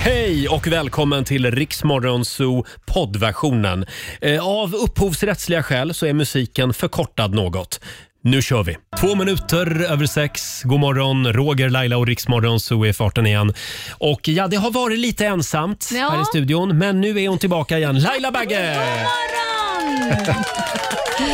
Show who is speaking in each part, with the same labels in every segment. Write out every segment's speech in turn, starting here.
Speaker 1: Hej och välkommen till Riksmorgon Zoo poddversionen. Eh, Av upphovsrättsliga skäl så är musiken förkortad något. Nu kör vi! Två minuter över sex. God morgon, Roger, Laila och Riksmorgon Zoo är i farten igen. Och ja, det har varit lite ensamt
Speaker 2: Ja.
Speaker 1: här i studion, men nu är hon tillbaka igen. Laila Bagge!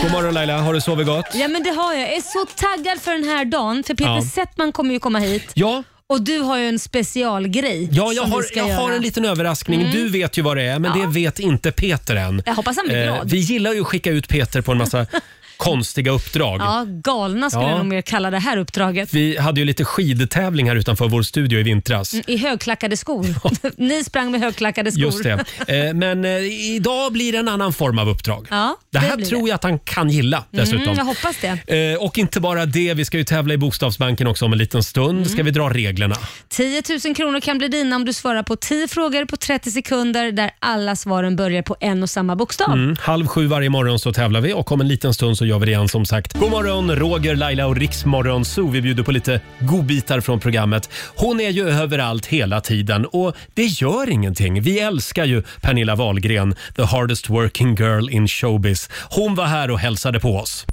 Speaker 1: God morgon Laila, har du sovit gott?
Speaker 2: Ja men det har jag. Jag är så taggad för den här dagen för Peter
Speaker 1: Ja.
Speaker 2: Settman kommer ju komma hit
Speaker 1: Ja,
Speaker 2: och du har ju en specialgrej
Speaker 1: ja jag,
Speaker 2: som
Speaker 1: har,
Speaker 2: du ska
Speaker 1: jag har
Speaker 2: göra. Mm.
Speaker 1: en liten överraskning. Du vet ju vad det är, men det vet inte Peter än.
Speaker 2: Jag hoppas han blir
Speaker 1: Eh,
Speaker 2: glad.
Speaker 1: vi gillar ju att skicka ut Peter på en massa konstiga uppdrag.
Speaker 2: Ja, galna skulle
Speaker 1: Ja.
Speaker 2: jag nog mer kalla det här uppdraget.
Speaker 1: Vi hade ju lite skidtävling här utanför vår studio i vintras.
Speaker 2: I högklackade skor. Ni sprang med högklackade skor.
Speaker 1: Just det. Eh, Men eh, idag blir det en annan form av uppdrag.
Speaker 2: Ja,
Speaker 1: det här
Speaker 2: blir
Speaker 1: tror jag att han kan gilla dessutom.
Speaker 2: Mm, jag hoppas det.
Speaker 1: Eh, Och inte bara det, vi ska ju tävla i Bokstavsbanken också om en liten stund.
Speaker 2: Mm.
Speaker 1: Ska vi dra reglerna?
Speaker 2: 10 000 kronor kan bli dina om du svarar på 10 frågor på 30 sekunder där alla svaren börjar på en och samma bokstav.
Speaker 1: Mm. Halv sju varje morgon så tävlar vi och om en liten stund så gör vi det igen som sagt. God morgon Roger, Laila och Riksmorgon Zoo. Vi bjuder på lite godbitar från programmet. Hon är ju överallt hela tiden och det gör ingenting. Vi älskar ju Pernilla Wahlgren, the hardest working girl in showbiz. Hon var här och hälsade på oss.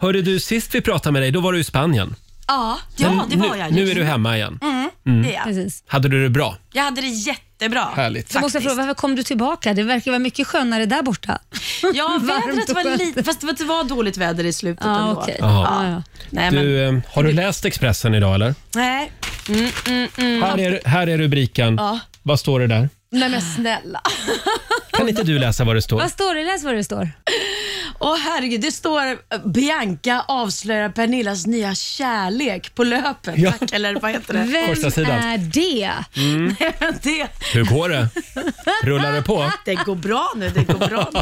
Speaker 1: Hörde du, sist vi pratade med dig då var du i Spanien.
Speaker 3: Ja, ja det
Speaker 1: nu,
Speaker 3: var jag ju.
Speaker 1: Nu är du hemma igen.
Speaker 3: Mm, det är jag.
Speaker 2: Precis.
Speaker 1: Hade du det bra?
Speaker 3: Jag hade det jättebra.
Speaker 1: Härligt.
Speaker 2: Så måste jag fråga, varför kom du tillbaka? Det verkar vara mycket skönare där borta.
Speaker 3: Ja, vädret
Speaker 2: Varmt och
Speaker 3: var
Speaker 2: skönt.
Speaker 3: lite... Fast det var dåligt väder i slutet
Speaker 2: Ja,
Speaker 3: ändå.
Speaker 2: Ah, okej.
Speaker 1: Jaha.
Speaker 2: Ja, ja.
Speaker 3: Nej, men...
Speaker 1: Du, eh, har du läst Expressen idag eller?
Speaker 3: Nej. Mm.
Speaker 1: Här är, här är rubriken. Vad står det där?
Speaker 2: Nej men snälla.
Speaker 1: Kan inte du läsa vad det står?
Speaker 2: Vad står det? Läs vad det står.
Speaker 3: Åh herregud, det står eh, Bianca avslöjar Pernillas nya kärlek på löpet.
Speaker 1: Ja.
Speaker 3: Tack, eller vad heter det?
Speaker 2: Vem
Speaker 1: Första sidan.
Speaker 2: är det?
Speaker 3: Nej, men det,
Speaker 1: Hur går det? Rullar det på?
Speaker 3: det går bra nu, det går bra nu.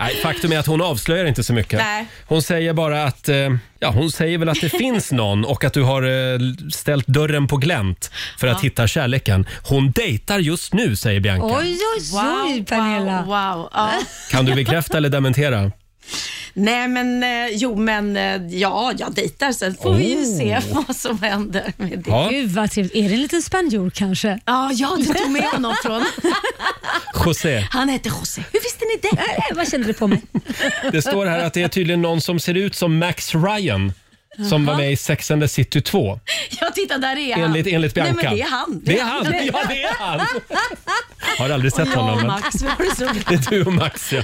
Speaker 1: Nej, faktum är att hon avslöjar inte så mycket.
Speaker 3: Nej.
Speaker 1: Hon säger bara att eh, Ja, hon säger väl att det finns någon och att du har eh, ställt dörren på glänt för att hitta kärleken. Hon dejtar just nu, säger Bianca.
Speaker 2: Oj, oj, oj Pernilla.
Speaker 3: wow, wow. Ja.
Speaker 1: Kan du bekräfta eller dementera?
Speaker 3: Nej men, eh, jo men, eh, ja, jag dejtar. Sen får vi ju
Speaker 1: Oh.
Speaker 3: se vad som händer med det.
Speaker 1: Ja.
Speaker 2: Gud vad trevligt. Är det en liten spanjor kanske?
Speaker 3: Ja, ja, du tog med honom från...
Speaker 1: José,
Speaker 3: Han heter José. Hur visste ni det?
Speaker 2: Äh, vad kände du på mig?
Speaker 1: det står här att det är tydligen någon som ser ut som Max Ryan som var med i Sex and the City 2,
Speaker 3: Ja, titta där är han.
Speaker 1: enligt, enligt Bianca.
Speaker 3: Nej, men det är han.
Speaker 1: Det är han! Ja, det är han! Har aldrig sett honom.
Speaker 3: Ja,
Speaker 1: men-
Speaker 3: Max, var det så
Speaker 1: Det är du och Max ja.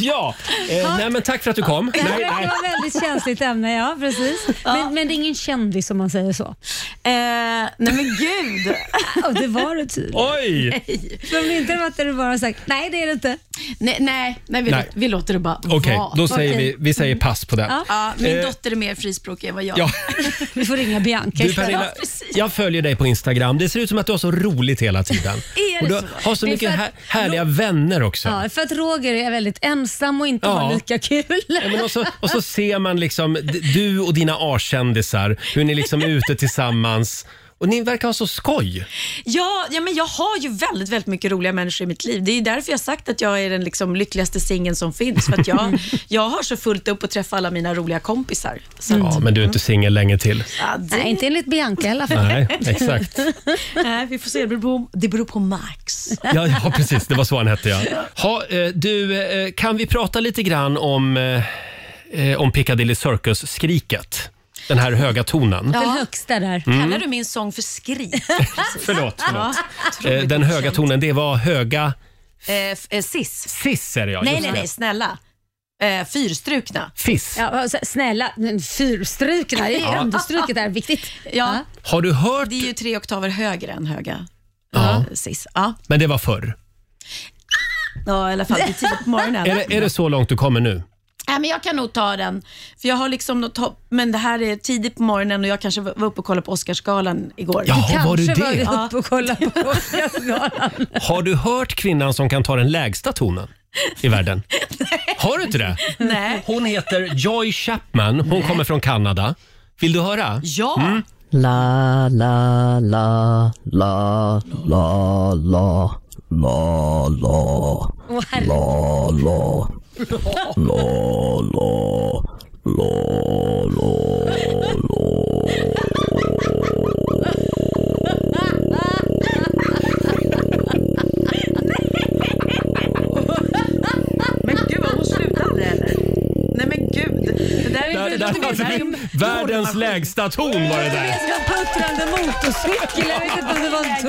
Speaker 1: Ja, eh, nej men tack för att du kom. Nej,
Speaker 2: Det
Speaker 1: nej.
Speaker 2: var ett väldigt känsligt ämne, ja precis. Men, men det är ingen kändis om man säger så.
Speaker 3: eh, nej men gud.
Speaker 2: Och det var det tydligen.
Speaker 1: Oj!
Speaker 2: Men om det inte hade varit det du bara sagt, nej det är det inte.
Speaker 3: nej, nej, nej, vi,
Speaker 1: Nej.
Speaker 3: Låter, vi låter det bara
Speaker 1: Okej,
Speaker 3: vara.
Speaker 1: då säger
Speaker 3: Okej.
Speaker 1: vi, vi säger pass på den.
Speaker 3: Ja, min
Speaker 1: Eh.
Speaker 3: dotter är mer frispråkig än vad jag
Speaker 1: Ja,
Speaker 3: är.
Speaker 2: Vi får ringa Bianca
Speaker 1: du
Speaker 2: istället.
Speaker 1: Pernilla,
Speaker 3: Ja, precis.
Speaker 1: jag följer dig på Instagram. Det ser ut som att du har så roligt hela tiden.
Speaker 3: det
Speaker 1: Och du
Speaker 3: så?
Speaker 1: har så
Speaker 2: Det är
Speaker 1: mycket
Speaker 2: för
Speaker 1: här,
Speaker 2: att-
Speaker 1: härliga vänner också.
Speaker 2: Ja, för att Roger är väldigt ensam och inte
Speaker 1: Ja.
Speaker 2: har lika kul.
Speaker 1: Ja, Men och, så, och så ser man liksom d- du och dina A-kändisar, hur ni liksom är ute tillsammans. Och ni verkar ha så skoj.
Speaker 3: Ja, ja, men jag har ju väldigt, väldigt mycket roliga människor i mitt liv. Det är därför jag har sagt att jag är den liksom lyckligaste singeln som finns. För att jag, jag har så fullt upp att träffa alla mina roliga kompisar. Så,
Speaker 1: Ja, men du är inte singel länge till.
Speaker 3: ja, det,
Speaker 2: Nej, inte enligt Bianca i alla fall.
Speaker 1: Nej, exakt.
Speaker 3: nej, eh, vi får se. Det beror på, det beror på Max.
Speaker 1: Ja, ja precis. Det var så han hette, ja. Ha, eh, du, eh, kan vi prata lite grann om, eh, eh, om Piccadilly Circus-skriket? Den här höga tonen.
Speaker 2: Den högsta där.
Speaker 3: Kallar du min sång för skrik?
Speaker 1: Förlåt, förlåt.
Speaker 3: otroligt
Speaker 1: Eh, den höga
Speaker 3: okänt.
Speaker 1: tonen, det var höga...
Speaker 3: Eh, f- eh, sis.
Speaker 1: Fiss är det, ja.
Speaker 3: Nej,
Speaker 1: just
Speaker 3: nej,
Speaker 1: det.
Speaker 3: nej, snälla. Eh, fyrstrukna.
Speaker 1: Fiss.
Speaker 2: Ja, alltså, snälla, fyrstryken här, ja. understryket är viktigt.
Speaker 3: Ja,
Speaker 1: Har du hört?
Speaker 3: det är ju tre oktaver högre än höga.
Speaker 1: Ja.
Speaker 3: eh, Sis. Ja.
Speaker 1: Men det var förr.
Speaker 3: ja, i alla fall det är tidigt på morgonen.
Speaker 1: Är det, är det så långt du kommer nu?
Speaker 3: Nej, men jag kan nog ta den. För jag har liksom något hopp, men det här är tidigt på morgonen och jag kanske var var uppe och kollade på Oscarsgalan igår.
Speaker 1: Jaha, var du
Speaker 2: Kanske var vi
Speaker 1: det?
Speaker 2: uppe och kollade på Oscarsgalan.
Speaker 1: Har du hört kvinnan som kan ta den lägsta tonen i världen? Har du inte det?
Speaker 3: Nej.
Speaker 1: Hon heter Joy Chapman. Hon kommer från Kanada. Vill du höra?
Speaker 3: Ja,
Speaker 1: Mm.
Speaker 4: La la la la la la la la
Speaker 2: Åh, herregud.
Speaker 4: la la la la la la
Speaker 1: Världens
Speaker 3: Lådemaskin.
Speaker 1: lägsta ton var det där.
Speaker 2: som en puttrande motorcykel. Jag vet inte om det var en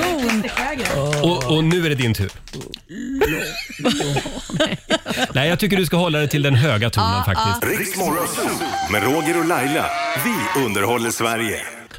Speaker 2: ton.
Speaker 1: Och, och nu är det din tur. Nej, jag tycker du ska hålla dig till den höga
Speaker 2: Ah,
Speaker 1: tonen faktiskt.
Speaker 5: Riks Morgonzoo med Roger och Laila. Vi underhåller Sverige.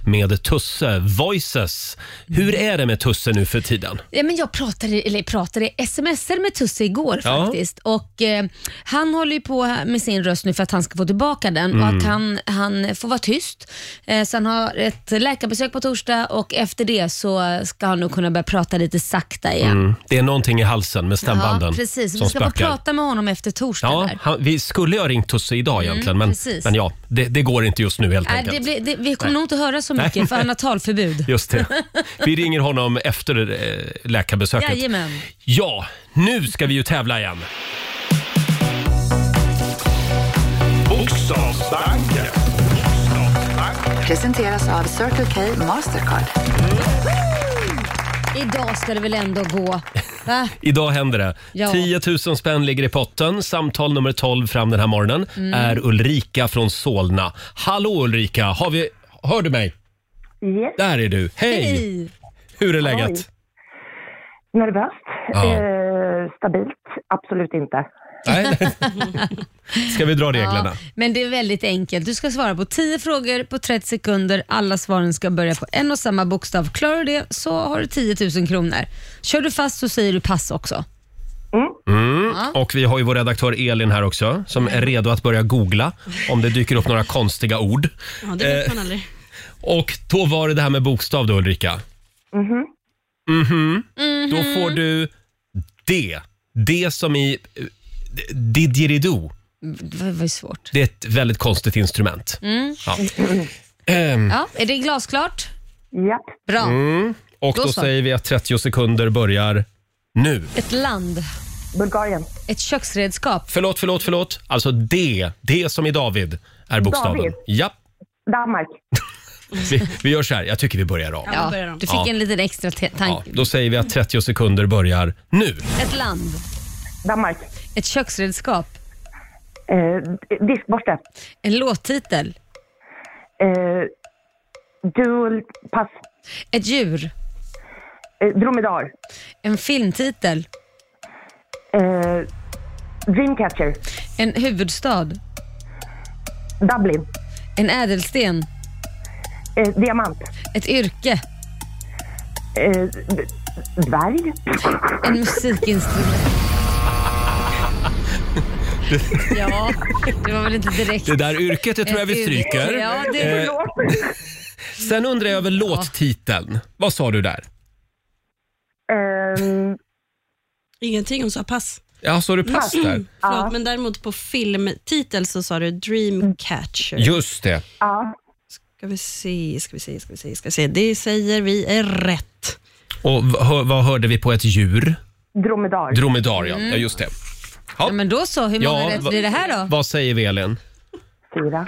Speaker 1: Med Tusse, Voices. Hur är det med Tusse nu för tiden?
Speaker 2: Ja, men jag pratade, eller pratade smsade med Tusse igår
Speaker 1: Ja.
Speaker 2: faktiskt. Och, eh, han håller ju på med sin röst nu för att han ska få tillbaka den och att han, han får vara tyst. Eh, så han har ett läkarbesök på torsdag och efter det så ska han nog kunna börja prata lite sakta igen.
Speaker 1: Det är någonting i halsen med stämbanden
Speaker 2: ja, precis. Vi
Speaker 1: som
Speaker 2: ska få
Speaker 1: spökar.
Speaker 2: prata med honom efter torsdag.
Speaker 1: Ja,
Speaker 2: där. Mm,
Speaker 1: han, vi skulle ju ha ringt Tusse idag egentligen, men,
Speaker 2: precis.
Speaker 1: men ja, det, det går inte just nu helt
Speaker 2: Nej,
Speaker 1: enkelt.
Speaker 2: Äh, det blir, det, vi kommer
Speaker 1: Nej.
Speaker 2: nog inte höra så mycket
Speaker 1: Nej.
Speaker 2: för han har talförbud.
Speaker 1: Just det. Vi ringer honom efter eh, läkarbesöket.
Speaker 2: Jajamän.
Speaker 1: Ja, nu ska vi ju tävla igen.
Speaker 5: Bokstavsbanken.
Speaker 6: Presenteras av Circle K Mastercard.
Speaker 2: Idag ska det väl ändå gå? Va?
Speaker 1: Idag händer det.
Speaker 2: Ja.
Speaker 1: 10 000 spänn ligger i potten. Samtal nummer 12 fram den här morgonen
Speaker 2: Mm.
Speaker 1: är Ulrika från Solna. Hallå Ulrika, har vi... hör du mig?
Speaker 7: Yes,
Speaker 1: Där är du. Hej!
Speaker 2: Hej.
Speaker 1: Hur är läget?
Speaker 7: nervöst.
Speaker 1: Ja.
Speaker 7: Eh, stabilt, absolut inte.
Speaker 1: Nej. Ska vi dra reglerna?
Speaker 2: Ja, men det är väldigt enkelt. Du ska svara på 10 frågor på 30 sekunder. Alla svaren ska börja på en och samma bokstav. Klarar du det så har du 10 000 kronor. Kör du fast så säger du pass också.
Speaker 1: Och vi har ju vår redaktör Elin här också som är redo att börja googla om det dyker upp några konstiga ord. Eh,
Speaker 8: Ja, det vet man aldrig.
Speaker 1: Och då var det det här med bokstav då Ulrika. Mhm.
Speaker 8: Mm-hmm.
Speaker 1: Då får du D. D som i eh, didgeridoo.
Speaker 2: Det var ju svårt.
Speaker 1: Det är ett väldigt konstigt instrument.
Speaker 8: Mm.
Speaker 1: Ja. Ehm,
Speaker 2: Ja, är det glasklart?
Speaker 7: Japp.
Speaker 2: Bra.
Speaker 1: Mm. och
Speaker 2: Då
Speaker 1: då
Speaker 2: så.
Speaker 1: säger vi att 30 sekunder börjar nu.
Speaker 2: Ett land.
Speaker 7: Bulgarien.
Speaker 2: Ett köksredskap.
Speaker 1: Förlåt, förlåt, förlåt. Alltså D. D som i David är bokstaven.
Speaker 7: David.
Speaker 1: Ja,
Speaker 7: Danmark.
Speaker 1: vi, vi gör så här. Jag tycker vi börjar av.
Speaker 8: Ja, börjar om.
Speaker 2: du fick
Speaker 1: Ja.
Speaker 2: en liten extra te-
Speaker 1: Ja,
Speaker 2: tanke.
Speaker 1: då säger vi att 30 sekunder börjar nu.
Speaker 2: Ett land.
Speaker 7: Danmark.
Speaker 2: Ett köksredskap.
Speaker 7: Eh, d- diskborste.
Speaker 2: En låttitel.
Speaker 7: Eh, dual pass.
Speaker 2: Ett djur.
Speaker 7: Eh, dromedar.
Speaker 2: En filmtitel.
Speaker 7: Eh, dreamcatcher.
Speaker 2: En huvudstad.
Speaker 7: Dublin.
Speaker 2: En ädelsten.
Speaker 7: Eh, diamant.
Speaker 2: Ett yrke.
Speaker 7: Eh, d- dvärg.
Speaker 2: En musikinstrument. ja, det var väl inte direkt.
Speaker 1: Det där yrket det tror jag vi stryker.
Speaker 2: Ja, det,
Speaker 1: Eh, Sen undrar jag över låttiteln. Vad sa du där?
Speaker 7: Eh,
Speaker 8: Ingenting om så här pass.
Speaker 1: Ja, sa du pass
Speaker 2: Mm.
Speaker 1: där?
Speaker 8: Förlåt, men däremot på filmtitel så sa du Dreamcatcher.
Speaker 1: Just det.
Speaker 7: ja.
Speaker 8: Ska vi se, ska vi se, ska vi se, ska vi se. Det säger vi är rätt.
Speaker 1: Och v- hör- vad hörde vi på ett djur?
Speaker 7: Dromedar.
Speaker 1: Dromedar, ja. ja just det.
Speaker 2: ja, men då så, hur många
Speaker 1: Ja,
Speaker 2: Mm. rätt
Speaker 1: va-
Speaker 2: blir det här då?
Speaker 1: Vad säger vi, Elin?
Speaker 7: Fyra.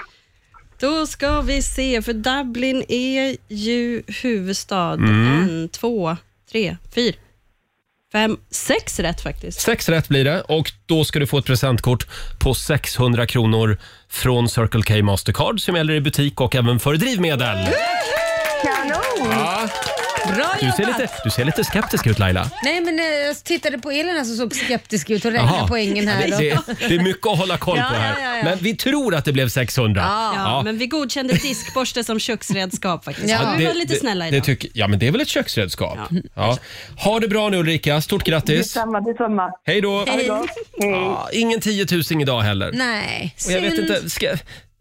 Speaker 8: Då ska vi se, för Dublin är ju huvudstad.
Speaker 1: Mm.
Speaker 8: En, två, tre, fyra, fem, sex rätt faktiskt.
Speaker 1: Sex rätt blir det och då ska du få ett presentkort på 600 kronor från Circle K Mastercard som gäller i butik och även för drivmedel.
Speaker 7: Kanon!
Speaker 2: Bra
Speaker 1: Du
Speaker 2: jobbat!
Speaker 1: ser lite, du ser lite skeptisk ut Laila.
Speaker 2: Nej men eh, jag tittade på Elin här som såg skeptisk ut och räknade
Speaker 1: Jaha.
Speaker 2: poängen här.
Speaker 1: Det,
Speaker 2: Då.
Speaker 1: det, det är mycket att hålla koll
Speaker 8: Ja,
Speaker 1: på här.
Speaker 8: ja, ja, ja.
Speaker 1: Men vi tror att det blev 600.
Speaker 8: Ja, Men vi godkände diskborste som köksredskap faktiskt.
Speaker 2: Ja.
Speaker 8: Ja, vi var lite snälla
Speaker 1: det
Speaker 8: idag.
Speaker 1: tycker, Ja, men det är väl ett köksredskap? Ja. Ha det bra nu Ulrika, stort grattis.
Speaker 7: Detsamma, detsamma.
Speaker 1: Hej då.
Speaker 2: Hej.
Speaker 1: Ja, ingen 10 000 idag heller.
Speaker 2: Nej,
Speaker 1: Och jag vet
Speaker 2: synd.
Speaker 1: inte, ska,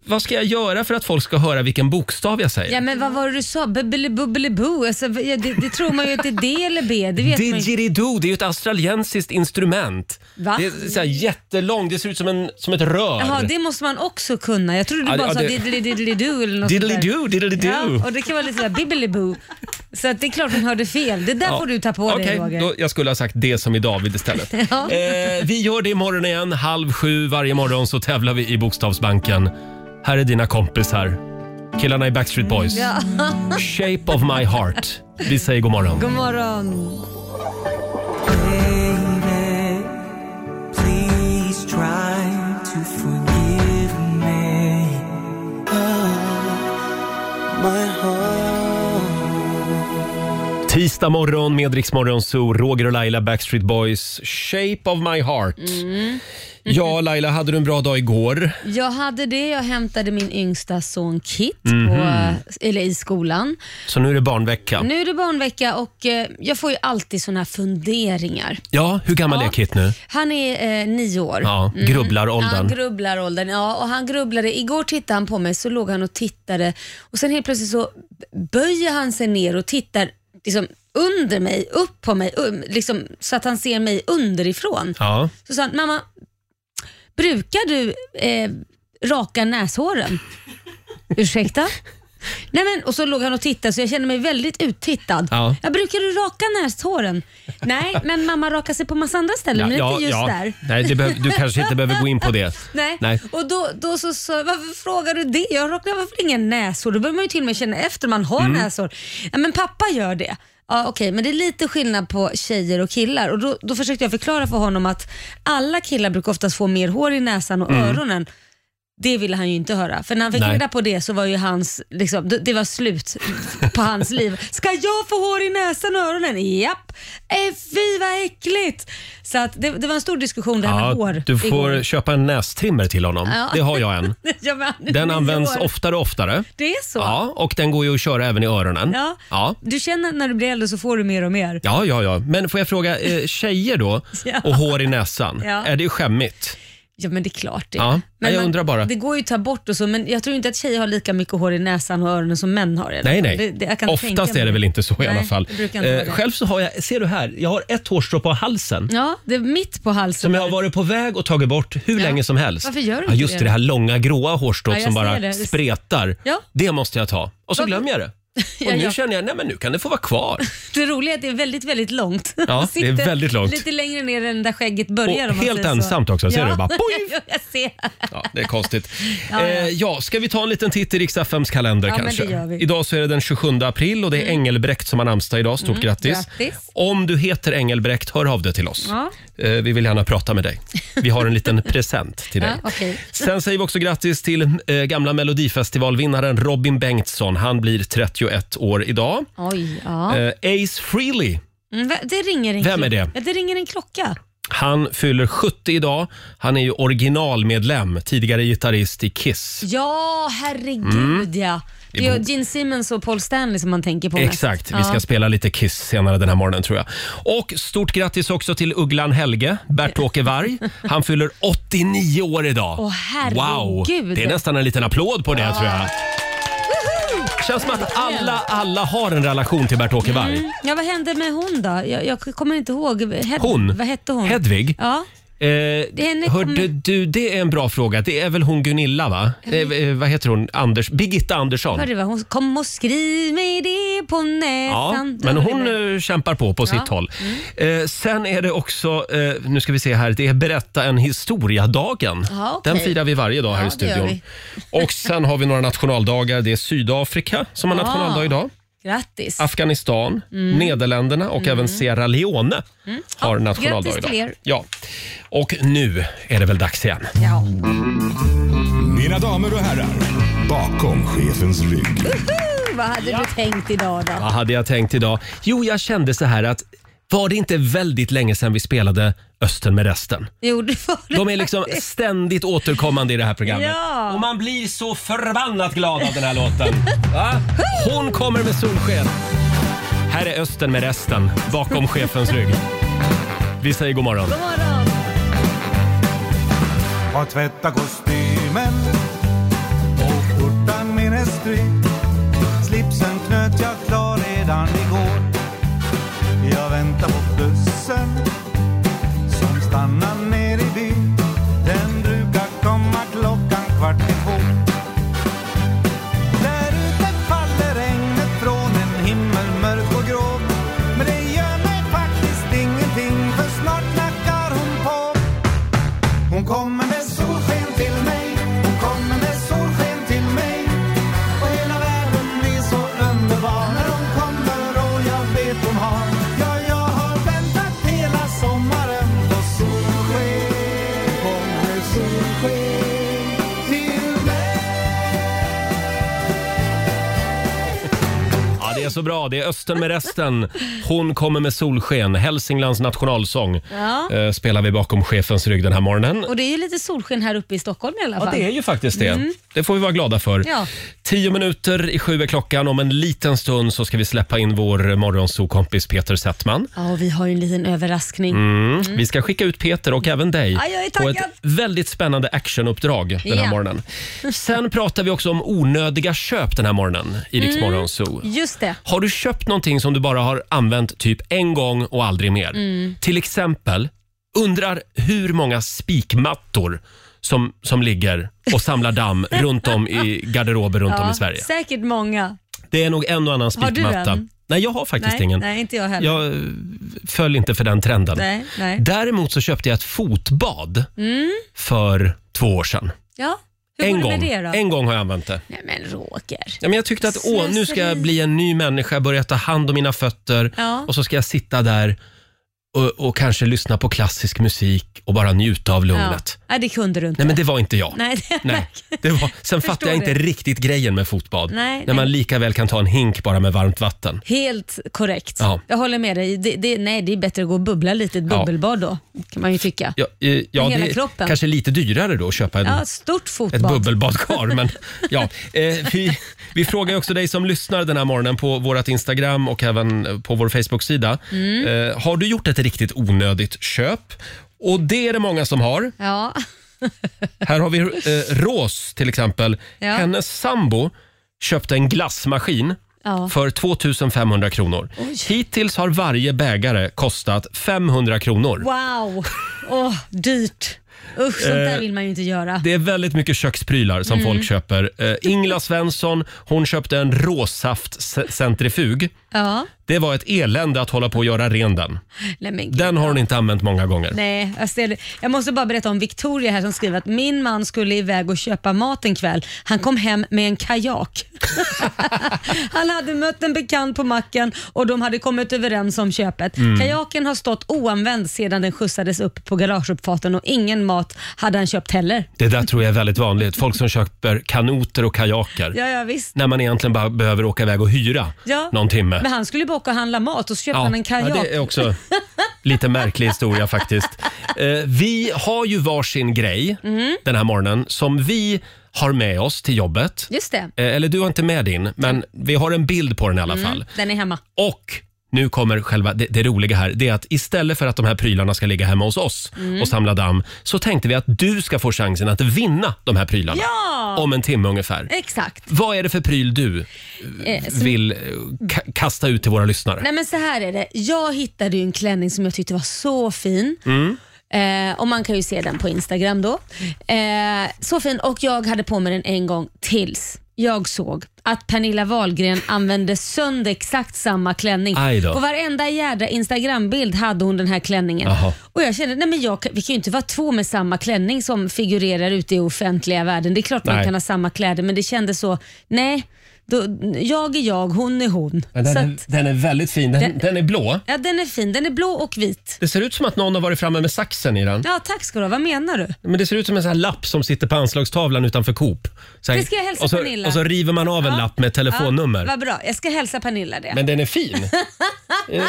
Speaker 1: vad ska jag göra för att folk ska höra vilken bokstav jag säger?
Speaker 2: Ja men vad var det du sa? Bubbelibubbiliboo? Alltså, ja, det, det tror man ju att det är D eller B. Det vet man ju.
Speaker 1: Didgeridoo, det är ju ett australiensiskt instrument.
Speaker 2: Va?
Speaker 1: Det är så här jättelångt, det ser ut som, en, som ett rör.
Speaker 2: Jaha, det måste man också kunna. Jag trodde
Speaker 1: Ja,
Speaker 2: du bara
Speaker 1: ja,
Speaker 2: sa
Speaker 1: det-
Speaker 2: diddelididdelidu eller något sånt där.
Speaker 1: Diddleidoo, diddleidoo.
Speaker 2: Ja, och det kan vara lite sådär bibbeliboo. Så att det är klart hon hörde fel. Det där
Speaker 1: Ja.
Speaker 2: får du ta på dig
Speaker 1: Okej,
Speaker 2: Roger.
Speaker 1: då, jag skulle ha sagt det som i David istället.
Speaker 2: Ja.
Speaker 1: eh, vi gör det imorgon igen. Halv sju varje morgon så tävlar vi i Bokstavsbanken. Här är dina kompisar. Killarna i Backstreet Boys.
Speaker 2: Ja.
Speaker 1: Shape of my heart. Vi säger god morgon.
Speaker 2: God morgon.
Speaker 9: Please try to forgive me. Oh.
Speaker 1: Tisdag morgon med Rix Morgon Zoo, Roger och Laila, Backstreet Boys, Shape of My Heart.
Speaker 2: Mm.
Speaker 1: Ja, Laila, hade du en bra dag igår?
Speaker 2: Jag hade det. Jag hämtade min yngsta son Kit
Speaker 1: Mhm.
Speaker 2: på, eller i skolan.
Speaker 1: Så nu är det barnvecka.
Speaker 2: Nu är det barnvecka och eh, jag får ju alltid sådana här funderingar.
Speaker 1: Ja, hur gammal är Kit nu?
Speaker 2: Han är eh, nio år.
Speaker 1: Ja, grubblaråldern.
Speaker 2: Han grubblar åldern, ja. Och han grubblade. Igår tittade han på mig, så låg han och tittade och sen helt plötsligt så böjer han sig ner och tittar liksom, under mig, upp på mig, um, liksom, så att han ser mig underifrån.
Speaker 1: Ja.
Speaker 2: Så sa han, mamma, brukar du eh, raka näshåren? Ursäkta? Nej men, och så låg han och tittade så jag kände mig väldigt uttittad.
Speaker 1: Ja.
Speaker 2: Jag brukar du raka näshåren? Nej, men mamma rakar sig på massa andra ställen, men inte just där.
Speaker 1: Nej, det behöv, du kanske inte behöver gå in på det.
Speaker 2: Nej.
Speaker 1: Nej.
Speaker 2: och då, då så, så varför frågar du det? Jag rakar varför ingen näshår? Då börjar man ju till och med känna efter om man har
Speaker 1: Mm.
Speaker 2: näshår. Ja, men pappa gör det. Ja, Okej, men det är lite skillnad på tjejer och killar. Och då, då försökte jag förklara för honom att alla killar brukar oftast få mer hår i näsan och öronen. Det ville han ju inte höra. För när han fick
Speaker 1: Mm. Nej.
Speaker 2: reda på det så var ju hans, liksom, det, det var slut på hans liv. Ska jag få hår i näsan och öronen? Japp! Äh, fy vad äckligt! Så att det, det var en stor diskussion det här med hår.
Speaker 1: du får
Speaker 2: igår.
Speaker 1: köpa en nästrimmer till honom.
Speaker 2: Ja.
Speaker 1: Det har jag en.
Speaker 2: Ja, men han är
Speaker 1: Den
Speaker 2: nio
Speaker 1: används
Speaker 2: år.
Speaker 1: oftare och oftare.
Speaker 2: Det är så?
Speaker 1: Ja, och den går ju att köra även i öronen.
Speaker 2: Ja.
Speaker 1: Ja.
Speaker 2: Du känner att när du blir äldre så får du mer och mer.
Speaker 1: Ja, ja, ja. Men får jag fråga, eh, tjejer då
Speaker 2: Ja.
Speaker 1: och hår i näsan,
Speaker 2: Ja.
Speaker 1: är det skämmigt?
Speaker 2: Ja men det är klart det.
Speaker 1: Ja,
Speaker 2: men
Speaker 1: jag
Speaker 2: man-
Speaker 1: undrar bara.
Speaker 2: Det går ju att ta bort och så men jag tror inte att tjejer har lika mycket hår i näsan och öronen som män har. i alla
Speaker 1: Nej,
Speaker 2: fall.
Speaker 1: nej.
Speaker 2: Det, det, jag kan tänka
Speaker 1: Oftast
Speaker 2: mig.
Speaker 1: är det väl inte så i
Speaker 2: Nej,
Speaker 1: alla fall. Eh,
Speaker 2: det brukar inte vara det.
Speaker 1: själv så har jag, ser du här, jag har ett hårstrå på halsen.
Speaker 2: Ja, det är mitt på halsen.
Speaker 1: Som jag har varit på väg och tagit bort hur länge som helst.
Speaker 2: Varför gör
Speaker 1: ja,
Speaker 2: du inte
Speaker 1: just det?
Speaker 2: det?
Speaker 1: Det här långa gråa hårstrået
Speaker 2: Ja, jag
Speaker 1: som
Speaker 2: ser
Speaker 1: bara
Speaker 2: det.
Speaker 1: spretar.
Speaker 2: Ja.
Speaker 1: Det måste jag ta. Och så
Speaker 2: Varför?
Speaker 1: glömmer jag det. Och
Speaker 2: Ja,
Speaker 1: nu
Speaker 2: ja.
Speaker 1: känner jag, nej men nu kan det få vara kvar.
Speaker 2: Det roliga är att det är väldigt, väldigt långt.
Speaker 1: Ja, det är
Speaker 2: Sitter
Speaker 1: väldigt långt.
Speaker 2: Lite längre ner än där skägget börjar.
Speaker 1: Och
Speaker 2: om man
Speaker 1: helt
Speaker 2: säger så.
Speaker 1: ensamt också, ser
Speaker 2: ja.
Speaker 1: du? Bara, poing!
Speaker 2: Ja, jag ser.
Speaker 1: Ja, det är konstigt.
Speaker 2: Ja,
Speaker 1: ja,
Speaker 2: ja.
Speaker 1: Eh, ja, ska vi ta en liten titt i riks FMs kalender
Speaker 2: Ja, men
Speaker 1: kanske?
Speaker 2: det gör vi. Mm.
Speaker 1: Idag så är det den 27 april och det är Engelbrekt som har namnsdag idag. Stort grattis.
Speaker 2: grattis.
Speaker 1: Om du heter Engelbrekt, hör av dig till oss.
Speaker 2: Ja.
Speaker 1: Eh, vi vill gärna prata med dig. Vi har en liten present till dig.
Speaker 2: Ja, okej.
Speaker 1: Sen säger vi också grattis till eh, gamla Melodifestivalvinnaren Robin Bengtsson. Han blir 31 år idag.
Speaker 2: Oj, ja.
Speaker 1: Eh, Ace Frehley
Speaker 2: Mm, va- Det ringer en
Speaker 1: Vem är
Speaker 2: klocka.
Speaker 1: det?
Speaker 2: Ja, Det ringer en klocka.
Speaker 1: han fyller 70 idag. Han är ju originalmedlem, tidigare gitarrist i Kiss.
Speaker 2: Ja, herregud
Speaker 1: Mm.
Speaker 2: ja. Det är ju
Speaker 1: Emot.
Speaker 2: Gene Simmons och Paul Stanley som man tänker på mest.
Speaker 1: Exakt, vi
Speaker 2: Ja.
Speaker 1: ska spela lite Kiss senare den här morgonen tror jag. Och stort grattis också till ugglan Helge, Bert-Åke Varg. Han fyller 89 år idag.
Speaker 2: Åh,
Speaker 1: wow,
Speaker 2: herregud.
Speaker 1: det är nästan en liten applåd på det tror jag. Känns som att alla, alla har en relation till Bert-Åke
Speaker 2: Mm.
Speaker 1: Varg.
Speaker 2: Ja, vad hände med hon då? Jag, jag kommer inte ihåg. Hed-
Speaker 1: Hon?
Speaker 2: Vad hette hon?
Speaker 1: Hedvig?
Speaker 2: Ja.
Speaker 1: Eh,
Speaker 2: henne
Speaker 1: hörde
Speaker 2: kommer-
Speaker 1: du, det är en bra fråga. Det är väl hon Gunilla va? Eh, eh, vad heter hon? Anders, Birgitta Andersson.
Speaker 2: Hörde du vad hon Kom och skriv mig det på
Speaker 1: Ja,
Speaker 2: näsan.
Speaker 1: men
Speaker 2: Det var
Speaker 1: hon
Speaker 2: det.
Speaker 1: eh, kämpar på på sitt håll.
Speaker 2: Mm.
Speaker 1: Eh, sen är det också, eh, nu ska vi se här, det är berätta en historia-dagen.
Speaker 2: Ja, okej.
Speaker 1: Den firar vi varje dag här
Speaker 2: Ja,
Speaker 1: i
Speaker 2: det gör
Speaker 1: studion. Och sen har vi några nationaldagar. Det är Sydafrika som har
Speaker 2: Ja.
Speaker 1: nationaldag idag.
Speaker 2: Grattis.
Speaker 1: Afghanistan, Nederländerna och även Sierra Leone har
Speaker 2: Mm. Ja,
Speaker 1: nationaldag
Speaker 2: grattis till
Speaker 1: idag.
Speaker 2: er.
Speaker 1: Ja. Och nu är det väl dags igen.
Speaker 2: Ja.
Speaker 9: Mina damer och herrar, bakom chefens rygg.
Speaker 2: Uh, vad hade du tänkt idag då?
Speaker 1: Vad hade jag tänkt idag? Jo, jag kände så här att var det inte väldigt länge sedan vi spelade Östen med resten?
Speaker 2: Jo, det var det.
Speaker 1: De är liksom ständigt återkommande i det här programmet.
Speaker 2: Ja.
Speaker 1: Och man blir så förbannat glad av den här låten. Va? Hon kommer med solsken. Här är Östen med resten, bakom chefens rygg. Vi säger god morgon.
Speaker 2: God morgon.
Speaker 9: Har tvättat kostymen och skjortan min är strypt. Slipsen knöt jag klar redan igår. Jag väntar på bussen som stannar ner i byn. Den brukar komma klockan kvart i två. Där ute faller regnet från en himmel mörk och grå. Men det gör mig faktiskt ingenting för snart knackar hon på. Hon kommer med solsken till mig Hon kommer med solsken till mig Och hela världen blir så underbar När hon kommer och jag vet hon har Ja, jag har
Speaker 1: det är så bra. Det är Östen med resten. Hon kommer med solsken. Hälsinglands nationalsång
Speaker 2: Ja.
Speaker 1: eh, spelar vi bakom chefens rygg den här morgonen.
Speaker 2: Och det är ju lite solsken här uppe i Stockholm i alla fall.
Speaker 1: Ja, det är ju faktiskt det. Det får vi vara glada för.
Speaker 2: Mm. Ja.
Speaker 1: Tio minuter i sju är klockan. Om en liten stund så ska vi släppa in vår morgonsokompis Peter Settman.
Speaker 2: Ja, och vi har ju en liten överraskning.
Speaker 1: Mm. Vi ska skicka ut Peter och även dig
Speaker 2: Ja, jag är
Speaker 1: på
Speaker 2: taggad.
Speaker 1: ett väldigt spännande actionuppdrag den här
Speaker 2: Ja.
Speaker 1: morgonen. Sen pratar vi också om onödiga köp den här morgonen i Rix
Speaker 2: Mm.
Speaker 1: Morgon Zoo.
Speaker 2: Just det.
Speaker 1: Har du köpt någonting som du bara har använt typ en gång och aldrig mer?
Speaker 2: Mm.
Speaker 1: Till exempel, undrar hur många spikmattor som, som ligger och samlar damm runt om i garderober runt om i Sverige.
Speaker 2: Säkert många.
Speaker 1: Det är nog en och annan
Speaker 2: Har du
Speaker 1: spikmatta.
Speaker 2: en?
Speaker 1: Nej, jag har faktiskt
Speaker 2: Nej,
Speaker 1: ingen.
Speaker 2: nej, inte jag heller.
Speaker 1: Jag eh, föll inte för den trenden.
Speaker 2: Nej, nej.
Speaker 1: Däremot så köpte jag ett fotbad för två år sedan.
Speaker 2: Ja. Hur
Speaker 1: en,
Speaker 2: går
Speaker 1: gång.
Speaker 2: det med det då?
Speaker 1: en gång har jag använt det.
Speaker 2: Nej men Roger.
Speaker 1: Ja, men jag tyckte att åh, nu ska jag
Speaker 2: Slöseri.
Speaker 1: bli en ny människa, börja ta hand om mina fötter
Speaker 2: Ja.
Speaker 1: och så ska jag sitta där och, och kanske lyssna på klassisk musik och bara njuta av
Speaker 2: Ja.
Speaker 1: lugnet.
Speaker 2: Nej, det kunde du inte.
Speaker 1: Nej, men det var inte jag.
Speaker 2: Nej, det-
Speaker 1: Nej, det var, sen fattade jag inte
Speaker 2: det.
Speaker 1: riktigt grejen med fotbad.
Speaker 2: Nej,
Speaker 1: när man lika väl kan ta en hink bara med varmt vatten.
Speaker 2: Helt korrekt.
Speaker 1: Ja.
Speaker 2: Jag håller med dig. Det, det, nej, det är bättre att gå och bubbla lite i ett
Speaker 1: Ja.
Speaker 2: bubbelbad då, kan man ju tycka.
Speaker 1: Ja, eh, ja
Speaker 2: Med hela
Speaker 1: det är
Speaker 2: kroppen.
Speaker 1: kanske lite dyrare då att köpa en,
Speaker 2: Ja, stort
Speaker 1: ett
Speaker 2: fotbad.
Speaker 1: bubbelbadkar. Men, ja, eh, vi, vi frågar ju också dig som lyssnar den här morgonen på vårt Instagram och även eh, på vår Facebook-sida.
Speaker 2: Mm.
Speaker 1: Eh, har du gjort ett riktigt onödigt köp? Och det är det många som har.
Speaker 2: Ja.
Speaker 1: Här har vi eh, Rås till exempel.
Speaker 2: Ja.
Speaker 1: Hennes sambo köpte en glassmaskin
Speaker 2: Ja.
Speaker 1: för 2500 kronor. Hittills har varje bägare kostat 500 kronor.
Speaker 2: Wow! Åh, dyrt. Usch, sånt där vill man ju inte göra.
Speaker 1: Eh, Det är väldigt mycket köksprylar som
Speaker 2: Mm.
Speaker 1: folk köper. Eh, Ingla Svensson hon köpte en råsaftcentrifug.
Speaker 2: Ja.
Speaker 1: Det var ett elände att hålla på och göra ren den.
Speaker 2: Nej, men gud.
Speaker 1: Den har hon inte använt många gånger.
Speaker 2: Nej, alltså, jag, ser det. jag måste bara berätta om Victoria här som skriver att min man skulle iväg och köpa mat en kväll. Han kom hem med en kajak. Han hade mött en bekant på macken och de hade kommit överens om köpet. Kajaken har stått oanvänd sedan den skjutsades upp på garageuppfarten och ingen mat hade han köpt heller.
Speaker 1: Det där tror jag är väldigt vanligt. Folk som köper kanoter och kajaker.
Speaker 2: Ja, ja visst.
Speaker 1: När man egentligen bara behöver åka iväg och hyra
Speaker 2: Ja.
Speaker 1: någon timme.
Speaker 2: Men han skulle ju bara åka och handla mat och så köpte han en kajak.
Speaker 1: Ja, det är också lite märklig historia faktiskt. Eh, vi har ju varsin grej
Speaker 2: Mm.
Speaker 1: den här morgonen som vi har med oss till jobbet.
Speaker 2: Just det,
Speaker 1: Eh, Eller du har inte med din, men vi har en bild på den i alla
Speaker 2: Mm.
Speaker 1: fall.
Speaker 2: den är hemma.
Speaker 1: Och nu kommer själva det, det roliga här. Det är att istället för att de här prylarna ska ligga hemma hos oss
Speaker 2: Mm.
Speaker 1: och samla damm så tänkte vi att du ska få chansen att vinna de här prylarna om en timme ungefär.
Speaker 2: Exakt.
Speaker 1: Vad är det för pryl du eh,
Speaker 2: som-
Speaker 1: vill eh, ka- kasta ut till våra lyssnare?
Speaker 2: Nej men så här är det. Jag hittade ju en klänning som jag tyckte var så fin.
Speaker 1: Mm.
Speaker 2: Eh, och Man kan ju se den på Instagram då. Eh, så fin och jag hade på mig den en gång tills jag såg att Pernilla Wahlgren använde sönder exakt samma klänning.
Speaker 1: Aj då.
Speaker 2: På varenda jädra Instagrambild hade hon den här klänningen.
Speaker 1: Jaha.
Speaker 2: Och jag kände, nej men jag, kan- vi kan ju inte vara två med samma klänning som figurerar ute i offentliga världen. Det är klart
Speaker 1: Nej.
Speaker 2: man kan ha samma kläder men det kändes så, nej, då, jag är jag, hon är hon. så att,
Speaker 1: är väldigt fin. Den, är blå.
Speaker 2: Ja, den är fin. Den är blå och vit.
Speaker 1: Det ser ut som att någon har varit framme med saxen i den.
Speaker 2: Ja, tack ska du ha. Vad menar du?
Speaker 1: Men Det ser ut som en sån här lapp som sitter på anslagstavlan utanför Coop. Så här-
Speaker 2: Det ska jag hälsa
Speaker 1: och så,
Speaker 2: Pernilla.
Speaker 1: och så river man av en
Speaker 2: Ja.
Speaker 1: lapp med ett telefonnummer.
Speaker 2: Vad bra. Jag ska hälsa Pernilla det.
Speaker 1: Men den är fin. Eh,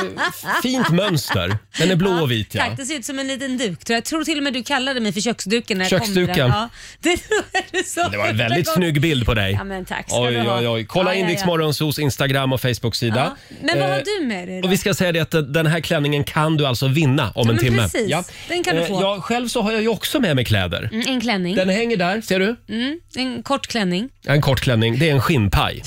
Speaker 1: Fint mönster. Den är blå och vit. Ja.
Speaker 2: Tack, det ser ut som en liten duk. tror Jag Jag tror till och med du kallade mig för köksduken när jag
Speaker 1: Köksduken.
Speaker 2: kom med den. Ja, det tror jag du sa
Speaker 1: Det var en
Speaker 2: första
Speaker 1: väldigt
Speaker 2: gången.
Speaker 1: snygg bild på dig.
Speaker 2: Ja, men tack ska
Speaker 1: Oj,
Speaker 2: du ha.
Speaker 1: oj, oj. Kolla
Speaker 2: Ja,
Speaker 1: in
Speaker 2: ja,
Speaker 1: Rix
Speaker 2: ja.
Speaker 1: Morgonzos Instagram och Facebook-sida.
Speaker 2: Ja. Men vad
Speaker 1: Eh,
Speaker 2: har du med dig då?
Speaker 1: Och vi ska säga det att den här klänningen kan du alltså vinna om
Speaker 2: Ja,
Speaker 1: en
Speaker 2: men
Speaker 1: timme.
Speaker 2: precis. Den kan du
Speaker 1: Eh,
Speaker 2: få.
Speaker 1: Jag, själv så har jag ju också med mig kläder.
Speaker 2: Mm, En klänning.
Speaker 1: Den hänger där, ser du?
Speaker 2: Mm, en kort klänning.
Speaker 1: En kort klänning. Det är en skinnpaj.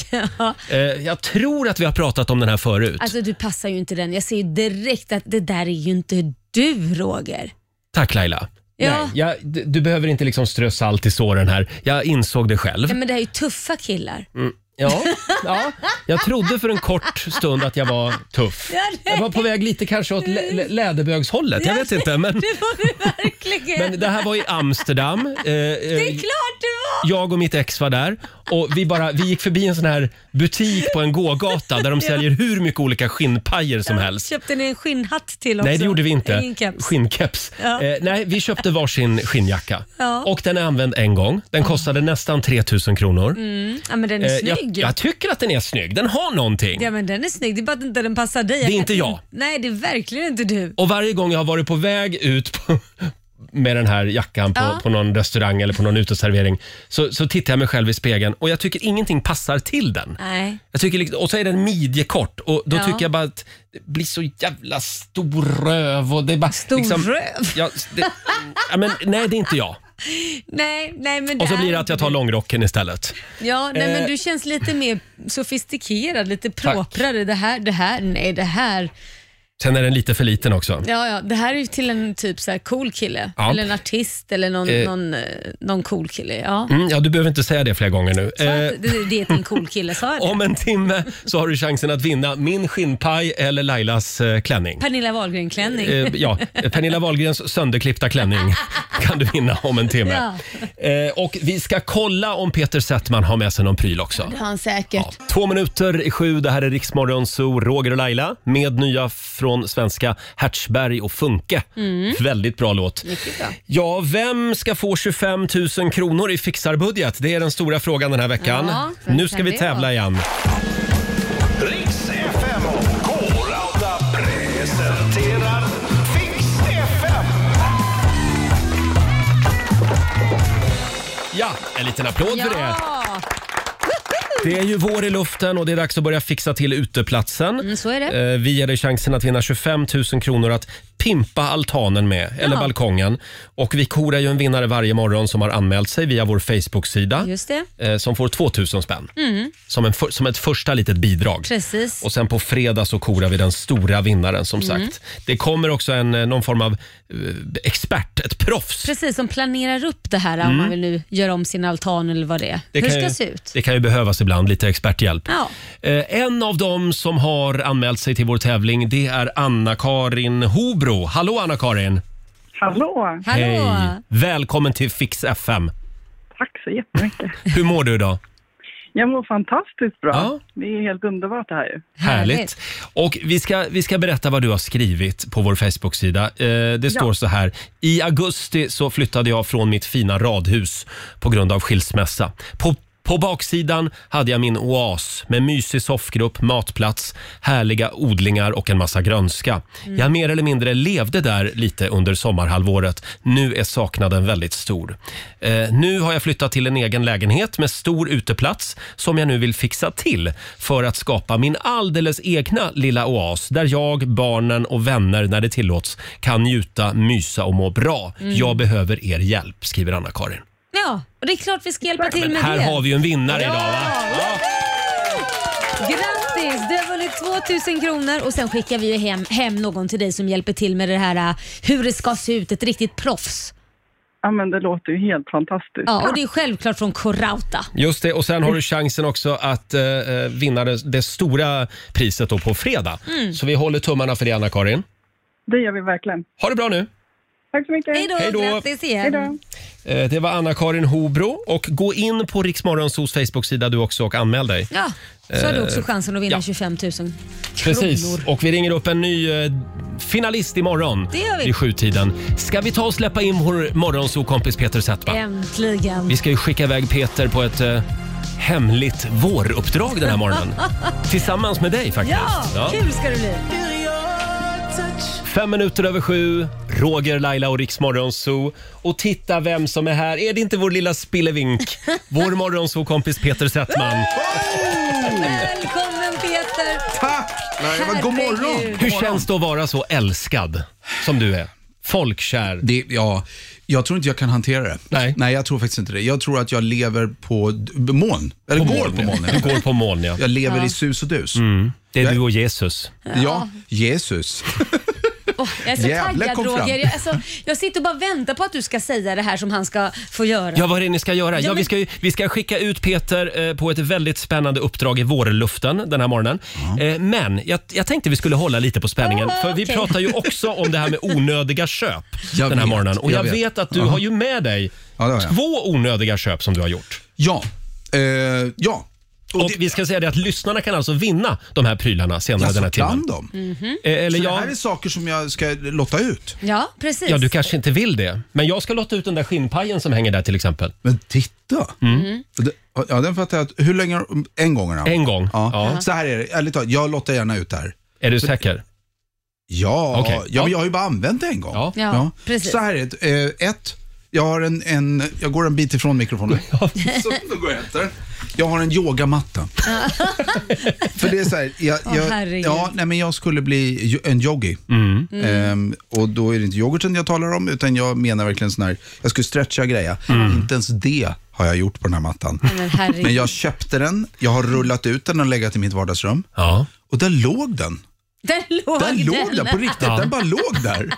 Speaker 1: Eh, Jag tror att vi har pratat om den här förut.
Speaker 2: Alltså du passar ju inte den. Jag ser ju direkt att det där är ju inte du Roger.
Speaker 1: Tack Laila.
Speaker 2: Ja.
Speaker 1: Nej, jag, d- du behöver inte liksom strö salt i såren här. Jag insåg det själv.
Speaker 2: Ja, men det här är ju tuffa killar.
Speaker 1: Mm. Ja, ja, jag trodde för en kort stund att jag var tuff. Jag var på väg lite kanske åt lä- lä- läderbögshållet, jag vet inte. Men,
Speaker 2: Det var du verkligen.
Speaker 1: men det här var i Amsterdam. Eh,
Speaker 2: Det
Speaker 1: eh,
Speaker 2: är klart du var!
Speaker 1: jag och mitt ex var där och vi, bara, vi gick förbi en sån här butik på en gågata där de säljer hur mycket olika skinnpajer som helst.
Speaker 2: Köpte ni en skinnhatt till också?
Speaker 1: Nej, det gjorde vi inte.
Speaker 2: alltså, Ingen keps.
Speaker 1: Skinnkeps.
Speaker 2: Ja.
Speaker 1: Eh, nej, vi köpte varsin skinnjacka.
Speaker 2: Ja.
Speaker 1: Och den är använd en gång. Den kostade nästan 3000 kronor.
Speaker 2: Ja, men den är
Speaker 1: Eh,
Speaker 2: snygg.
Speaker 1: jag
Speaker 2: Mm, snygg.
Speaker 1: Jag tycker att den är snygg. Den har någonting.
Speaker 2: Ja men den är snygg, det är bara att inte den passar dig.
Speaker 1: Det är
Speaker 2: kan-
Speaker 1: inte jag.
Speaker 2: Nej, det är verkligen inte du.
Speaker 1: Och varje gång jag har varit på väg ut på, med den här jackan på,
Speaker 2: Ja.
Speaker 1: på någon restaurang eller på någon uteservering så, så tittar jag mig själv i spegeln och jag tycker ingenting passar till den.
Speaker 2: Nej.
Speaker 1: Jag tycker, liksom- och så är den midjekort och då
Speaker 2: Ja.
Speaker 1: tycker jag bara att det blir så jävla stor röv och det är bara... liksom-
Speaker 2: Stor röv?
Speaker 1: Ja, det, ja, men, nej, det är inte jag.
Speaker 2: Nej, nej men
Speaker 1: Och så
Speaker 2: är
Speaker 1: blir det att jag tar långrocken istället.
Speaker 2: Ja, nej
Speaker 1: Eh.
Speaker 2: men du känns lite mer sofistikerad, lite proprare. Det här, det här, nej det här.
Speaker 1: Sen är den lite för liten också.
Speaker 2: Ja, ja, det här är ju till en typ så här cool kille.
Speaker 1: Ja.
Speaker 2: Eller en artist eller någon,
Speaker 1: Eh.
Speaker 2: någon, eh, någon cool kille. Ja.
Speaker 1: Mm, ja, du behöver inte säga det flera gånger nu.
Speaker 2: Sa jag
Speaker 1: Eh,
Speaker 2: att det, det är till en cool kille, sa jag det?
Speaker 1: Om en timme så har du chansen att vinna min skinnpaj eller Lailas eh, klänning.
Speaker 2: Pernilla Wahlgren-klänning.
Speaker 1: Eh, ja, Pernilla Wahlgrens sönderklippta klänning kan du vinna om en timme. Eh, och vi ska kolla om Peter Settman har med sig någon pryl också.
Speaker 2: Det har han säkert.
Speaker 1: Ja. Två minuter i sju, det här är Riksmorgon Zoo, Roger och Laila med nya från svenska Hertzberg och Funke.
Speaker 2: Mm.
Speaker 1: Väldigt bra låt. Ja, vem ska få 25 000 kronor i fixarbudget? Det är den stora frågan den här veckan.
Speaker 2: Ja, vem
Speaker 1: nu ska
Speaker 2: kan
Speaker 1: vi
Speaker 2: det
Speaker 1: tävla
Speaker 2: vara?
Speaker 1: igen.
Speaker 9: Riks FM och K-Rauta presenterar Fix FM.
Speaker 1: Ja, en liten applåd för det.
Speaker 2: Ja,
Speaker 1: Det är ju vår i luften och det är dags att börja fixa till uteplatsen.
Speaker 2: Mm, så är det.
Speaker 1: Eh, Vi ger dig chansen att vinna 25 000 kronor att pimpa altanen med, eller
Speaker 2: Ja.
Speaker 1: balkongen. Och vi korar ju en vinnare varje morgon som har anmält sig via vår Facebook-sida.
Speaker 2: just det.
Speaker 1: eh, Som får 2000 spänn. Som, en, för- som ett första litet bidrag.
Speaker 2: Precis.
Speaker 1: Och sen på fredag så korar vi den stora vinnaren som
Speaker 2: Mm.
Speaker 1: sagt. Det kommer också en, eh, någon form av eh, expert, ett proffs.
Speaker 2: Precis, som planerar upp det här om man vill nu göra om sin altan eller vad det är. Hur
Speaker 1: kan
Speaker 2: ska
Speaker 1: ju,
Speaker 2: det se ut?
Speaker 1: Mm. Det kan ju behövas ibland, lite experthjälp.
Speaker 2: Ja.
Speaker 1: Eh, En av dem som har anmält sig till vår tävling det är Anna-Karin Hobro. Hallå Anna-Karin!
Speaker 7: Hallå!
Speaker 2: Hallå!
Speaker 1: Välkommen till Fix FM.
Speaker 7: Tack så jättemycket.
Speaker 1: Hur mår du idag?
Speaker 7: Jag mår fantastiskt bra.
Speaker 1: Ja.
Speaker 7: Det är helt underbart det här ju.
Speaker 1: Härligt.
Speaker 2: Härligt.
Speaker 1: Och vi ska, vi ska berätta vad du har skrivit på vår Facebook-sida. Eh, det står så här. I augusti så flyttade jag från mitt fina radhus på grund av skilsmässa. På på baksidan hade jag min oas med mysig soffgrupp, matplats, härliga odlingar och en massa grönska.
Speaker 2: Mm.
Speaker 1: Jag mer eller mindre levde där lite under sommarhalvåret. Nu är saknaden väldigt stor. Eh, nu har jag flyttat till en egen lägenhet med stor uteplats som jag nu vill fixa till för att skapa min alldeles egna lilla oas där jag, barnen och vänner när det tillåts kan njuta, mysa och må bra. Jag behöver er hjälp, skriver Anna-Karin.
Speaker 2: Ja, och det är klart vi ska hjälpa till
Speaker 1: Men
Speaker 2: med
Speaker 1: här
Speaker 2: det.
Speaker 1: har vi ju en vinnare idag va?
Speaker 2: Grattis! Du har vunnit 2000 kronor och sen skickar vi ju hem, hem någon till dig som hjälper till med det här äh, hur det ska se ut, ett riktigt proffs.
Speaker 7: Ja, men det låter ju helt fantastiskt.
Speaker 2: Ja, och det är självklart från Corauta.
Speaker 1: Just det, och sen har du chansen också att eh, eh, vinna det, det stora priset då på fredag. Så vi håller tummarna för det Anna-Karin.
Speaker 7: Det gör vi verkligen.
Speaker 1: Ha det bra nu!
Speaker 7: Tack så mycket.
Speaker 2: Hej
Speaker 1: Hej då.
Speaker 2: då! Grattis igen!
Speaker 7: Hej då.
Speaker 1: Eh, Det var Anna-Karin Hobro och gå in på Riksmorgonsos Facebook-sida du också och anmäl dig.
Speaker 2: Ja, så har du också chansen att vinna
Speaker 1: Eh, ja.
Speaker 2: 25 000 kronor.
Speaker 1: Precis, och vi ringer upp en ny eh, finalist imorgon
Speaker 2: Det gör vi.
Speaker 1: i sjutiden. Ska vi ta och släppa in vår morgonsokompis Peter Settman?
Speaker 2: Äntligen!
Speaker 1: Vi ska ju skicka iväg Peter på ett eh, hemligt våruppdrag den här morgonen. Tillsammans med dig faktiskt.
Speaker 2: Ja,
Speaker 1: Ja.
Speaker 2: kul ska det bli!
Speaker 1: Fem minuter över sju, Roger, Laila och Riksmorgon Zoo. Och titta vem som är här. Är det inte vår lilla spillevink? Vår morgonzoo-kompis Peter Settman.
Speaker 2: Välkommen Peter!
Speaker 10: Tack! Nej, men god morgon!
Speaker 2: Herregud.
Speaker 1: Hur känns det att vara så älskad som du är? Folkkär.
Speaker 10: Det, ja, jag tror inte jag kan hantera det.
Speaker 1: Nej.
Speaker 10: Nej, jag tror faktiskt inte det. Jag tror att jag lever på d- moln. Eller går på molnen.
Speaker 1: Du går på moln, ja. Mm.
Speaker 10: Jag lever i sus och dus.
Speaker 1: Det är du och Jesus.
Speaker 10: Ja, Jesus.
Speaker 2: Åh, jag är så
Speaker 10: Jävlar,
Speaker 2: taggad
Speaker 10: kom fram.
Speaker 2: Roger. Jag, alltså, jag sitter och bara väntar på att du ska säga det här som han ska få göra.
Speaker 1: Ja, vad är det ni ska göra? Ja,
Speaker 2: men-
Speaker 1: vi, ska, ju- vi ska skicka ut Peter eh, på ett väldigt spännande uppdrag i vårluften den här morgonen. Eh, men jag, jag tänkte vi skulle hålla lite på spänningen,
Speaker 2: Ah,
Speaker 1: för vi
Speaker 2: okej.
Speaker 1: pratar ju också om det här med onödiga köp
Speaker 10: Jag
Speaker 1: den här
Speaker 10: vet,
Speaker 1: morgonen. Och jag,
Speaker 10: jag
Speaker 1: vet.
Speaker 10: vet.
Speaker 1: att du har ju med dig
Speaker 10: Ja, det har jag.
Speaker 1: två onödiga köp som du har gjort.
Speaker 10: Ja, eh, ja.
Speaker 1: Och vi ska säga det att lyssnarna kan alltså vinna de här prylarna senare
Speaker 10: Jaså,
Speaker 1: den här timmen.
Speaker 10: bland dem?
Speaker 2: Mhm.
Speaker 1: Eh, Eller
Speaker 10: Så
Speaker 1: ja,
Speaker 10: det här är saker som jag ska lotta ut?
Speaker 2: Ja, precis.
Speaker 1: ja, du kanske inte vill det. Men jag ska låta ut den där skinnpajen som hänger där till exempel.
Speaker 10: Men titta!
Speaker 1: Mm.
Speaker 10: Det- Ja, den fattar jag. att- Hur länge? En gång? Eller?
Speaker 1: En gång.
Speaker 10: Ja.
Speaker 1: Ja.
Speaker 10: Så här är det. Ärligt talat, jag lottar gärna ut det här.
Speaker 1: Är du säker?
Speaker 10: Ja,
Speaker 1: Okej.
Speaker 10: ja, men jag har ju bara använt det en gång. Ja.
Speaker 2: Ja, precis.
Speaker 10: Så här är det. Eh, Ett, jag, har en, en, jag går en bit ifrån mikrofonen. Så, då går jag efter den. Jag har en yogamatta. För det är så här, jag,
Speaker 2: Åh,
Speaker 10: jag,
Speaker 2: herregud.
Speaker 10: ja, nej, men jag skulle bli ju- en yogi.
Speaker 2: Mm.
Speaker 10: Ehm, och då är det inte yoghurten jag talar om, utan jag menar verkligen sån här, jag skulle stretcha och greja. Inte ens det har jag gjort på den här mattan.
Speaker 2: Men herregud.
Speaker 10: Men jag köpte den, jag har rullat ut den och legat i mitt vardagsrum. Och där låg den.
Speaker 2: Där låg
Speaker 10: Där låg den, på riktigt. Den bara låg där.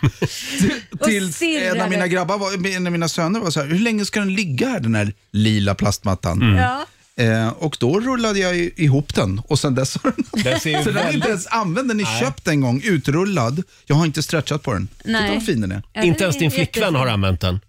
Speaker 10: Till-
Speaker 2: Och
Speaker 10: Tills en
Speaker 2: stirrade.
Speaker 10: av mina grabbar, var, en av mina söner var så här, hur länge ska den ligga här, den här lila plastmattan?
Speaker 1: Mm.
Speaker 2: Ja.
Speaker 10: Eh, och då rullade jag i- ihop den och sen dess har den...
Speaker 1: Den ser ju
Speaker 10: så den är
Speaker 1: väldigt-
Speaker 10: inte ens använd, den är köpt en gång, utrullad. Jag har inte stretchat på den.
Speaker 2: Nej.
Speaker 10: Titta vad fin den är.
Speaker 2: Ja, den
Speaker 1: inte ens
Speaker 2: är
Speaker 1: din flickvän
Speaker 2: jättefin.
Speaker 1: har använt den.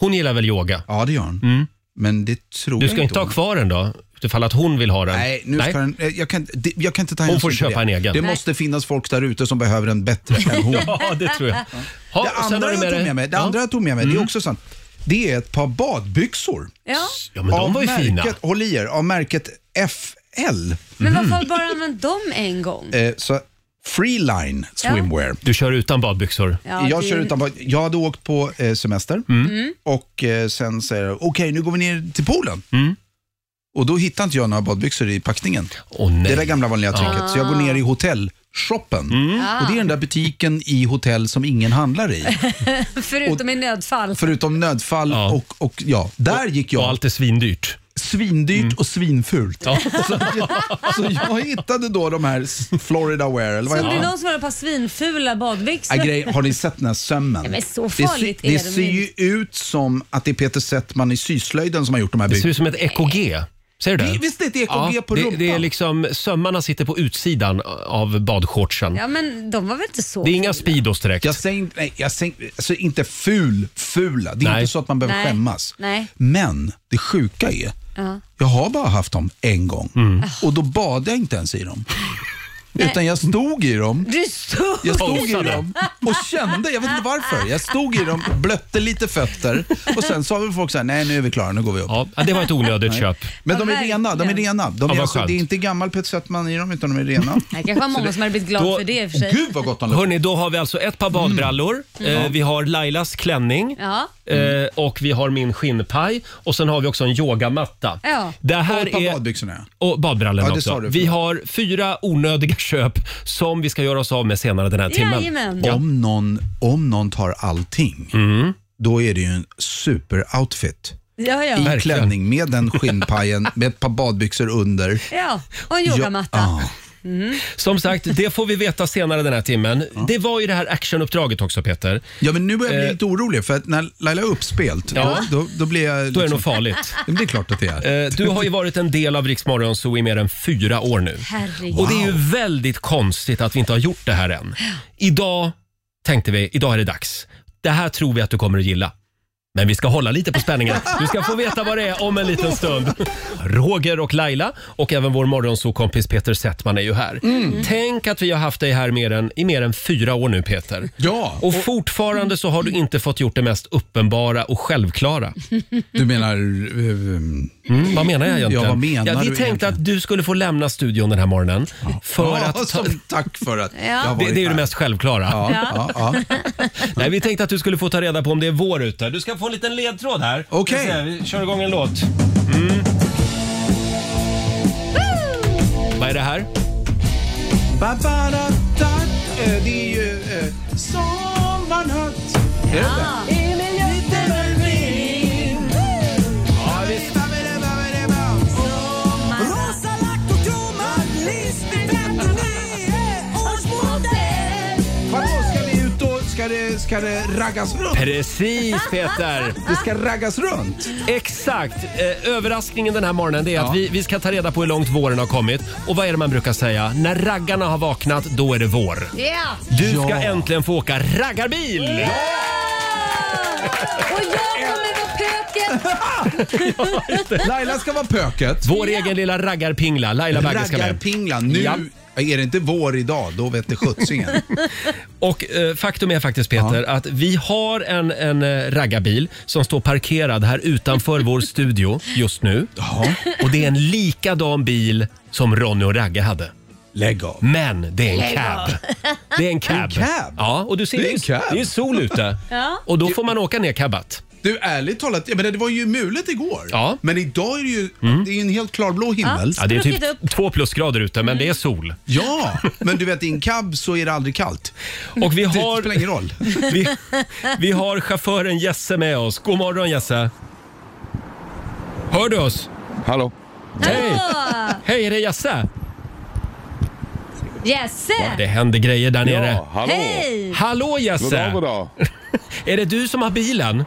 Speaker 1: Hon gillar väl yoga?
Speaker 10: Ja, det gör den.
Speaker 1: Mm.
Speaker 10: Men det tror
Speaker 1: Du
Speaker 10: jag
Speaker 1: ska inte ha
Speaker 10: hon-
Speaker 1: kvar den då? Utifall att hon vill ha den?
Speaker 10: Nej, nu ska den, eh, jag, kan, det, jag kan inte ta
Speaker 1: Hon
Speaker 10: hänsyn
Speaker 1: får
Speaker 10: till
Speaker 1: köpa
Speaker 10: det.
Speaker 1: en egen.
Speaker 10: Det
Speaker 1: Nej.
Speaker 10: måste finnas folk där ute som behöver en bättre än hon.
Speaker 1: Ja, det tror jag. Ha, sen
Speaker 10: det
Speaker 1: har
Speaker 10: andra
Speaker 1: du med
Speaker 10: jag tog
Speaker 1: dig-
Speaker 10: med mig, det
Speaker 1: Ja. Mm.
Speaker 10: andra jag tog med mig, det är också sant. Det är ett par badbyxor.
Speaker 2: Ja.
Speaker 1: Ja, men de
Speaker 10: Av
Speaker 1: var ju fina.
Speaker 10: märket, Håll i er, av märket FL.
Speaker 2: Men varför har du bara använt dem en gång?
Speaker 10: Mm. Eh, så Freeline swimwear.
Speaker 1: Du kör utan badbyxor.
Speaker 2: Ja,
Speaker 10: jag
Speaker 2: det- Mm.
Speaker 10: kör utan bad- Jag hade åkt på eh, semester
Speaker 1: Mm.
Speaker 10: och eh, sen säger jag, okej nu går vi ner till poolen.
Speaker 1: Mm.
Speaker 10: Och då hittar inte jag några badbyxor i packningen.
Speaker 1: Åh nej.
Speaker 10: Det är det gamla vanliga tricket. Så jag
Speaker 2: Ah.
Speaker 10: går ner i hotellshoppen.
Speaker 1: Mm.
Speaker 10: Och det är den där butiken i hotell som ingen handlar i.
Speaker 2: Förutom i nödfall.
Speaker 10: Förutom nödfall
Speaker 1: Ja.
Speaker 10: och, och ja, där gick jag.
Speaker 1: Och allt är svindyrt.
Speaker 10: svindyrt och svinfult.
Speaker 1: Ja.
Speaker 10: Så, så jag hittade då de här s- Florida Wear, eller vad
Speaker 2: Så om det är
Speaker 10: heter
Speaker 2: någon som har ett par svinfula badbyxor.
Speaker 10: det? Äh, grej, har ni sett den här sömmen?
Speaker 2: Nej, men så
Speaker 10: det ser,
Speaker 2: farligt är
Speaker 10: det
Speaker 2: de
Speaker 10: ser ju ut som att det är Peter Settman i syslöjden som har gjort de här
Speaker 1: Det ser ut
Speaker 10: byxorna.
Speaker 1: som ett EKG. Ser du det?
Speaker 10: Det- visst är det ett EKG på
Speaker 1: det,
Speaker 10: rumpan?
Speaker 1: Det är liksom, sömmarna sitter på utsidan av badshortsen.
Speaker 2: Ja, men de var väl inte så
Speaker 1: Det är inga Speedos direkt.
Speaker 10: Jag säger, nej, jag säger alltså inte ful, fula. Det är
Speaker 1: Nej.
Speaker 10: inte så att man behöver
Speaker 2: Nej.
Speaker 10: skämmas.
Speaker 2: Nej.
Speaker 10: Men det sjuka är,
Speaker 2: Ja.
Speaker 10: jag har bara haft dem en gång
Speaker 1: Mm.
Speaker 10: och då bad jag inte ens i dem. Utan jag stod i dem
Speaker 2: Du stod...
Speaker 10: Jag stod i
Speaker 1: Posade.
Speaker 10: dem och kände, jag vet inte varför, jag stod i dem, blötte lite fötter och sen sa väl folk så här, nej nu är vi klara, nu går vi upp.
Speaker 1: Ja, det var ett onödigt köp.
Speaker 10: Men de
Speaker 2: Ja,
Speaker 10: är rena, de är
Speaker 2: verkligen.
Speaker 10: rena. De
Speaker 1: Ja,
Speaker 10: är
Speaker 1: vad
Speaker 10: alltså,
Speaker 1: skönt.
Speaker 10: det är inte gammal Peter Settman i dem, utan de är rena.
Speaker 2: Det kanske var många som hade blivit glada
Speaker 1: Då-
Speaker 2: för det i och för sig.
Speaker 10: Gud vad gott de luktar.
Speaker 1: Hörni, då har vi alltså ett
Speaker 10: Mm.
Speaker 1: par badbrallor. Eh, vi har Lailas klänning.
Speaker 2: Ja.
Speaker 1: Eh, och vi har min skinnpaj. Och sen har vi också en yogamatta.
Speaker 2: Ja.
Speaker 1: Det
Speaker 10: Och ett
Speaker 1: här
Speaker 10: par
Speaker 1: är...
Speaker 10: badbyxorna.
Speaker 1: Och badbrallorna
Speaker 10: Ja, det
Speaker 1: också.
Speaker 10: sa du,
Speaker 1: vi
Speaker 10: förlåt.
Speaker 1: har fyra onödiga köp som vi ska göra oss av med senare den här timmen.
Speaker 2: Jajamän.
Speaker 1: Ja. Mm.
Speaker 10: Om någon, om någon tar allting, då är det ju en superoutfit.
Speaker 2: Ja,
Speaker 10: I
Speaker 2: ja.
Speaker 10: klänning med den skinnpajen, med ett par badbyxor under.
Speaker 2: ja. Och en yogamatta.
Speaker 10: Ja, ah.
Speaker 1: Som sagt, det får vi veta senare den här timmen. Det var ju det här actionuppdraget också Peter.
Speaker 10: ja, men nu börjar jag bli
Speaker 1: Eh.
Speaker 10: lite orolig för att när Laila är uppspelt,
Speaker 1: Ja.
Speaker 10: då, då, då blir jag...
Speaker 1: Då är det
Speaker 10: liksom-
Speaker 1: nog farligt.
Speaker 10: Ja, men Det är klart att det är.
Speaker 1: Eh, Du har ju varit en del av Riksmorgon så i mer än fyra år nu.
Speaker 2: Herregud.
Speaker 1: Och det är ju väldigt konstigt att vi inte har gjort det här än. Idag tänkte vi, idag är det dags. Det här tror vi att du kommer att gilla. Men vi ska hålla lite på spänningen. Du ska få veta vad det är om en liten stund. Roger och Laila och även vår morgonsokompis Peter Settman är ju här.
Speaker 10: Mm.
Speaker 1: Tänk att vi har haft dig här mer än, i mer än fyra år nu Peter.
Speaker 10: Ja,
Speaker 1: Och fortfarande så har du inte fått gjort det mest uppenbara och självklara.
Speaker 10: du menar... eh,
Speaker 1: Mm, vad menar jag egentligen?
Speaker 10: Ja, vad menar
Speaker 1: vi
Speaker 10: du
Speaker 1: tänkte
Speaker 10: egentligen?
Speaker 1: att du skulle få lämna studion den här morgonen. För
Speaker 10: ja,
Speaker 1: att ta,
Speaker 10: som tack för att jag har
Speaker 1: det,
Speaker 10: varit
Speaker 1: det är ju det
Speaker 10: här.
Speaker 1: mest självklara.
Speaker 10: Ja, ja. Ja,
Speaker 1: Nej, vi tänkte att du skulle få ta reda på om det är vår ute. Du ska få en liten ledtråd här.
Speaker 10: Okej.
Speaker 1: Ska se, Vi kör igång en låt. Mm. Vad är det här?
Speaker 10: Ba-ba-da-da, eh, Det är ju eh, sommarnatt. Är det det? Lite med vind. Ja, visst.
Speaker 4: Rosa lack och kromad list i 59 års modell.
Speaker 10: Vadå, ska ni ut och ska det, ska det raggas runt?
Speaker 1: Precis Peter!
Speaker 10: Det ska raggas runt?
Speaker 1: Exakt! Eh, överraskningen den här morgonen det är att vi, vi ska ta reda på hur långt våren har kommit. Och vad är det man brukar säga? När raggarna har vaknat, då är det vår.
Speaker 2: Ja.
Speaker 1: Du ska
Speaker 10: Ja.
Speaker 1: äntligen få åka raggarbil!
Speaker 2: Och jag kommer vara pöken
Speaker 10: Laila ska vara pöket.
Speaker 1: Vår egen lilla raggarpingla, Laila Bagge ska med.
Speaker 10: Raggarpingla. Nu
Speaker 1: Ja.
Speaker 10: är det inte vår idag, då vet det sjuttsingen.
Speaker 1: Och eh, faktum är faktiskt Peter att vi har en, en eh, raggarbil som står parkerad här utanför vår studio just nu. Och det är en likadan bil som Ronny och Ragge hade.
Speaker 10: Lägg av.
Speaker 1: Men det är en
Speaker 2: Lägg av.
Speaker 1: cab. Det är en cab.
Speaker 10: cab?
Speaker 1: Ja, och du ser
Speaker 10: Det är en
Speaker 1: ju-
Speaker 10: cab.
Speaker 1: det är sol ute.
Speaker 2: Ja.
Speaker 1: Och då får man åka ner cabbat.
Speaker 10: Du, ärligt talat, jag menar, det var ju mulet igår.
Speaker 1: Ja. Mm.
Speaker 10: Men idag är det ju det är ju en helt klarblå himmel.
Speaker 1: Ja, det är typ
Speaker 2: Spruckit upp.
Speaker 1: två plusgrader ute, men det är sol.
Speaker 10: Ja, men du vet i en cab så är det aldrig kallt.
Speaker 1: Och vi
Speaker 10: Det spelar ingen
Speaker 1: har,
Speaker 10: roll.
Speaker 1: vi, vi har chauffören Jesse med oss. God morgon Jesse! Hör du oss?
Speaker 11: Hallå?
Speaker 1: Hej!
Speaker 2: Åh,
Speaker 1: Hej, är det Jesse?
Speaker 2: Jesse!
Speaker 1: Det händer grejer där nere.
Speaker 11: Ja, hallå?
Speaker 2: Hej!
Speaker 1: Hallå
Speaker 11: Goddag,
Speaker 1: Jesse!
Speaker 11: goddag.
Speaker 1: Är det du som har bilen?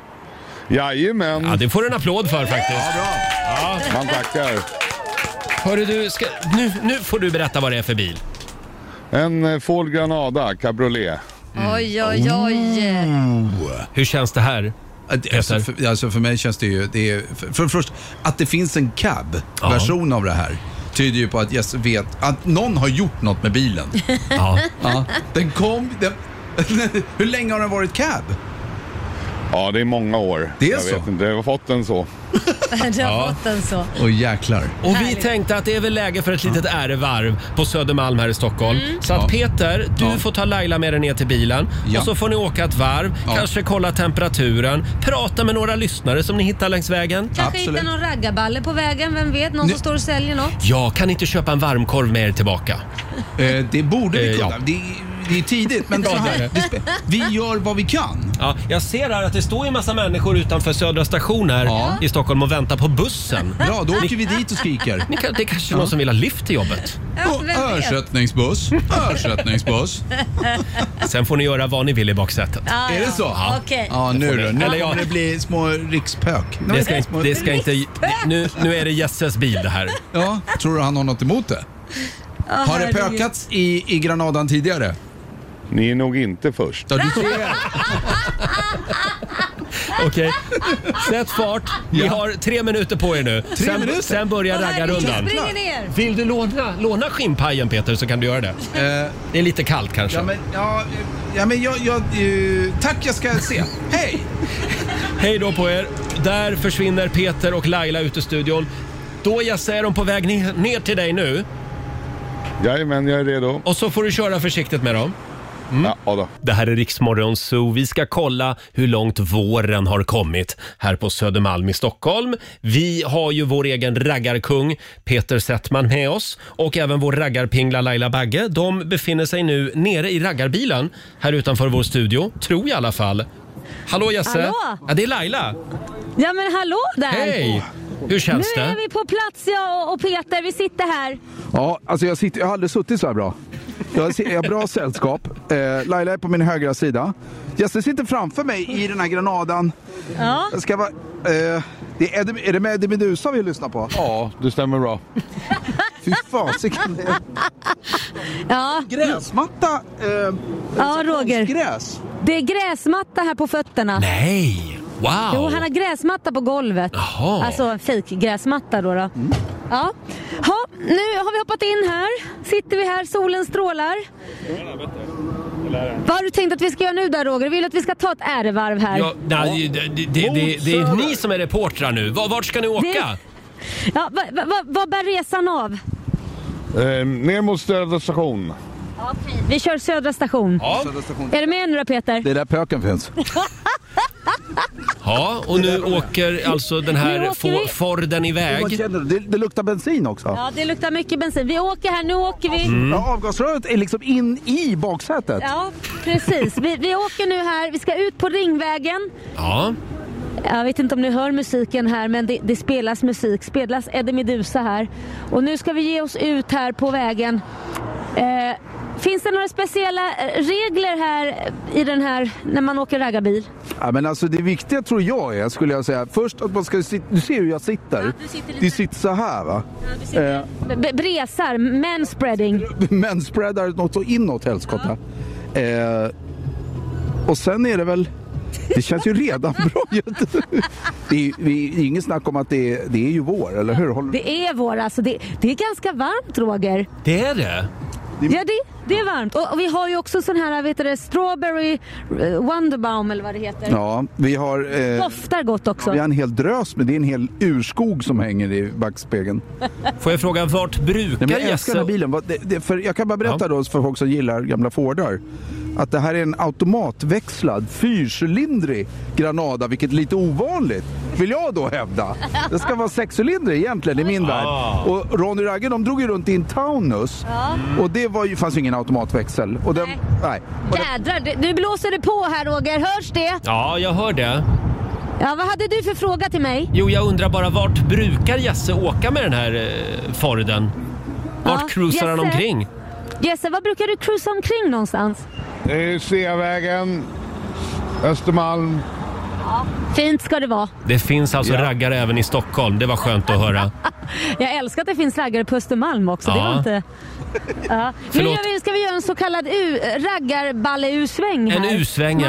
Speaker 11: Jajamän,
Speaker 1: Ja, det får du en applåd för faktiskt.
Speaker 11: man tackar.
Speaker 1: Hörru du, ska, nu, nu får du berätta vad det är för bil.
Speaker 11: En eh, Ford Granada cabriolet.
Speaker 2: Oj, oj, oj.
Speaker 1: Hur känns det här?
Speaker 10: Att- Alltså, för, alltså för mig känns det ju... Det är, för, för först, att det finns en cab-version av det här tyder ju på att Jesse vet att någon har gjort något med bilen.
Speaker 1: Ja.
Speaker 10: Ja. Den kom... Den, hur länge har den varit cab?
Speaker 11: Ja, det är många år.
Speaker 10: Det är
Speaker 11: jag
Speaker 10: så?
Speaker 11: Vet inte, jag har fått den så.
Speaker 2: Du har fått den så.
Speaker 10: Åh jäklar.
Speaker 1: Och vi tänkte att det är väl läge för ett litet ärevarv på Södermalm här i Stockholm. Så att Peter, du
Speaker 10: Ja.
Speaker 1: får ta Laila med dig ner till bilen
Speaker 10: Ja.
Speaker 1: och så får ni åka ett varv,
Speaker 10: Ja.
Speaker 1: kanske kolla temperaturen, prata med några lyssnare som ni hittar längs vägen.
Speaker 2: Kanske
Speaker 10: Absolut.
Speaker 2: hittar någon raggarballe på vägen, vem vet? Någon som står och säljer något.
Speaker 1: Jag kan inte köpa en varmkorv med er tillbaka.
Speaker 10: Eh, det borde vi
Speaker 1: Eh,
Speaker 10: kunna.
Speaker 1: ja.
Speaker 10: det, det är tidigt, men så här, det spe- vi gör vad vi kan.
Speaker 1: Ja, jag ser här att det står ju en massa människor utanför Södra station här
Speaker 10: Ja.
Speaker 1: i Stockholm och väntar på bussen.
Speaker 10: Ja, då åker vi dit och skriker.
Speaker 1: Ni kan, det är kanske är någon som vill ha lift till jobbet.
Speaker 2: Ja, vem
Speaker 10: Och
Speaker 2: vet?
Speaker 10: Ersättningsbuss, ersättningsbuss.
Speaker 1: Sen får ni göra vad ni vill i baksätet.
Speaker 2: Ja,
Speaker 10: Är
Speaker 2: ja.
Speaker 10: det så?
Speaker 2: Okej.
Speaker 10: Ja, nu då. Nu
Speaker 1: Eller ja.
Speaker 10: kommer det bli små rikspök.
Speaker 1: Det ska, inte- det ska inte, nu, nu är det Jesses bil det här.
Speaker 10: Ja, tror du han har något emot det? Har det
Speaker 2: herregud.
Speaker 10: pökats i, i Granadan tidigare?
Speaker 11: Ni är nog inte först.
Speaker 10: Ja, du ser.
Speaker 1: Okej, sätt fart. Ni
Speaker 10: Ja.
Speaker 1: har tre minuter på er nu. sen,
Speaker 10: minuter?
Speaker 1: sen börjar
Speaker 2: Och herregud,
Speaker 1: raggarrundan.
Speaker 2: springer ner.
Speaker 1: Vill du låna, låna skinnpajen Peter så kan du göra det.
Speaker 10: Eh,
Speaker 1: Det är lite kallt kanske.
Speaker 10: ja, men, ja, eh, ja, men jag... jag eh, tack, jag ska se. Hej!
Speaker 1: Hej då på er. Där försvinner Peter och Laila ut ur studion. Då Jesse är de på väg ne- ner till dig nu
Speaker 11: Jajamän, jag är redo.
Speaker 1: och så får du köra försiktigt med dem. Mm.
Speaker 11: Ja, ja då.
Speaker 1: Det här är Riksmorgon Zoo. Vi ska kolla hur långt våren har kommit här på Södermalm i Stockholm. Vi har ju vår egen raggarkung Peter Settman med oss och även vår raggarpingla Laila Bagge. De befinner sig nu nere i raggarbilen här utanför vår studio, tror jag i alla fall. Hallå Jesse!
Speaker 2: Hallå!
Speaker 1: Ja, det är Laila.
Speaker 2: Ja men hallå där!
Speaker 1: Hej! Hur
Speaker 2: Nu
Speaker 1: känns det?
Speaker 2: är vi på plats jag och- och Peter, vi sitter här.
Speaker 9: Ja, alltså jag, sitter, jag har aldrig suttit så här bra. Jag har- jag har bra sällskap. Eh, Laila är på min högra sida. Jesse sitter framför mig i den här granadan.
Speaker 2: Ja.
Speaker 9: Jag ska vara, eh, det är, Eddie- är det med Eddie Meduza vi lyssnar på?
Speaker 11: Ja, det stämmer bra.
Speaker 9: Fy fasiken. det är
Speaker 2: Ja,
Speaker 9: Gräsmatta. Eh,
Speaker 2: ja Roger.
Speaker 9: gräs.
Speaker 2: Det är gräsmatta här på fötterna.
Speaker 1: Nej! Wow!
Speaker 2: Jo, han har gräsmatta på golvet.
Speaker 1: Jaha. Mm.
Speaker 2: Alltså en fejkgräsmatta då. då. Ja. Ha, nu har vi hoppat in här. Sitter vi här, solen strålar. Vad har du tänkt att vi ska göra nu där Roger? Vill du att vi ska ta ett ärevarv här?
Speaker 1: Ja, nej, det, det, det, det, det är ni som är reportrar nu. Var- Vart ska ni åka?
Speaker 2: Ja, vad va, va, vad bär resan av?
Speaker 11: Eh, ner mot Södra station.
Speaker 2: Vi kör Södra station.
Speaker 1: Ja.
Speaker 2: Är du med nu då Peter?
Speaker 9: Det är där pöken finns.
Speaker 1: Ja, och nu åker alltså den
Speaker 2: Nu
Speaker 1: här
Speaker 2: åker
Speaker 1: fo-
Speaker 2: vi.
Speaker 1: Forden
Speaker 9: Vad
Speaker 1: iväg.
Speaker 9: känner du? Det, det luktar bensin också.
Speaker 2: Ja, det luktar mycket bensin. Vi åker här, nu åker vi.
Speaker 1: Mm.
Speaker 9: Ja, avgasröret är liksom in i baksätet.
Speaker 2: Ja, precis. Vi, vi åker nu här, vi ska ut på Ringvägen.
Speaker 1: Ja,
Speaker 2: Jag vet inte om ni hör musiken här men det, det spelas musik, spelas Eddie Meduza här. Och nu ska vi ge oss ut här på vägen. Eh, finns det några speciella eh, regler här eh, i den här, när man åker raggarbil?
Speaker 9: Ja, men alltså det viktiga tror jag är, skulle jag säga, först att man ska sitta, du ser hur jag sitter.
Speaker 2: Ja, du sitter lite-
Speaker 9: Du sitter så här va. Eh,
Speaker 2: B- bresar, manspreading.
Speaker 9: men spreadar något så inåt helskotta. Eh, och sen är det väl,
Speaker 10: Det känns ju redan bra. Det är, ju- vi- det är ingen snack om att det är, det är ju vår, eller hur? Håller...
Speaker 2: Det är vår, alltså. Det, det är ganska varmt, Roger.
Speaker 1: Det är det?
Speaker 2: Ja, det, det är varmt. Och, och vi har ju också sån här, vet du det, strawberry eh, wonderbaum eller vad det heter.
Speaker 10: Ja, vi har... eh,
Speaker 2: Doftar gott också.
Speaker 10: Vi har en hel drös med, det är en hel urskog som hänger i backspegeln.
Speaker 1: Får jag fråga, vart brukar
Speaker 10: Nej, men jag älskar den här
Speaker 1: Jesse...
Speaker 10: bilen. Vad- Det, det, för jag kan bara berätta då för folk som gillar gamla Fordar att det här är en automatväxlad fyrcylindrig Granada, vilket är lite ovanligt, vill jag då hävda. Det ska vara sexcylindrig egentligen i min värld. Och Ronny och Ragge de drog ju runt i en Taunus och det var ju, fanns ju ingen automatväxel. Och den, nej.
Speaker 2: Jädrar, det- nu blåser det på här Roger. Hörs det?
Speaker 1: Ja, jag hör det.
Speaker 2: Ja, vad hade du för fråga till mig?
Speaker 1: Jo, jag undrar bara vart brukar Jesse åka med den här eh, Forden? Vart
Speaker 2: Ja,
Speaker 1: cruisar han
Speaker 2: Jesse?
Speaker 1: omkring?
Speaker 2: Jesse, var brukar du cruisa omkring någonstans?
Speaker 11: Det är Sveavägen, Östermalm.
Speaker 2: Fint ska det vara.
Speaker 1: Det finns alltså raggare även i Stockholm. Det var skönt att höra.
Speaker 2: Jag älskar att det finns raggare på Östermalm också. Det
Speaker 1: Ja.
Speaker 2: var inte... Ja. Nu
Speaker 1: Förlåt.
Speaker 2: gör vi, ska vi göra en så kallad u- raggarballe-U-sväng
Speaker 10: En
Speaker 2: här.
Speaker 10: U-sväng,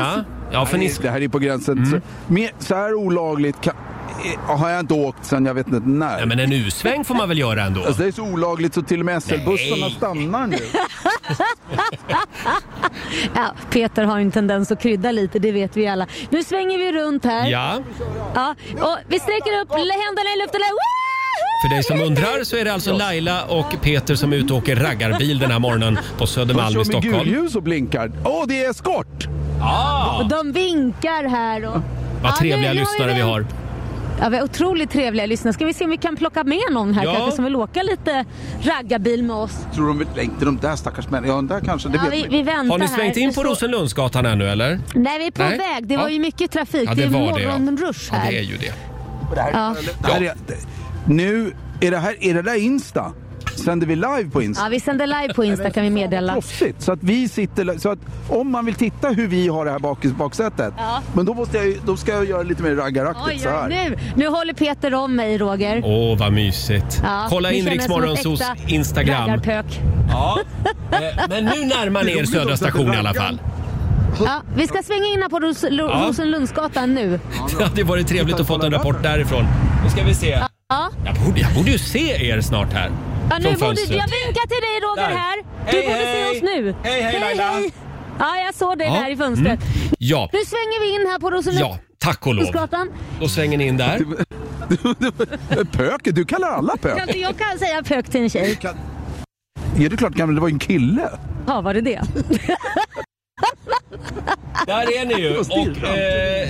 Speaker 10: ja.
Speaker 1: för ni-
Speaker 10: Det här är på gränsen. Så, mer, så här olagligt kan, eh, har jag inte åkt sen jag vet inte när.
Speaker 1: Ja, men en U-sväng får man väl göra ändå?
Speaker 10: Alltså, det är så olagligt så till och med SL-bussarna
Speaker 1: Nej.
Speaker 10: stannar nu.
Speaker 2: Ja, Peter har ju en tendens att krydda lite, det vet vi alla. Nu svänger vi runt här.
Speaker 1: Ja.
Speaker 2: ja och vi sträcker upp händerna i luften. Där.
Speaker 1: För dig som undrar så är det alltså Laila och Peter som är ute och åker raggarbil den här morgonen på
Speaker 10: De
Speaker 1: Södermalm
Speaker 10: kör
Speaker 1: i
Speaker 10: med
Speaker 1: Stockholm.
Speaker 10: gulljus och blinkar. Åh, det är eskort!
Speaker 2: Och de vinkar här. Och...
Speaker 1: Vad
Speaker 2: nu- nu
Speaker 1: trevliga
Speaker 2: har
Speaker 1: lyssnare vi har.
Speaker 2: Ja, vi har otroligt trevliga lyssnare. Ska vi se om vi kan plocka med någon här
Speaker 10: Ja.
Speaker 2: kanske som vill åka lite raggarbil med oss?
Speaker 10: Tror de vill- inte de där stackars människorna? Ja, där kanske. Det
Speaker 2: Ja,
Speaker 10: vet
Speaker 2: vi-
Speaker 10: man
Speaker 2: vi
Speaker 10: inte.
Speaker 2: väntar
Speaker 1: Har ni svängt
Speaker 2: här.
Speaker 1: in på
Speaker 2: Så-
Speaker 1: Rosenlundsgatan ännu eller?
Speaker 2: Nej, vi är på
Speaker 1: Nej.
Speaker 2: väg. Det var
Speaker 1: Ja.
Speaker 2: ju mycket trafik.
Speaker 1: Ja,
Speaker 2: det,
Speaker 1: det
Speaker 2: är
Speaker 1: var det, ja.
Speaker 2: morgonrush
Speaker 1: Ja,
Speaker 2: här.
Speaker 1: det är ju det.
Speaker 2: Ja.
Speaker 10: Det här är, det- nu, är det här, är det där Insta? Sänder vi live på Insta?
Speaker 2: Ja, vi sänder live på Insta kan vi meddela.
Speaker 10: Proffsigt! Så att vi sitter, li- så att om man vill titta hur vi har det här bak, baksätet.
Speaker 2: Ja.
Speaker 10: Men då, måste jag, ju- då ska jag göra lite mer
Speaker 2: Oj,
Speaker 10: raggaraktigt så
Speaker 2: oj,
Speaker 10: här.
Speaker 2: nu, nu håller Peter om mig, Roger.
Speaker 1: Åh, vad mysigt.
Speaker 2: Ja,
Speaker 1: Kolla
Speaker 2: ni
Speaker 1: in
Speaker 2: känner
Speaker 1: Rix
Speaker 2: som ett
Speaker 1: Morgonzos
Speaker 2: äkta
Speaker 1: Instagram.
Speaker 2: raggarpök.
Speaker 1: Ja. eh, Men nu närmar ni er Södra station i alla fall.
Speaker 2: Ja, vi ska svänga in här på Ros Lo-
Speaker 1: Ja.
Speaker 2: Rosenlundsgatan nu.
Speaker 1: Det hade varit trevligt att få en rapport därifrån. Nu ska vi se.
Speaker 2: Ja.
Speaker 1: Jag borde, jag borde ju se er snart här.
Speaker 2: Ja, nu
Speaker 1: Från
Speaker 2: borde,
Speaker 1: fönstret.
Speaker 2: jag vinkar till dig Roger
Speaker 1: Där.
Speaker 2: här. Du
Speaker 1: Hej,
Speaker 2: borde
Speaker 1: hej.
Speaker 2: se oss nu.
Speaker 1: Hej, hej, Laila.
Speaker 2: Ja, jag såg dig
Speaker 1: Ja.
Speaker 2: där i fönstret.
Speaker 1: Mm. Ja,
Speaker 2: Nu svänger vi in här på
Speaker 1: ja, tack och lov.
Speaker 2: Rosenlundsgatan.
Speaker 1: Då svänger ni in där.
Speaker 10: Pöket, du kallar alla
Speaker 2: Kan inte
Speaker 10: pök.
Speaker 2: jag kan säga pök till en tjej?
Speaker 10: Ja, det är klart, gamla, det var ju en kille.
Speaker 2: Ja, var det det?
Speaker 1: Där är ni ju. Och, eh,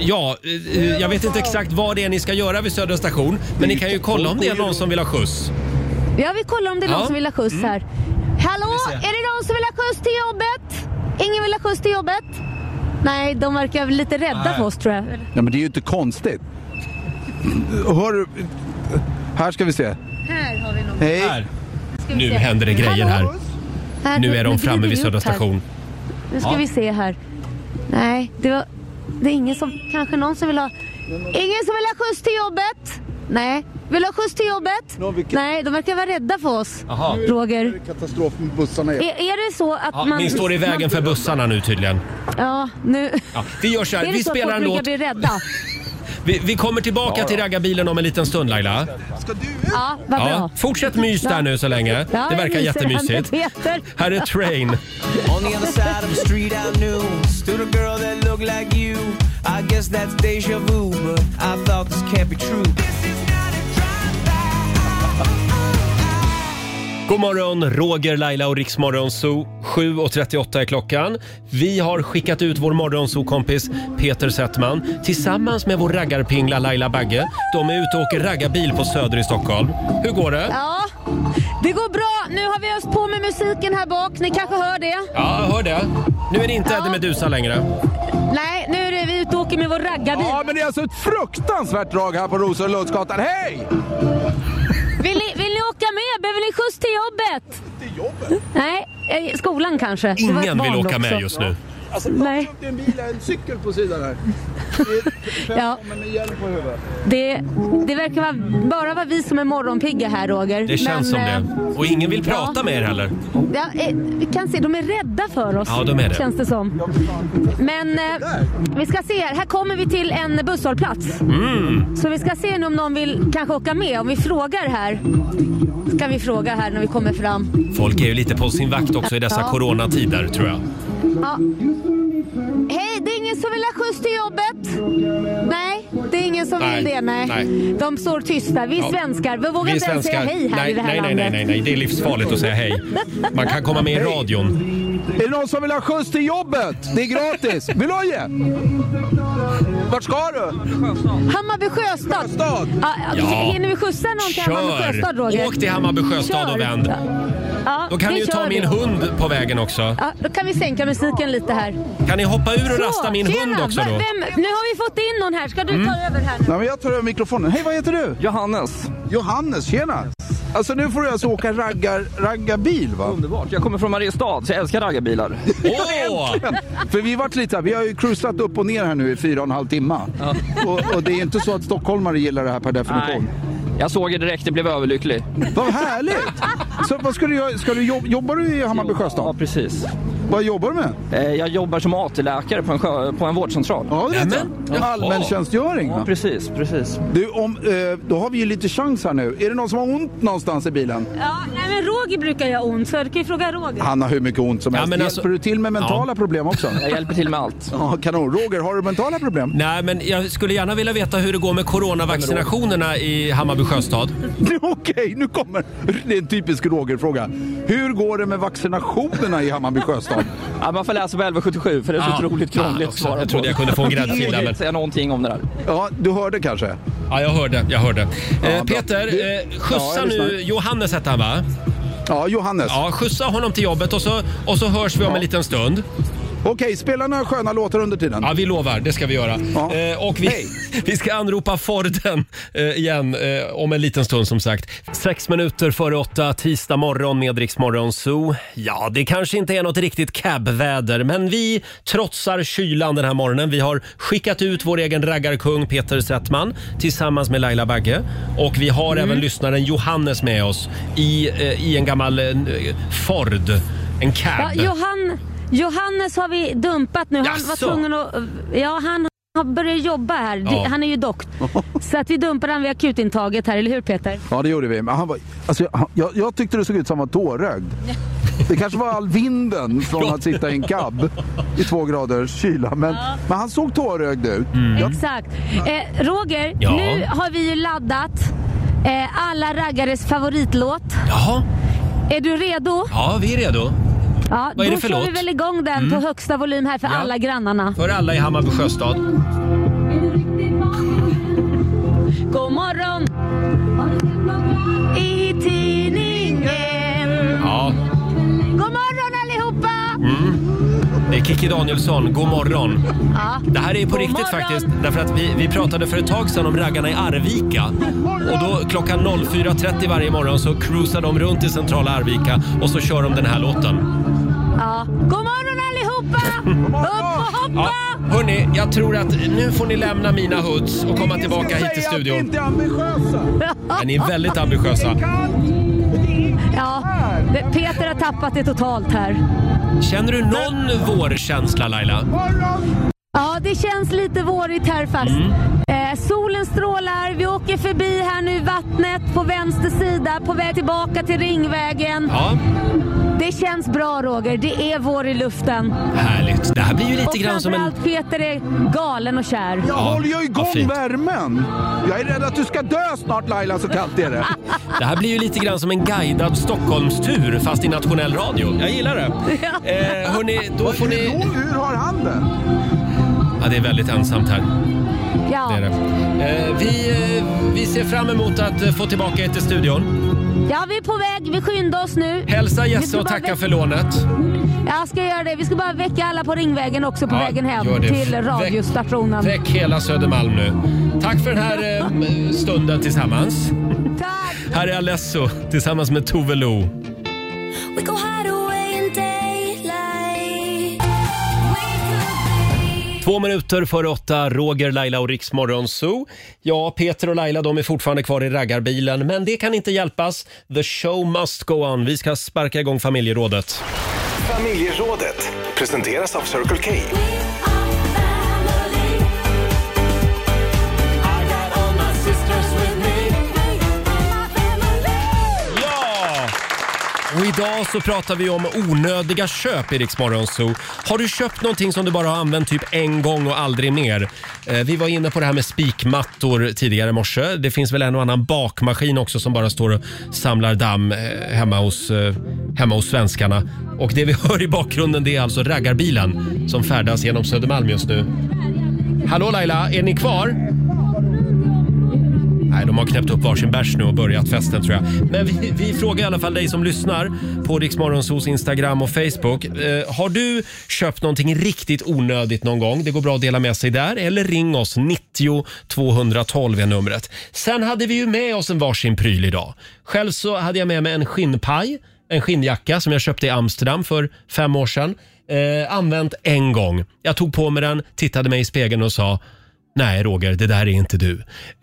Speaker 1: ja, eh, jag vet inte exakt vad det är ni ska göra vid Södra station. Men ni kan ju kolla om det är någon som vill ha skjuts.
Speaker 2: Ja, vi kollar om det är någon
Speaker 1: Ja.
Speaker 2: som vill ha skjuts
Speaker 1: Mm.
Speaker 2: här. Hallå, är det någon som vill ha skjuts till jobbet? Ingen vill ha skjuts till jobbet? Nej, de verkar lite rädda
Speaker 10: Nej.
Speaker 2: för oss tror jag.
Speaker 10: Nej, men det är ju inte konstigt. Hör du? Här ska vi se.
Speaker 2: Här har vi någon.
Speaker 10: Hej!
Speaker 1: Nu händer det grejer här. Nu är de framme vid Södra station.
Speaker 2: Nu ska
Speaker 1: Ja.
Speaker 2: vi se här. Nej, det var... Det är ingen som... Kanske någon som vill ha... Ingen som vill ha skjuts till jobbet? Nej. Vill du ha skjuts till jobbet? Nej, de verkar vara rädda för oss.
Speaker 1: Jaha.
Speaker 2: Roger.
Speaker 10: Katastrof med bussarna.
Speaker 2: Är, är det så att
Speaker 1: Ja,
Speaker 2: man...
Speaker 1: ni står i vägen för bussarna nu tydligen.
Speaker 2: Ja, nu...
Speaker 1: Ja, vi gör så här,
Speaker 2: Är det
Speaker 1: vi
Speaker 2: så att
Speaker 1: spelar
Speaker 2: folk
Speaker 1: en låt.
Speaker 2: brukar bli rädda?
Speaker 1: Vi, vi kommer tillbaka till raggarbilen om en liten stund Laila.
Speaker 2: Ja, vad bra.
Speaker 1: Ja, fortsätt mys där nu så länge.
Speaker 2: Ja,
Speaker 1: Det
Speaker 2: jag
Speaker 1: verkar
Speaker 2: myser.
Speaker 1: jättemysigt.
Speaker 2: Peter.
Speaker 1: Här är Train.
Speaker 12: On the other side of the street I knew Stood a girl that looked like you I guess that's deja vu But I thought this can't be true
Speaker 1: God morgon, Roger, Laila och Riksmorgon Zoo. 7.38 är klockan. Vi har skickat ut vår morgonzoo-kompis Peter Settman tillsammans med vår raggarpingla Laila Bagge. De är ute och åker raggarbil på Söder i Stockholm. Hur går det?
Speaker 2: Ja, det går bra. Nu har vi öst på med musiken här bak. Ni kanske hör det?
Speaker 1: Ja, jag hör det. Nu är det inte Eddie Meduza längre.
Speaker 2: Nej, nu är det vi ute och åker med vår raggarbil.
Speaker 10: Ja, men det är alltså ett fruktansvärt drag här på Rosenlundsgatan. Hej!
Speaker 2: Vill ni, vill ni åka med? Behöver ni skjuts till jobbet? Till jobbet? Nej, eh, skolan kanske. Det var ett
Speaker 1: Ingen vill
Speaker 2: barn
Speaker 1: åka med
Speaker 2: också.
Speaker 1: just nu.
Speaker 10: Alltså,
Speaker 2: Nej.
Speaker 10: Nej. upp en bil, en cykel på sidan här.
Speaker 2: Ja,
Speaker 10: Men med hjälm på huvudet.
Speaker 2: det, det verkar vara, bara vara vi som är morgonpigga här Roger.
Speaker 1: Det känns som
Speaker 2: Men, eh,
Speaker 1: det. Och ingen vill
Speaker 2: ja.
Speaker 1: prata med er heller.
Speaker 2: eh, Ja, eh, vi kan se, de är rädda för oss.
Speaker 1: Ja, de är det.
Speaker 2: Känns det som. Men eh, vi ska se här. Här kommer vi till en busshållplats.
Speaker 1: Mm.
Speaker 2: Så vi ska se nu om någon vill kanske åka med. Om vi frågar här. Ska vi fråga här när vi kommer fram.
Speaker 1: Folk är ju lite på sin vakt också i dessa
Speaker 2: Ja.
Speaker 1: coronatider tror jag.
Speaker 2: Ja. Hej, det är ingen som vill ha skjuts till jobbet? Nej, det är ingen som
Speaker 1: Nej,
Speaker 2: vill det. Nej.
Speaker 1: nej.
Speaker 2: De står tysta. Vi
Speaker 1: Ja.
Speaker 2: svenskar, vi vågar
Speaker 1: Vi
Speaker 2: inte ens säga
Speaker 1: svenskar-
Speaker 2: hej här
Speaker 1: nej,
Speaker 2: i det här
Speaker 1: nej, nej, nej,
Speaker 2: landet.
Speaker 1: nej, nej, det är livsfarligt att säga hej. Man kan komma med i radion.
Speaker 10: Är det någon som vill ha skjuts till jobbet? Det är gratis. Vill du ha det? Vart ska du?
Speaker 2: Hammarby sjöstad. Ja,
Speaker 1: Ja.
Speaker 2: Hinner vi skjutsa någon till Hammarby sjöstad, Roger?
Speaker 1: Kör! Åk till Hammarby sjöstad
Speaker 2: Kör.
Speaker 1: och vänd.
Speaker 2: Ja,
Speaker 1: Då kan
Speaker 2: det
Speaker 1: ni ju
Speaker 2: kör
Speaker 1: ta
Speaker 2: vi.
Speaker 1: min hund på vägen också.
Speaker 2: Ja, då kan vi sänka musiken lite här.
Speaker 1: Kan ni hoppa ur och rasta min
Speaker 2: tjena.
Speaker 1: hund också
Speaker 2: Va-
Speaker 1: då?
Speaker 2: Vem, nu har vi fått in någon här. Ska du
Speaker 10: Mm.
Speaker 2: ta över här nu?
Speaker 10: Nej, men jag tar över mikrofonen. Hej, vad heter du? Johannes. Johannes, tjena. Alltså nu får du alltså åka raggar, raggarbil va? Underbart. Jag kommer från Mariestad så jag älskar raggarbilar.
Speaker 1: Åh!
Speaker 10: För vi vart lite, vi har ju cruisat upp och ner här nu i fyra och en halv timme. Och, och det är inte så att stockholmare gillar det här per definition.
Speaker 13: Jag såg er direkt, jag blev överlycklig.
Speaker 10: Vad härligt! Så vad ska du göra? Ska du jobb, jobbar du i Hammarby Sjöstad? Ja, precis. Eh, Vad jobbar du med?
Speaker 13: Jag jobbar som AT-läkare på en, sjö, på en vårdcentral.
Speaker 10: Ja, det vet jag. Allmäntjänstgöring.
Speaker 13: Ja,
Speaker 10: va?
Speaker 13: precis, precis.
Speaker 10: Du, om, eh, då har vi ju lite chans här nu. Är det någon som har ont någonstans i bilen?
Speaker 2: Ja, nej, men Roger brukar göra ont, så du kan ju fråga Roger.
Speaker 10: Han har hur mycket ont som
Speaker 1: Ja,
Speaker 10: helst.
Speaker 1: men
Speaker 10: Hjälper
Speaker 1: alltså-
Speaker 10: du till med mentala
Speaker 1: Ja.
Speaker 10: problem också?
Speaker 1: Jag hjälper
Speaker 10: till med allt. Ja, kanon. Roger, har du mentala problem?
Speaker 1: Nej, men jag skulle gärna vilja veta hur det går med coronavaccinationerna i Hammarby sjöstad.
Speaker 10: Okej, nu kommer... Det är en typisk Roger-fråga. Hur går det med vaccinationerna i Hammarby sjöstad?
Speaker 13: Ja, man får läsa på 1177 för det är så
Speaker 10: Ja.
Speaker 13: otroligt
Speaker 10: Fan
Speaker 13: krångligt att
Speaker 10: också,
Speaker 13: svara på.
Speaker 10: jag trodde jag kunde få en gräddfil
Speaker 13: Jag
Speaker 10: där,
Speaker 13: vill
Speaker 10: men-
Speaker 13: inte säga någonting om det där.
Speaker 10: Ja, du hörde kanske?
Speaker 1: Ja, jag hörde. Jag hörde.
Speaker 10: Ja,
Speaker 1: eh,
Speaker 10: bra.
Speaker 1: Peter,
Speaker 10: Du-
Speaker 1: eh, skjutsa
Speaker 10: Ja, jag lyssnar.
Speaker 1: nu Johannes hette han va?
Speaker 10: Ja, Johannes.
Speaker 1: Ja, skjutsa honom till jobbet och så, och så hörs vi om en liten stund.
Speaker 10: Okej, spela några sköna låtar under tiden.
Speaker 1: Ja, vi lovar. Det ska vi göra. Eh, och vi, vi ska anropa Forden eh, igen eh, om en liten stund som sagt. Sex minuter före åtta, tisdag morgon med Rix Morgon Zoo. Ja, det kanske inte är något riktigt cabväder, men vi trotsar kylan den här morgonen. Vi har skickat ut vår egen raggarkung Peter Settman tillsammans med Laila Bagge. Och vi har även lyssnaren Johannes med oss i, eh, i en gammal eh, Ford, en cab.
Speaker 2: Ja, Johan, Johannes har vi dumpat nu. Han var
Speaker 1: Jaså?
Speaker 2: tvungen att... Ja, han har börjat jobba här. Det-
Speaker 10: Ja.
Speaker 2: Han är ju dokt. Så att vi dumpade han vid akutintaget här, eller hur Peter?
Speaker 10: Ja, det gjorde vi. Men han var, alltså, jag- han, jag, jag tyckte det såg ut som han var tårögd. Det kanske var all vinden från att sitta i en cab i två graders kyla. Men, men han såg tårögd ut. Jag,
Speaker 2: Exakt. Eh, Roger,
Speaker 10: Ja.
Speaker 2: nu har vi ju laddat eh, alla raggares favoritlåt.
Speaker 1: Jaha.
Speaker 2: Är du redo?
Speaker 1: Ja, vi är redo.
Speaker 2: Ja,
Speaker 1: Vad är
Speaker 2: då
Speaker 1: det för
Speaker 2: kör
Speaker 1: låt? Mm.
Speaker 2: vi väl igång den på högsta volym här för
Speaker 1: Ja.
Speaker 2: alla grannarna.
Speaker 1: För alla i Hammarby sjöstad.
Speaker 2: God morgon! I tidningen.
Speaker 1: Ja.
Speaker 2: God morgon allihopa!
Speaker 1: Mm. Det är Kikki Danielsson, god morgon.
Speaker 2: Ja.
Speaker 1: Det här är på
Speaker 2: God
Speaker 1: riktigt
Speaker 2: morgon.
Speaker 1: faktiskt. Därför att vi, vi pratade för ett tag sedan om raggarna i Arvika. Och då klockan 04.30 varje morgon så cruisar de runt i centrala Arvika och så kör de den här låten.
Speaker 2: Ja. God morgon allihopa! Upp och hoppa!
Speaker 1: Ja, hörni, jag tror att nu får ni lämna mina hoods och komma tillbaka hit till studion.
Speaker 10: är ambitiösa.
Speaker 1: Ja, ni är väldigt ambitiösa.
Speaker 2: Ja, Peter har tappat det totalt här.
Speaker 1: Känner du någon vårkänsla Laila?
Speaker 2: Ja, det känns lite vårigt här fast.
Speaker 1: Mm.
Speaker 2: Eh, solen strålar, vi åker förbi här nu vattnet på vänster sida på väg tillbaka till Ringvägen.
Speaker 1: Ja.
Speaker 2: Det känns bra Roger, det är vår i luften.
Speaker 1: Härligt. Det här blir ju
Speaker 2: och
Speaker 1: lite grann som en...
Speaker 2: framförallt Peter är galen och kär.
Speaker 10: jag håller ju
Speaker 1: vad
Speaker 10: igång
Speaker 1: fint.
Speaker 10: värmen. Jag är rädd att du ska dö snart Laila, så kallt är det.
Speaker 2: Ah.
Speaker 1: Det här blir ju lite grann som en guidad Stockholmstur fast i nationell radio. Jag gillar det. Eh, hörni, då får ni...
Speaker 10: Hur har han det?
Speaker 1: Ja, det är väldigt ensamt här.
Speaker 2: Ja.
Speaker 1: Det är det. Eh, vi, eh, vi ser fram emot att eh, få tillbaka er till studion.
Speaker 2: ja, vi är på väg, vi skyndar oss nu.
Speaker 1: Hälsa
Speaker 2: Vi
Speaker 1: Jesse
Speaker 2: ska
Speaker 1: och
Speaker 2: bara
Speaker 1: tacka
Speaker 2: väck-
Speaker 1: för lånet.
Speaker 2: Jag ska göra det. Vi ska bara väcka alla på Ringvägen också på
Speaker 1: Ja,
Speaker 2: vägen
Speaker 1: gör
Speaker 2: hem
Speaker 1: det.
Speaker 2: till
Speaker 1: Väck-
Speaker 2: radiostationen.
Speaker 1: Väck hela Södermalm nu. Tack för den här eh, stunden tillsammans.
Speaker 2: Tack!
Speaker 1: Här är Alesso tillsammans med Tove Lo.
Speaker 12: We go hide away in daylight. We
Speaker 1: Två minuter före åtta, Roger, Laila och Riksmorgon Zoo. Ja, Peter och Laila de är fortfarande kvar i raggarbilen, men det kan inte hjälpas. The show must go on. Vi ska sparka igång familjerådet.
Speaker 5: Familjerådet presenteras av Circle K.
Speaker 1: Och idag så pratar vi om onödiga köp i Rix Morgon Zoo. Har du köpt någonting som du bara har använt typ en gång och aldrig mer? Eh, Vi var inne på det här med spikmattor tidigare i morse. Det finns väl en och annan bakmaskin också som bara står och samlar damm eh, hemma hos, eh, hemma hos svenskarna. Och det vi hör i bakgrunden det är alltså raggarbilen som färdas genom Södermalm just nu. Hallå Laila, är ni kvar? Nej, de har knäppt upp varsin bärs nu och börjat festen tror jag. Men vi, vi frågar i alla fall dig som lyssnar på Riksmorgonsos Instagram och Facebook. Eh, har du köpt någonting riktigt onödigt någon gång? Det går bra att dela med sig där eller ring oss 90 212 är numret. Sen hade vi ju med oss en varsin pryl idag. Själv så hade jag med mig en skinnpaj, en skinnjacka som jag köpte i Amsterdam för fem år sedan. Eh, använt en gång. Jag tog på mig den, tittade mig i spegeln och sa Nej Roger, det där är inte du.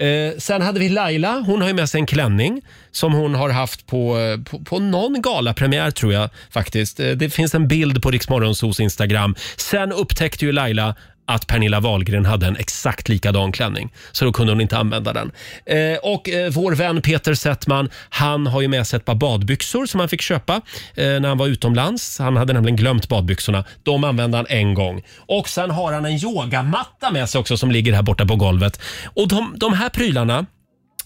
Speaker 1: Eh, sen hade vi Laila, hon har ju med sig en klänning som hon har haft på, eh, på, på någon galapremiär tror jag faktiskt. Eh, det finns en bild på Riksmorgonsos Instagram. Sen upptäckte ju Laila att Pernilla Wahlgren hade en exakt likadan klänning, så då kunde hon inte använda den. Eh, och eh, vår vän Peter Settman, han har ju med sig ett par badbyxor som han fick köpa eh, när han var utomlands. Han hade nämligen glömt badbyxorna. De använde han en gång. Och sen har han en yogamatta med sig också som ligger här borta på golvet. Och de, de här prylarna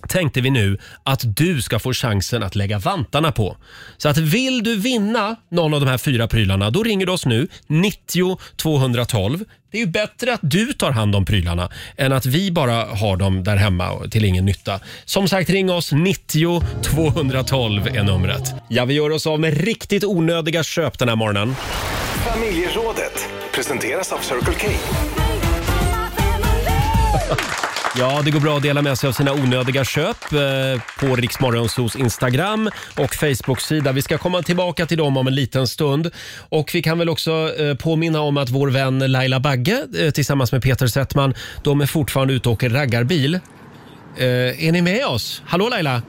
Speaker 1: tänkte vi nu att du ska få chansen att lägga vantarna på. Så att vill du vinna någon av de här fyra prylarna, då ringer du oss nu, 90 212. Det är ju bättre att du tar hand om prylarna än att vi bara har dem där hemma och till ingen nytta. Som sagt, ring oss, 90 212 är numret. Ja, vi gör oss av med riktigt onödiga köp den här morgonen.
Speaker 5: Familjerådet presenteras av Circle K.
Speaker 1: Ja, det går bra att dela med sig av sina onödiga köp eh, på Riksmorgonsos Instagram och Facebook-sida. Vi ska komma tillbaka till dem om en liten stund. Och vi kan väl också eh, påminna om att vår vän Laila Bagge eh, tillsammans med Peter Settman, de är fortfarande ute och åker raggarbil. Eh, Är ni med oss? Hallå Laila!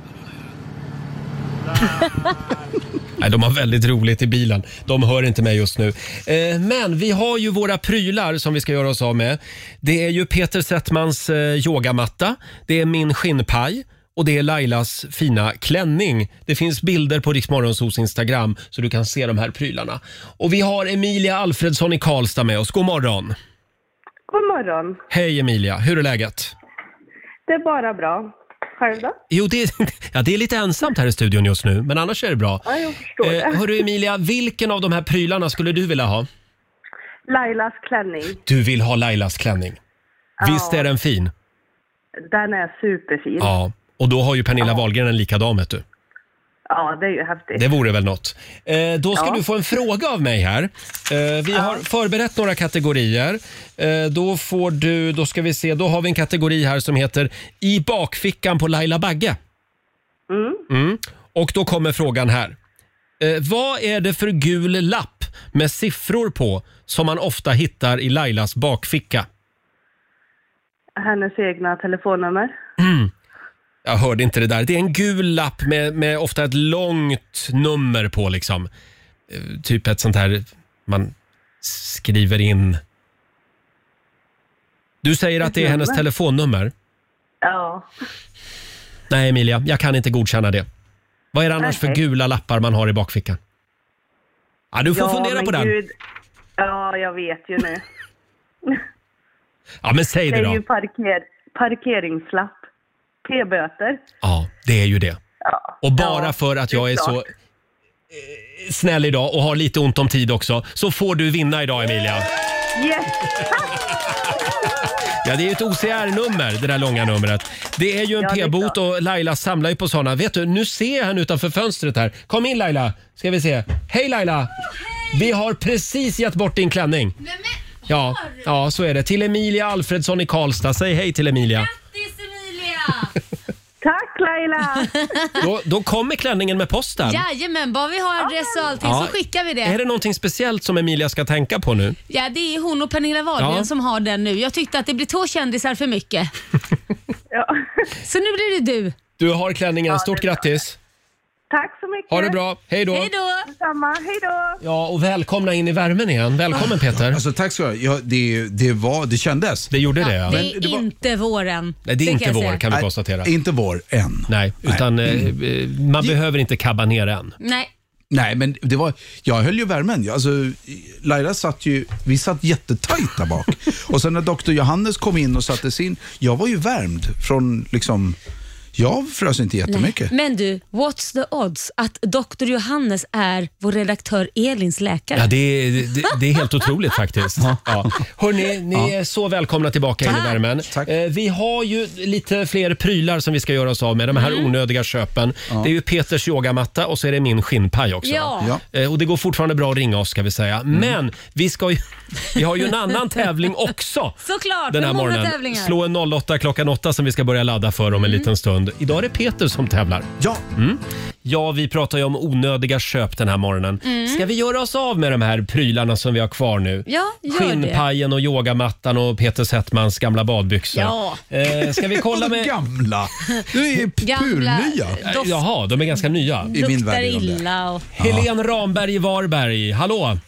Speaker 1: Nej, de har väldigt roligt i bilen. De hör inte mig just nu. Eh, men vi har ju våra prylar som vi ska göra oss av med. Det är ju Peter Settmans eh, yogamatta, det är min skinnpaj och det är Lailas fina klänning. Det finns bilder på Riksmorgonsos Instagram så du kan se de här prylarna. Och vi har Emilia Alfredsson i Karlstad med oss. God morgon!
Speaker 12: God morgon.
Speaker 1: Hej Emilia, hur är läget?
Speaker 12: Det är bara bra. Själv då?
Speaker 1: Jo, det är, ja, det är lite ensamt här i studion just nu, men annars är det bra.
Speaker 12: Ja, jag förstår
Speaker 1: Eh,
Speaker 12: det.
Speaker 1: hörru Emilia, vilken av de här prylarna skulle du vilja ha?
Speaker 12: Lailas klänning,
Speaker 1: Du vill ha Lailas klänning.
Speaker 12: Ja.
Speaker 1: Visst är den fin?
Speaker 12: den är superfin.
Speaker 1: Ja. Och då har ju Pernilla Wahlgren en likadan vet du.
Speaker 12: Ja, det är ju häftigt.
Speaker 1: Det vore väl något. Eh, då ska
Speaker 12: Ja.
Speaker 1: du få en fråga av mig här. Eh, vi har förberett några kategorier. Eh, då får du, då ska vi se, då har vi en kategori här som heter I bakfickan på Laila Bagge.
Speaker 12: Mm.
Speaker 1: Mm. Och då kommer frågan här. Eh, vad är det för gul lapp med siffror på som man ofta hittar i Lailas bakficka?
Speaker 12: Hennes egna telefonnummer.
Speaker 1: Mm. Jag hörde inte det där. Det är en gul lapp med, med ofta ett långt nummer på liksom. Eh, Typ ett sånt här man skriver in. Du säger att det är hennes
Speaker 12: nummer?
Speaker 1: telefonnummer.
Speaker 12: Ja.
Speaker 1: Nej Emilia, jag kan inte godkänna det. Vad är det annars
Speaker 12: Nej.
Speaker 1: för gula lappar man har i bakfickan? Ja, du får
Speaker 12: ja,
Speaker 1: fundera
Speaker 12: men
Speaker 1: på den.
Speaker 12: Gud. Ja, jag vet ju nu.
Speaker 1: Ja, men säg
Speaker 12: Det
Speaker 1: det
Speaker 12: är
Speaker 1: då.
Speaker 12: ju parker, parkeringslapp. P-böter.
Speaker 1: Ja, det är ju det. Och bara för att jag är
Speaker 12: klart.
Speaker 1: så eh, snäll idag och har lite ont om tid också, så får du vinna idag Emilia.
Speaker 12: Yes!
Speaker 1: Ja, det är ju ett OCR-nummer, det där långa numret. Det är ju en
Speaker 12: Ja, det är
Speaker 1: p-bot och Laila samlar ju på sådana. Vet du, nu ser jag henne utanför fönstret här. Kom in Laila, ska vi se. Hej Laila! Vi har precis gett bort din klänning. Ja, ja, så är det. Till Emilia Alfredsson i Karlstad. Säg hej till Emilia.
Speaker 12: Tack Laila!
Speaker 1: Då, då kommer klänningen med posten.
Speaker 2: Jajamän, bara vi har adress och allting
Speaker 1: Ja.
Speaker 2: så skickar vi det.
Speaker 1: Är det någonting speciellt som Emilia ska tänka på nu?
Speaker 2: Ja, det är hon och Pernilla Wahlgren
Speaker 1: Ja.
Speaker 2: som har den nu. Jag tyckte att det blir två kändisar för mycket. Så nu blir det du.
Speaker 1: Du har klänningen. Stort grattis!
Speaker 12: Tack så mycket.
Speaker 1: Ha det bra. Hej då.
Speaker 2: Hej då!
Speaker 12: Detsamma. Hej då!
Speaker 1: Ja, och välkomna in i värmen igen. Välkommen Peter.
Speaker 14: Alltså, tack ska du ha. ja, det, det, var, det kändes.
Speaker 1: Det gjorde det,
Speaker 2: Det är inte våren.
Speaker 1: Nej, det är inte
Speaker 2: jag
Speaker 1: vår
Speaker 2: säga.
Speaker 1: kan vi konstatera.
Speaker 14: Inte vår än.
Speaker 1: Nej, utan eh, eh, man behöver inte kabba ner än.
Speaker 2: Nej.
Speaker 14: Nej, men det var, jag höll ju värmen. Jag- Alltså, Laila satt ju, vi satt jättetajt där bak. och sen när doktor Johannes kom in och satte sin, jag var ju värmd från liksom, jag frös inte jättemycket.
Speaker 2: Nej. Men du, what's the odds att Dr. Johannes är vår redaktör Elins läkare?
Speaker 1: Ja, det, är- det, det är helt otroligt faktiskt. Ja. Hörni, ni
Speaker 2: Ja.
Speaker 1: är så välkomna tillbaka in i värmen. Eh, Vi har ju lite fler prylar som vi ska göra oss av med, de här onödiga köpen. Det är ju Peters yogamatta och så är det min skinnpaj också.
Speaker 15: Ja.
Speaker 1: Eh, Och det går fortfarande bra att ringa oss ska vi säga. Men vi, ska ju, vi har ju en annan tävling också.
Speaker 2: Såklart,
Speaker 1: Den
Speaker 2: hur
Speaker 1: här
Speaker 2: många
Speaker 1: morgonen.
Speaker 2: tävlingar? Mm.
Speaker 1: Slå en 08 klockan 8 som vi ska börja ladda för om en liten stund. Idag är det Peter som tävlar.
Speaker 14: Ja.
Speaker 1: Mm. Ja, vi pratar ju om onödiga köp den här morgonen.
Speaker 2: Mm.
Speaker 1: Ska vi göra oss av med de här prylarna som vi har kvar nu?
Speaker 2: Ja, gör
Speaker 1: Skinnpajen och yogamattan och Peter Settmans gamla badbyxor.
Speaker 2: Ja.
Speaker 1: Eh, ska vi kolla med... Eh,
Speaker 14: gamla? Du är ju
Speaker 2: Gamla purnya. doft-
Speaker 1: Jaha, de är ganska nya.
Speaker 2: det. Luktar illa och...
Speaker 1: Helene Ramberg i Varberg, hallå!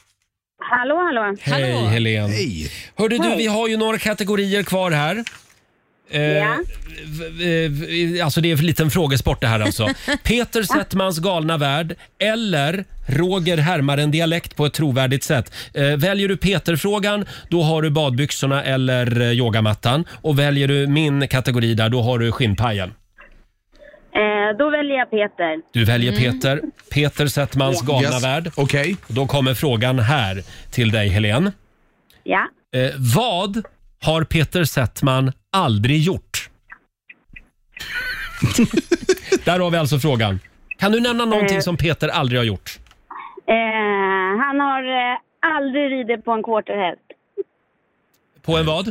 Speaker 16: Hallå, hallå.
Speaker 1: Hej Helene!
Speaker 14: Hej.
Speaker 1: Hörde du,
Speaker 16: Hej.
Speaker 1: vi har ju några kategorier kvar här. Eh,
Speaker 16: Ja.
Speaker 1: v- v- v- Alltså det är en liten frågesport det här alltså. Peter Settmans galna värld eller Roger härmar en dialekt på ett trovärdigt sätt. Eh, Väljer du Peter-frågan, då har du badbyxorna eller eh, yogamattan. Och väljer du min kategori där, då har du skinnpajen.
Speaker 16: Eh, då väljer jag Peter.
Speaker 1: Du väljer
Speaker 16: Mm.
Speaker 1: Peter. Peter Settmans
Speaker 16: Ja.
Speaker 1: galna
Speaker 16: Yes.
Speaker 1: värld.
Speaker 14: Okej.
Speaker 1: Då kommer frågan här till dig Helene.
Speaker 16: Ja.
Speaker 1: Eh, vad har Peter Settman aldrig gjort? Där har vi alltså frågan. Kan du nämna någonting
Speaker 16: Eh.
Speaker 1: som Peter aldrig har gjort?
Speaker 16: Eh, han har eh, aldrig ridit på en quarterhäst.
Speaker 1: På en vad?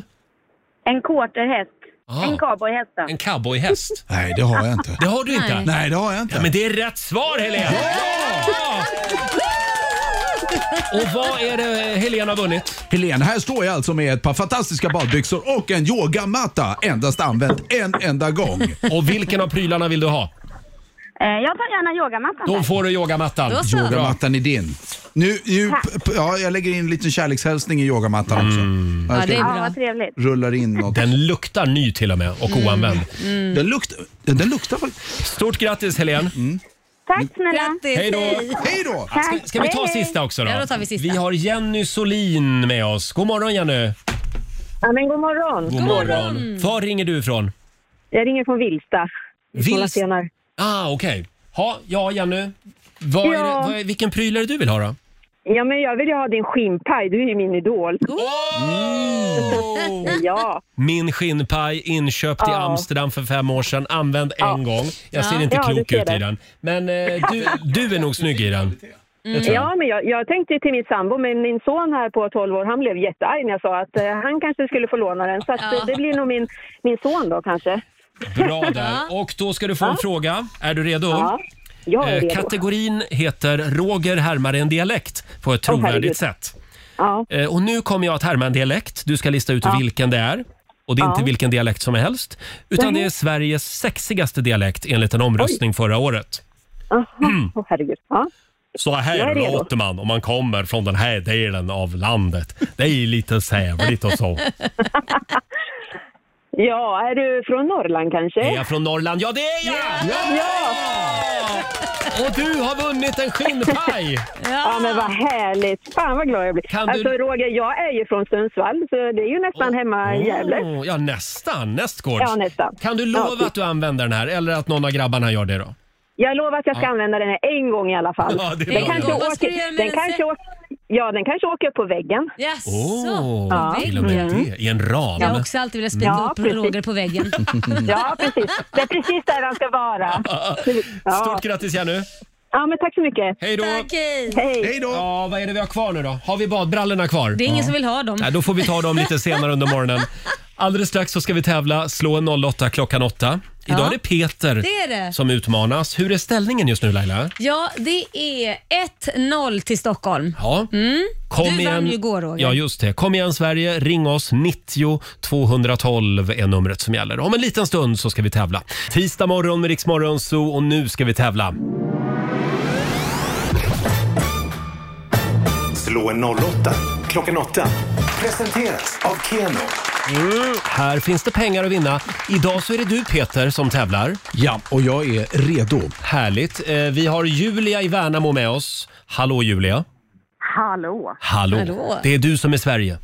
Speaker 16: En quarterhäst.
Speaker 1: Ah.
Speaker 16: En cowboyhäst då.
Speaker 1: En cowboyhäst?
Speaker 14: Nej, det har jag inte.
Speaker 1: Det har du inte?
Speaker 14: Nej. Nej, det har jag inte.
Speaker 1: Ja, men det är rätt svar Helene! Ja! Och vad är det Helena har vunnit?
Speaker 14: Helene, här står jag alltså med ett par fantastiska badbyxor och en yogamatta. Endast använt en enda gång.
Speaker 1: Och vilken av prylarna vill du ha?
Speaker 16: Eh, jag tar gärna yogamattan.
Speaker 1: Då får du yogamattan.
Speaker 16: Då så.
Speaker 14: Yogamattan är din. Nu, nu, p- p- ja, jag lägger in en liten kärlekshälsning i yogamattan också. Jag
Speaker 16: Ja,
Speaker 14: ska-
Speaker 16: det är bra. Ja, vad trevligt.
Speaker 14: Rullar in något.
Speaker 1: Mm. Den luktar ny till och med och
Speaker 14: Mm.
Speaker 1: oanvänd.
Speaker 14: Mm. Den, luktar, den luktar faktiskt.
Speaker 1: Stort grattis Helene!
Speaker 17: Mm.
Speaker 16: Tack snälla.
Speaker 1: Hej då. Hej
Speaker 14: då.
Speaker 1: Mm. Ska, ska vi ta sista också då?
Speaker 16: Ja, då tar vi sista.
Speaker 1: har Jenny Solin med oss. God morgon Jenny!
Speaker 17: Ja, men god morgon.
Speaker 1: God morgon! Var ringer du ifrån?
Speaker 17: Jag ringer från Vilsta.
Speaker 1: Vilst-
Speaker 17: Vilsta?
Speaker 1: Ah, okej. Ha, ja, Jenny. Vad är
Speaker 17: Ja.
Speaker 1: det, vad är, vilken pryl är det du vill ha då?
Speaker 17: Ja, men jag vill ju ha din skinnpaj. Du är ju min idol. Oh! Eh, ja.
Speaker 1: Mm. Min skinnpaj, inköpt i
Speaker 17: Ja.
Speaker 1: Amsterdam för fem år sedan. Använd en gång. Jag ser
Speaker 17: Ja.
Speaker 1: inte
Speaker 17: Ja, du
Speaker 1: klok
Speaker 17: ser
Speaker 1: ut i
Speaker 17: det. Mm.
Speaker 1: den. Men eh, du, du är nog snygg i den. Det tror jag.
Speaker 17: Ja, men jag, jag tänkte till min sambo, men min son här på 12 år, han blev jättearg när jag sa att eh, han kanske skulle få låna den. Så att, eh, det blir nog min, min son då kanske.
Speaker 1: Bra där. Och då ska du få en fråga. Är du redo?
Speaker 17: Ja, jag är
Speaker 1: Eh,
Speaker 17: redo.
Speaker 1: Kategorin heter Roger härmar en dialekt på ett
Speaker 17: Åh, herregud.
Speaker 1: trovärdigt sätt.
Speaker 17: Ja.
Speaker 1: Eh, Och nu kommer jag att härma en dialekt. Du ska lista ut
Speaker 17: Ja.
Speaker 1: vilken det är. Och det är inte
Speaker 17: Ja.
Speaker 1: vilken dialekt som helst, utan det är Sveriges sexigaste dialekt enligt en omröstning förra året.
Speaker 17: Jaha, åh, herregud. Ja.
Speaker 1: Så
Speaker 17: Jag
Speaker 1: här
Speaker 17: är redo.
Speaker 1: låter man om man kommer från den här delen av landet. Det är lite sävligt och så.
Speaker 17: ja, är du från Norrland kanske?
Speaker 1: Är jag från Norrland? Ja, det är jag! Och du har vunnit en skinnpaj!
Speaker 17: Ja, men vad härligt. Fan vad glad jag blir.
Speaker 1: du-
Speaker 17: Alltså Roger, jag är ju från Sundsvall så det är ju nästan hemma i Gävle.
Speaker 1: Åh, ja, nästan. Nästgårds.
Speaker 17: Ja, nästan.
Speaker 1: Kan du
Speaker 17: Ja,
Speaker 1: lova
Speaker 17: precis.
Speaker 1: att du använder den här eller att någon av grabbarna gör det då?
Speaker 17: Jag lovar att jag ska
Speaker 1: Ja.
Speaker 17: använda den här en gång i alla fall.
Speaker 1: Ja, det är
Speaker 17: den
Speaker 1: bra.
Speaker 17: kanske
Speaker 1: Vad
Speaker 2: ska du göra
Speaker 17: åker, den
Speaker 2: med den
Speaker 17: kanske
Speaker 2: sen?
Speaker 17: åker, ja, den kanske åker upp på väggen.
Speaker 2: Yes.
Speaker 1: Åh,
Speaker 17: Ja.
Speaker 1: till och med
Speaker 17: Mm.
Speaker 1: det. I en ram.
Speaker 2: Jag har också alltid velat spika
Speaker 17: Ja,
Speaker 2: upp
Speaker 17: precis.
Speaker 2: Roger på väggen.
Speaker 1: Mm.
Speaker 17: Ja, precis. Det är precis där den ska vara. Ja,
Speaker 1: Stort grattis Jenny!
Speaker 17: ja men tack så mycket.
Speaker 1: Hej då!
Speaker 17: Hej.
Speaker 1: Hej då! Ja, vad är det vi har kvar nu då? Har vi badbrallorna kvar?
Speaker 2: Det är ingen
Speaker 1: Ja.
Speaker 2: som vill ha dem.
Speaker 1: Nej, då får vi ta dem lite senare under morgonen. Alldeles strax så ska vi tävla. Slå en 08 klockan 8. Idag
Speaker 2: Ja.
Speaker 1: är det Peter
Speaker 2: Det är det.
Speaker 1: som utmanas. Hur är ställningen just nu Laila?
Speaker 2: Ja, det är 1-0 till Stockholm.
Speaker 1: Ja.
Speaker 2: Mm.
Speaker 1: Kom
Speaker 2: du
Speaker 1: igen.
Speaker 2: vann ju igår Roger.
Speaker 1: Ja, just det. Kom igen Sverige, ring oss. 90 212 är numret som gäller. Om en liten stund så ska vi tävla. Tisdag morgon med Rix Morgon Zoo och nu ska vi tävla.
Speaker 5: Slå en 08 klockan 8. Presenteras av Keno.
Speaker 1: Mm. Här finns det pengar att vinna. Idag så är det du Peter som tävlar.
Speaker 14: Ja, och jag är redo.
Speaker 1: Härligt. Eh, Vi har Julia i Värnamo med oss. Hallå Julia.
Speaker 12: Hallå.
Speaker 1: Hallå. Det är du som är Sverige.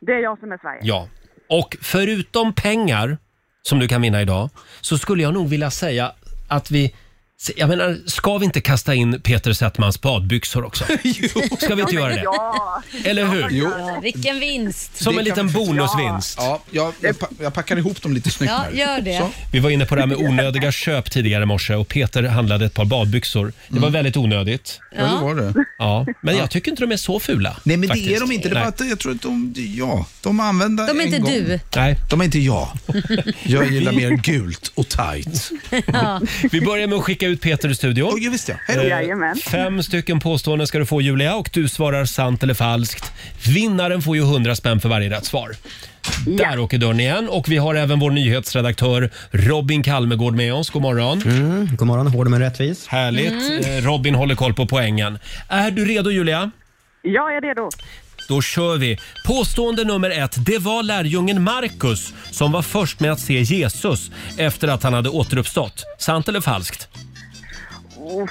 Speaker 12: Det är jag som är Sverige.
Speaker 1: Ja. Och förutom pengar som du kan vinna idag så skulle jag nog vilja säga att vi jag menar, ska vi inte kasta in Peter Settmans badbyxor också? Ska vi inte göra det?
Speaker 12: Ja.
Speaker 1: Eller hur? Jo.
Speaker 2: Ja, vilken vinst.
Speaker 1: Som en liten bonusvinst.
Speaker 14: Ja, jag, jag, pa- jag packar ihop dem lite snyggt.
Speaker 2: Ja,
Speaker 14: här.
Speaker 2: gör det.
Speaker 14: Så.
Speaker 1: Vi var inne på det här med onödiga köp tidigare i morse och Peter handlade ett par badbyxor. Det
Speaker 14: Mm.
Speaker 1: var väldigt onödigt.
Speaker 14: Ja, det var det.
Speaker 1: Ja, men jag tycker inte de är så fula.
Speaker 14: Nej, men det
Speaker 1: faktiskt.
Speaker 14: är de inte. Det är bara
Speaker 1: Nej.
Speaker 14: att jag tror att de, ja, de är använda
Speaker 2: De är
Speaker 14: en
Speaker 2: inte
Speaker 14: gång.
Speaker 2: du.
Speaker 1: Nej.
Speaker 14: De är inte jag. Jag gillar mer gult och tajt.
Speaker 2: Ja.
Speaker 1: Vi börjar med att skicka ut Peter ur studion.
Speaker 14: Oh, visst ja.
Speaker 1: Eh, Fem stycken påståenden ska du få Julia och du svarar sant eller falskt. Vinnaren får ju 100 spänn för varje rätt svar. Där åker dörren igen och vi har även vår nyhetsredaktör Robin Kalmegård med oss. God morgon.
Speaker 15: Mm, god morgon, hård men rättvis.
Speaker 1: Härligt. Eh, Robin håller koll på poängen. Är du redo Julia?
Speaker 12: Jag är redo.
Speaker 1: Då kör vi. Påstående nummer ett. Det var lärjungen Markus som var först med att se Jesus efter att han hade återuppstått. Sant eller falskt?
Speaker 12: Oh,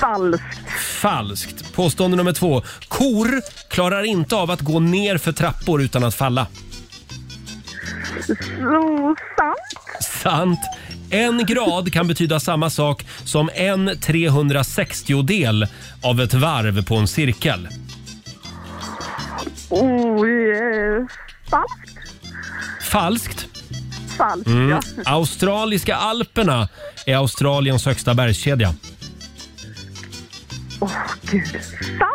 Speaker 12: falskt.
Speaker 1: Falskt. Påstående nummer två. Kor klarar inte av att gå ner för trappor utan att falla.
Speaker 12: Oh, sant.
Speaker 1: Sant. En grad kan betyda samma sak som en 360-del av ett varv på en cirkel.
Speaker 12: Oh, eh, falskt.
Speaker 1: Falskt.
Speaker 12: Falskt,
Speaker 1: Mm.
Speaker 12: ja.
Speaker 1: Australiska alperna är Australiens högsta bergskedja.
Speaker 12: Gud. Sant.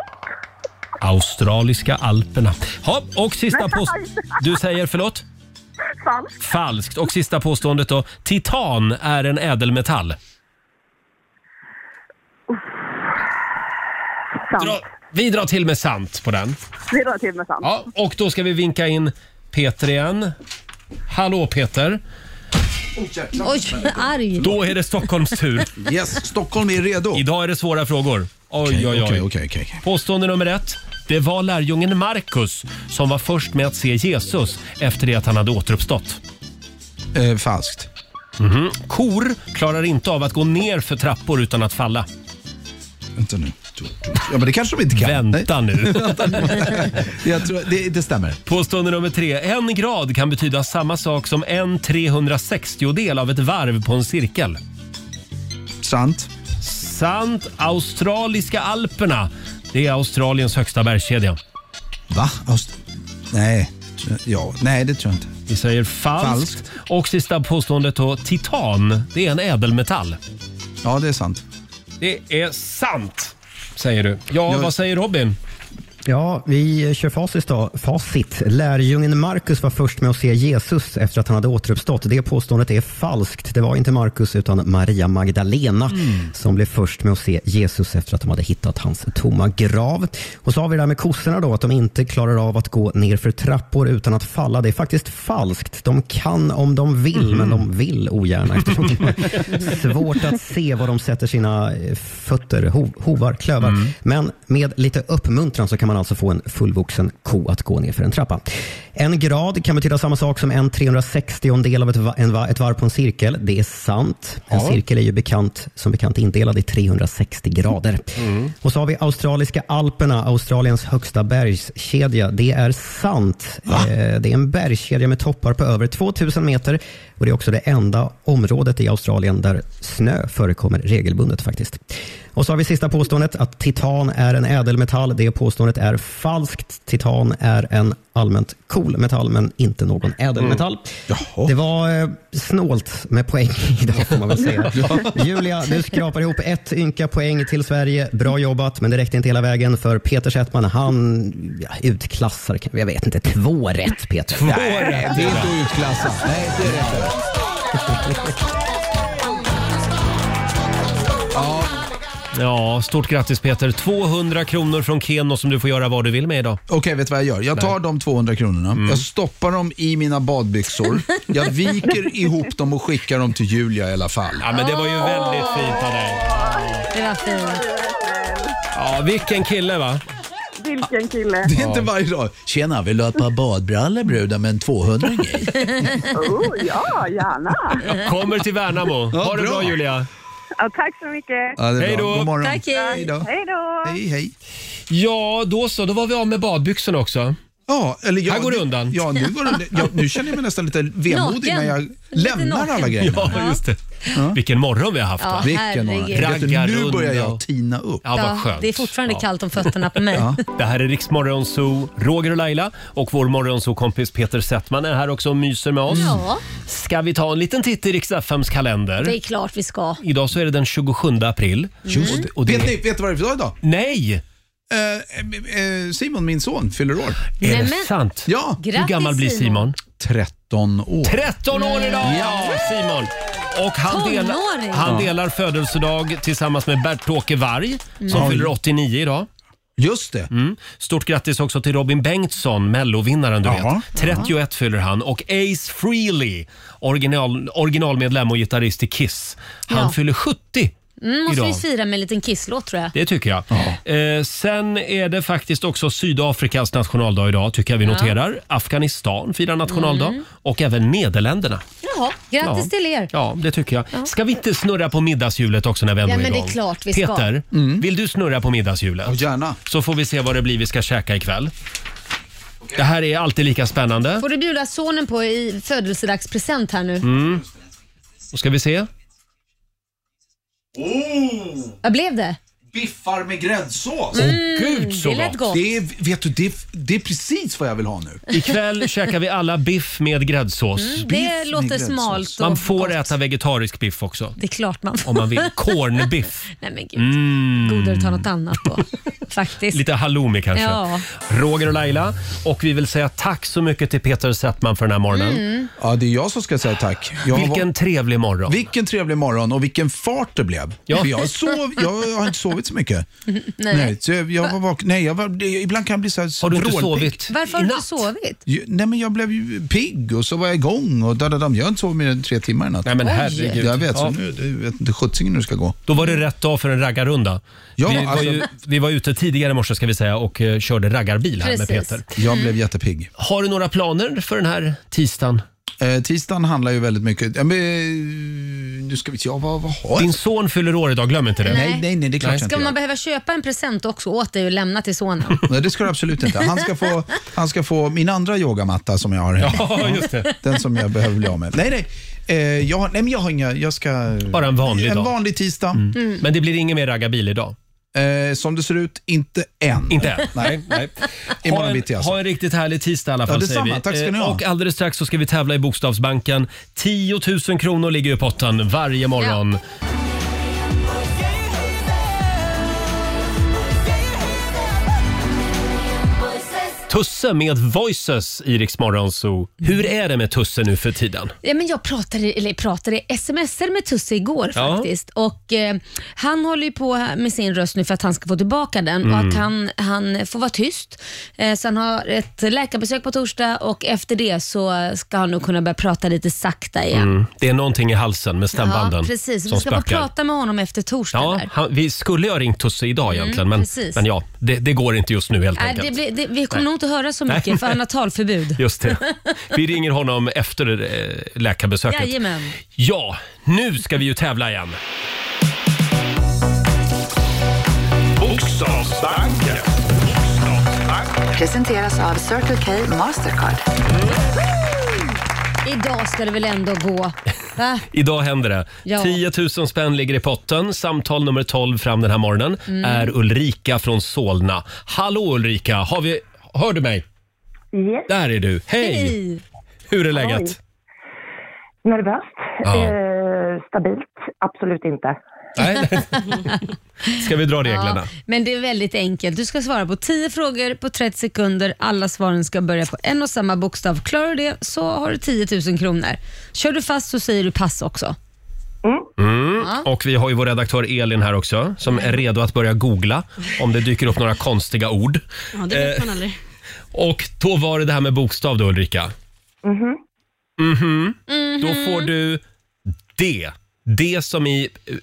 Speaker 1: Australiska alperna. Ha, och sista
Speaker 12: Nej.
Speaker 1: påståendet. Du säger förlåt?
Speaker 12: Falskt.
Speaker 1: Falskt. Och sista påståendet då. Titan är en ädelmetall.
Speaker 12: Sant.
Speaker 1: Dra, vi drar till med sant på den.
Speaker 12: Vi drar till med sant.
Speaker 1: Ja, och då ska vi vinka in Peter igen. Hallå Peter.
Speaker 2: Eh, Oj, arg.
Speaker 1: Då är det Stockholms tur.
Speaker 14: Yes, Stockholm är redo.
Speaker 1: Idag är det svåra frågor. Oj,
Speaker 14: Okej,
Speaker 1: oj, oj.
Speaker 14: okej, okej, okej.
Speaker 1: Påstående nummer ett. Det var lärjungen Markus som var först med att se Jesus efter det att han hade återuppstått.
Speaker 14: Eh, falskt.
Speaker 1: Mhm. Kor klarar inte av att gå ner för trappor utan att falla.
Speaker 14: Vänta nu. Ja, men det kanske de inte kan.
Speaker 1: Vänta nu.
Speaker 14: Jag tror, det, det stämmer.
Speaker 1: Påstående nummer tre. En grad kan betyda samma sak som en 360-del av ett varv på en cirkel.
Speaker 14: Sant.
Speaker 1: Sant. Australiska alperna. Det är Australiens högsta bergskedja.
Speaker 14: Va? Aust- nej. Ja, nej, det tror jag inte.
Speaker 1: Vi säger falskt. Och sista påståendet då. Titan, det är en ädelmetall.
Speaker 14: Ja, det är sant.
Speaker 1: Det är sant, säger du. Ja, vad säger Robin?
Speaker 15: Ja, vi kör facit då. Facit. Lärjungen Markus var först med att se Jesus efter att han hade återuppstått. Det påståendet är falskt. Det var inte Markus utan Maria Magdalena som blev först med att se Jesus efter att de hade hittat hans tomma grav. Och så har vi det här med kossorna då, att de inte klarar av att gå ner för trappor utan att falla. Det är faktiskt falskt. De kan om de vill, men de vill ogärna eftersom det är svårt att se var de sätter sina eh, fötter, ho- hovar, klövar. Men med lite uppmuntran så kan man alltså få en fullvuxen ko att gå ner för en trappa. En grad kan betyda samma sak som en 360-del av ett, va- en va- ett varv på en cirkel. Det är sant. En
Speaker 18: Ja.
Speaker 15: cirkel är ju bekant, som bekant indelad i 360 grader.
Speaker 10: Mm.
Speaker 15: Och så har vi australiska alperna, Australiens högsta bergskedja. Det är sant. Eh, Det är en bergskedja med toppar på över 2000 meter och det är också det enda området i Australien där snö förekommer regelbundet faktiskt. Och så har vi sista påståendet att titan är en ädelmetall. Det påståendet är falskt. Titan är en allmänt cool metall men inte någon ädelmetall. Det var eh, snålt med poäng idag får man väl säga.
Speaker 8: Ja.
Speaker 15: Julia, du skrapar ihop ett ynka poäng till Sverige. Bra jobbat, men det räckte inte hela vägen för Peter Settman, han ja, utklassar, kan- jag vet inte, två rätt Peter.
Speaker 10: Två rätt, det är inte att utklassa. Nej, det är det inte.
Speaker 1: Ja. ja, stort grattis Peter. 200 kronor från Keno som du får göra vad du vill med idag.
Speaker 10: Okej, vet du vad jag gör? Jag tar de 200 kronorna, jag stoppar dem i mina badbyxor, jag viker ihop dem och skickar dem till Julia i alla fall.
Speaker 1: Ja, men det var ju väldigt fint av dig.
Speaker 2: Det var fint.
Speaker 1: Ja, vilken kille va?
Speaker 12: Vilken kille.
Speaker 10: Det är inte varje dag. Tjena, vill du ha ett par badbrallor bruden med en 200 grej?
Speaker 12: oh, ja, gärna.
Speaker 1: Jag kommer till Värnamo.
Speaker 10: Ja,
Speaker 1: ha det bra,
Speaker 10: bra.
Speaker 1: Julia.
Speaker 12: Ja, tack så mycket.
Speaker 10: Ja, det är bra.
Speaker 1: Hej då.
Speaker 10: God morgon.
Speaker 12: Tack, hej. Hej då. Hej då.
Speaker 10: Hej, hej.
Speaker 1: Ja, då så. Då var vi av med badbyxorna också.
Speaker 10: Ja, eller jag,
Speaker 1: Här går det
Speaker 10: nu-
Speaker 1: undan.
Speaker 10: Ja, nu, går det, ja, nu känner jag mig nästan lite vemodig
Speaker 1: Naken.
Speaker 10: när jag
Speaker 1: Lite
Speaker 10: lämnar
Speaker 1: naken.
Speaker 10: alla grejerna.
Speaker 1: Ja, just det. Vilken morgon vi har haft.
Speaker 2: Ja,
Speaker 1: va?
Speaker 2: Vilken morgon. herregud.
Speaker 1: Raggarrunda
Speaker 10: Nu börjar jag
Speaker 1: och-
Speaker 10: tina upp.
Speaker 1: Ja, vad skönt.
Speaker 2: det är fortfarande
Speaker 1: Ja.
Speaker 2: kallt om fötterna på mig.
Speaker 1: Det här är Riksmorgon Zoo, Roger och Laila och vår morgonzoo-kompis Peter Settman är här också och myser med oss.
Speaker 2: Ja.
Speaker 1: Ska vi ta en liten titt i Rix FMs kalender?
Speaker 2: Det är klart vi ska.
Speaker 1: Idag så är det den 27 april. Mm.
Speaker 10: Just det.
Speaker 1: Och det-
Speaker 10: Vet ni vet ni vad det är för dag idag?
Speaker 1: Nej!
Speaker 10: Eh, eh, Simon, min son, fyller år.
Speaker 1: Är det Nämen. sant?
Speaker 10: Ja.
Speaker 1: Grattis, Hur gammal blir Simon?
Speaker 10: 13 år.
Speaker 1: 13 år idag!
Speaker 10: Ja.
Speaker 1: Simon! Och han, delar,
Speaker 2: Tonåring.
Speaker 1: han
Speaker 2: Ja.
Speaker 1: delar födelsedag tillsammans med Bert-Åke Varg
Speaker 2: Mm.
Speaker 1: som
Speaker 2: Oj.
Speaker 1: fyller 89 idag.
Speaker 10: Just det.
Speaker 1: Mm. Stort grattis också till Robin Bengtsson, mellovinnaren du
Speaker 10: Ja.
Speaker 1: vet. 31 fyller han och Ace Frehley, original, originalmedlem och gitarrist i Kiss. Han
Speaker 2: Ja.
Speaker 1: fyller 70
Speaker 2: Mm, måste vi
Speaker 1: idag.
Speaker 2: fira med en liten kisslåt tror jag.
Speaker 1: Det tycker jag. Eh, sen är det faktiskt också Sydafrikas nationaldag idag, tycker jag vi
Speaker 2: Ja.
Speaker 1: noterar. Afghanistan firar nationaldag
Speaker 2: Mm.
Speaker 1: och även Nederländerna.
Speaker 2: Jaha, grattis
Speaker 1: Ja.
Speaker 2: till er.
Speaker 1: Ja, det tycker jag. Ska vi inte snurra på middagshjulet också när vi ändå
Speaker 2: Ja,
Speaker 1: är
Speaker 2: men det är
Speaker 1: igång?
Speaker 2: klart vi ska.
Speaker 1: Peter, vill du snurra på middagshjulet?
Speaker 10: gärna.
Speaker 1: Så får vi se vad det blir vi ska käka ikväll. Det här är alltid lika spännande.
Speaker 2: Får du bjuda sonen på i födelsedagspresent här nu?
Speaker 1: Mm. Då ska vi se.
Speaker 10: Oh!
Speaker 2: Vad blev det?
Speaker 10: Biffar med gräddsås.
Speaker 1: Åh, Mm, gud, så det lät gott. gott.
Speaker 10: Det är, vet du, det, är, det är precis vad jag vill ha nu.
Speaker 1: Ikväll käkar vi alla biff med gräddsås.
Speaker 2: Mm, det Biff låter med gräddsås. smalt och
Speaker 1: Man får äta vegetarisk biff också.
Speaker 2: Det är klart man får.
Speaker 1: Om man vill. Cornbiff.
Speaker 2: Nej men gud.
Speaker 1: Mm.
Speaker 2: Godare att ta något annat då. Faktiskt.
Speaker 1: Lite halloumi kanske.
Speaker 2: Ja.
Speaker 1: Roger och Laila. Och vi vill säga tack så mycket till Peter Settman för den här morgonen.
Speaker 2: Mm.
Speaker 10: Ja, det är jag som ska säga tack. Jag var-
Speaker 1: Vilken trevlig morgon.
Speaker 10: Vilken trevlig morgon och vilken fart det blev.
Speaker 1: Ja.
Speaker 10: För Jag, sov, jag har inte sovit så mycket. Nej, så jag, jag var vaken. Nej, jag var, det- ibland kan jag bli så här
Speaker 1: Har du inte
Speaker 10: vrålpigg.
Speaker 1: sovit
Speaker 2: Varför har du inte sovit?
Speaker 10: Ju- Nej, men jag blev ju pigg och så var jag igång och dadadam. Jag har inte sovit mer än tre timmar i natt. Nej,
Speaker 1: men Oj. herregud.
Speaker 10: Jag vet, så
Speaker 1: Ja.
Speaker 10: nu, jag vet inte sjuttsingen hur det ska gå.
Speaker 1: Då var det rätt dag för en raggarrunda.
Speaker 10: Ja,
Speaker 1: vi, var
Speaker 10: alltså-
Speaker 1: ju, vi var ute tidigare i morse ska vi säga och eh, körde raggarbil här med
Speaker 10: Precis.
Speaker 1: Peter.
Speaker 10: Jag blev jättepigg.
Speaker 1: Har du några planer för den här tisdagen?
Speaker 10: Eh, tisdagen handlar ju väldigt mycket... Ja, men, eh, nu ska vi se, ja, vad, vad har
Speaker 1: Din son fyller år idag, glöm inte det.
Speaker 10: Nej, nej, nej, det är klart jag
Speaker 2: Ska
Speaker 10: inte
Speaker 2: man
Speaker 10: gör.
Speaker 2: behöva köpa en present också åt dig och lämna till sonen?
Speaker 10: Nej, det ska du absolut inte. Han ska få, han ska få min andra yogamatta som jag har hemma.
Speaker 1: Ja, just det.
Speaker 10: Den som jag behöver bli av med. Nej, nej. Eh, jag, har- nej men jag har inga, jag ska...
Speaker 1: Bara en vanlig
Speaker 10: En
Speaker 1: dag.
Speaker 10: vanlig tisdag.
Speaker 1: Mm. Men det blir ingen mer raggarbil idag?
Speaker 10: Eh, som det ser ut, inte än.
Speaker 1: Mm. Inte än.
Speaker 10: Nej.
Speaker 1: Nej.
Speaker 10: Imorgon
Speaker 1: Ha en,
Speaker 10: bitti alltså.
Speaker 1: ha en riktigt härlig tisdag i alla
Speaker 10: Ja,
Speaker 1: fall.
Speaker 10: detsamma.
Speaker 1: säger vi.
Speaker 10: Tack ska ni ha.
Speaker 1: Eh, Och alldeles strax så ska vi tävla i Bokstavsbanken. 10 000 kronor ligger i potten varje morgon. Tusse med Voices i Rix Morgon Zoo. Hur är det med Tusse nu för tiden?
Speaker 2: Ja, men jag pratade, eller pratade smsade med Tusse igår
Speaker 1: Ja.
Speaker 2: faktiskt. Och, eh, han håller ju på med sin röst nu för att han ska få tillbaka den och
Speaker 3: Mm.
Speaker 2: att han, han får vara tyst. Eh, så han har ett läkarbesök på torsdag och efter det så ska han nog kunna börja prata lite sakta igen.
Speaker 1: Mm. Det är någonting i halsen med stämbanden
Speaker 2: Ja, precis.
Speaker 1: som
Speaker 2: Vi ska få
Speaker 1: sprackar.
Speaker 2: prata med honom efter torsdag.
Speaker 1: Ja,
Speaker 2: där.
Speaker 1: han, vi skulle ju ha ringt Tusse idag
Speaker 2: Mm,
Speaker 1: egentligen, men,
Speaker 2: precis.
Speaker 1: men ja, det, det går inte just nu helt
Speaker 2: Nej,
Speaker 1: enkelt.
Speaker 2: Äh, det blir, det, vi
Speaker 1: Nej.
Speaker 2: kommer nog inte höra så
Speaker 1: Nej.
Speaker 2: mycket för han har talförbud.
Speaker 1: Just det. Vi ringer honom efter eh, läkarbesöket.
Speaker 2: Jajamän.
Speaker 1: Ja, nu ska vi ju tävla igen.
Speaker 11: Bokstavsbanken.
Speaker 19: Presenteras av Circle K Mastercard.
Speaker 2: Idag ska det väl ändå gå? Va?
Speaker 1: Idag händer det.
Speaker 2: Ja.
Speaker 1: 10 000 spänn ligger i potten. Samtal nummer 12 fram den här morgonen
Speaker 2: Mm.
Speaker 1: är Ulrika från Solna. Hallå Ulrika, har vi... hör du mig?
Speaker 18: Yes.
Speaker 1: Där är du. Hej! Hur är läget?
Speaker 18: Nervöst?
Speaker 1: Ja.
Speaker 18: Eh, stabilt? Absolut inte.
Speaker 1: Ska vi dra reglerna?
Speaker 2: Men det är väldigt enkelt. Du ska svara på 10 frågor på 30 sekunder. Alla svaren ska börja på en och samma bokstav. Klarar du det så har du 10 000 kronor. Kör du fast så säger du pass också.
Speaker 1: Mm.
Speaker 2: Ja.
Speaker 1: Och vi har ju vår redaktör Elin här också som är redo att börja googla om det dyker upp några konstiga ord.
Speaker 8: Ja, det vet
Speaker 1: Eh,
Speaker 8: man aldrig.
Speaker 1: Och då var det det här med bokstav då Ulrika.
Speaker 18: Mhm.
Speaker 1: Mhm. Då
Speaker 8: Mm-hmm.
Speaker 1: får du D. D som i eh,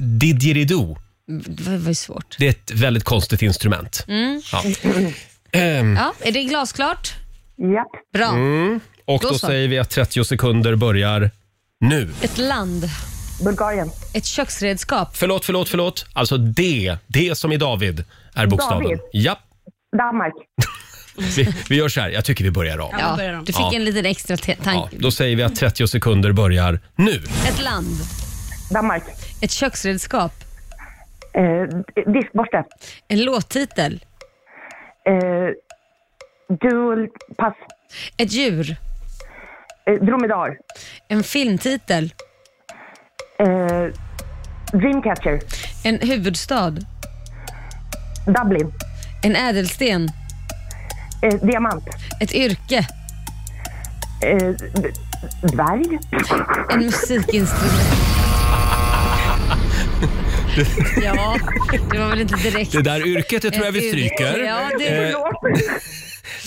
Speaker 1: didgeridoo.
Speaker 2: Det var ju svårt.
Speaker 1: Det är ett väldigt konstigt instrument.
Speaker 2: Mm.
Speaker 1: Ja. Ehm,
Speaker 2: Ja, är det glasklart?
Speaker 18: Ja.
Speaker 2: Bra.
Speaker 1: Mm. Och
Speaker 2: Då
Speaker 1: då
Speaker 2: så.
Speaker 1: säger vi att 30 sekunder börjar nu.
Speaker 2: Ett land.
Speaker 18: Bulgarien.
Speaker 2: Ett köksredskap.
Speaker 1: Förlåt, förlåt, förlåt. Alltså D. D som i David är bokstaven.
Speaker 18: David.
Speaker 1: Ja,
Speaker 18: Danmark.
Speaker 1: vi, vi gör så här. Jag tycker vi börjar om.
Speaker 2: Ja, du fick
Speaker 1: Ja.
Speaker 2: en liten extra te-
Speaker 1: Ja,
Speaker 2: tanke.
Speaker 1: då säger vi att 30 sekunder börjar nu.
Speaker 2: Ett land.
Speaker 18: Danmark.
Speaker 2: Ett köksredskap.
Speaker 18: Eh, diskborste.
Speaker 2: En låttitel.
Speaker 18: Eh, dual... Pass.
Speaker 2: Ett djur.
Speaker 18: Eh, dromedar.
Speaker 2: En filmtitel.
Speaker 18: Eh, dreamcatcher.
Speaker 2: En huvudstad.
Speaker 18: Dublin.
Speaker 2: En ädelsten.
Speaker 18: Eh, diamant.
Speaker 2: Ett yrke.
Speaker 18: Eh, d- dvärg.
Speaker 2: En musikinstrument. Ja, det var väl inte direkt.
Speaker 1: Det där yrket det tror jag
Speaker 2: Ett
Speaker 1: vi
Speaker 2: yrke.
Speaker 1: stryker.
Speaker 2: Ja, det...
Speaker 1: Eh,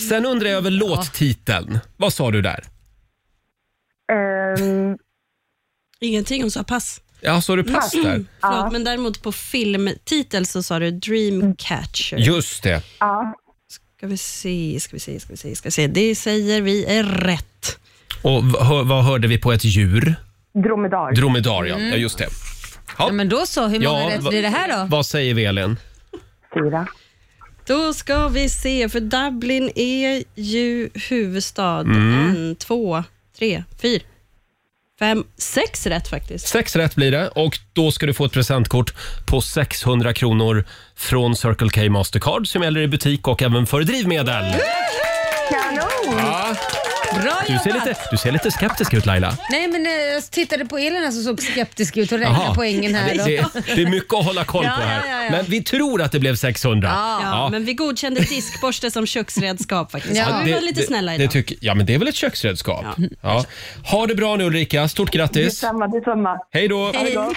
Speaker 1: sen undrar jag över låttiteln. Vad sa du där?
Speaker 18: Eh,
Speaker 8: Ingenting, hon sa pass.
Speaker 1: Ja, sa du pass där?
Speaker 8: Förlåt, men däremot på filmtitel så sa du Dreamcatcher.
Speaker 1: Just det.
Speaker 18: Ja.
Speaker 8: Ska vi se, ska vi se, ska vi se, ska vi se. Det säger vi är rätt.
Speaker 1: Och v- hör- vad hörde vi på ett djur?
Speaker 18: Dromedar.
Speaker 1: Dromedar, ja.
Speaker 2: Mm.
Speaker 1: ja just det.
Speaker 2: Ja, men då så. Hur många
Speaker 1: Ja,
Speaker 2: rätt
Speaker 1: va-
Speaker 2: blir det här då?
Speaker 1: Vad säger vi, Elin?
Speaker 18: Fyra.
Speaker 8: Då ska vi se, för Dublin är ju huvudstad.
Speaker 1: Mm.
Speaker 8: En, två, tre, fyra, fem, sex rätt faktiskt.
Speaker 1: Sex rätt blir det och då ska du få ett presentkort på 600 kronor från Circle K Mastercard som gäller i butik och även för drivmedel.
Speaker 18: Kanon!
Speaker 2: Bra
Speaker 1: Du ser
Speaker 2: jobbat!
Speaker 1: lite, du ser lite skeptisk ut Laila.
Speaker 2: Nej, men eh, jag tittade på Elin här som såg skeptisk ut och räknade
Speaker 1: Jaha.
Speaker 2: poängen här.
Speaker 1: Det,
Speaker 2: Då.
Speaker 1: det, det är mycket att hålla koll
Speaker 8: Ja,
Speaker 1: på här.
Speaker 8: ja, ja, ja.
Speaker 1: Men vi tror att det blev 600.
Speaker 8: Ja,
Speaker 1: Ja.
Speaker 8: men vi godkände diskborste som köksredskap faktiskt.
Speaker 1: Ja,
Speaker 8: Ja, vi var lite
Speaker 1: det,
Speaker 8: snälla
Speaker 1: det
Speaker 8: idag.
Speaker 1: tycker, Ja, men det är väl ett köksredskap? Ja. Ha det bra nu Ulrika, stort grattis!
Speaker 18: Detsamma, detsamma.
Speaker 1: Hej då!
Speaker 18: Ha det gott.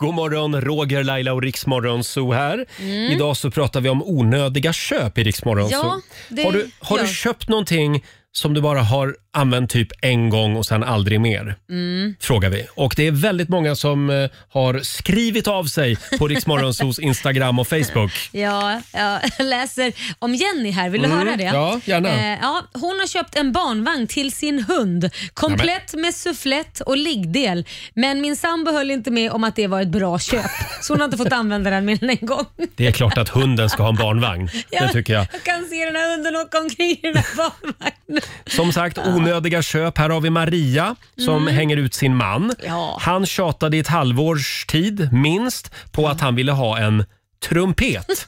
Speaker 1: God morgon, Roger, Laila och Riksmorgon Zoo här.
Speaker 2: Mm.
Speaker 1: Idag så pratar vi om onödiga köp i Riksmorgon
Speaker 2: Ja,
Speaker 1: Zoo.
Speaker 2: det
Speaker 1: Har, du, har
Speaker 2: gör
Speaker 1: du
Speaker 2: vi.
Speaker 1: köpt någonting som du bara har använt typ en gång och sen aldrig mer?
Speaker 2: Mm.
Speaker 1: Frågar vi. Och det är väldigt många som eh, har skrivit av sig på Riksmorgon Zoos Instagram och Facebook.
Speaker 2: Ja, jag läser om Jenny här. Vill du
Speaker 1: Mm,
Speaker 2: höra det?
Speaker 1: ja, gärna.
Speaker 2: Eh, ja, hon har köpt en barnvagn till sin hund. Komplett med sufflett och liggdel. Men min sambo höll inte med om att det var ett bra köp. Så hon har inte fått använda den mer än en gång.
Speaker 1: Det är klart att hunden ska ha en barnvagn.
Speaker 2: Ja.
Speaker 1: Det tycker jag.
Speaker 2: Jag kan se den här hunden åka omkring i den här barnvagnen.
Speaker 1: Som sagt, onödiga köp. Här har vi Maria som
Speaker 2: Mm.
Speaker 1: hänger ut sin man.
Speaker 2: Ja.
Speaker 1: Han tjatade i ett halvårs tid, minst, på att han ville ha en trumpet.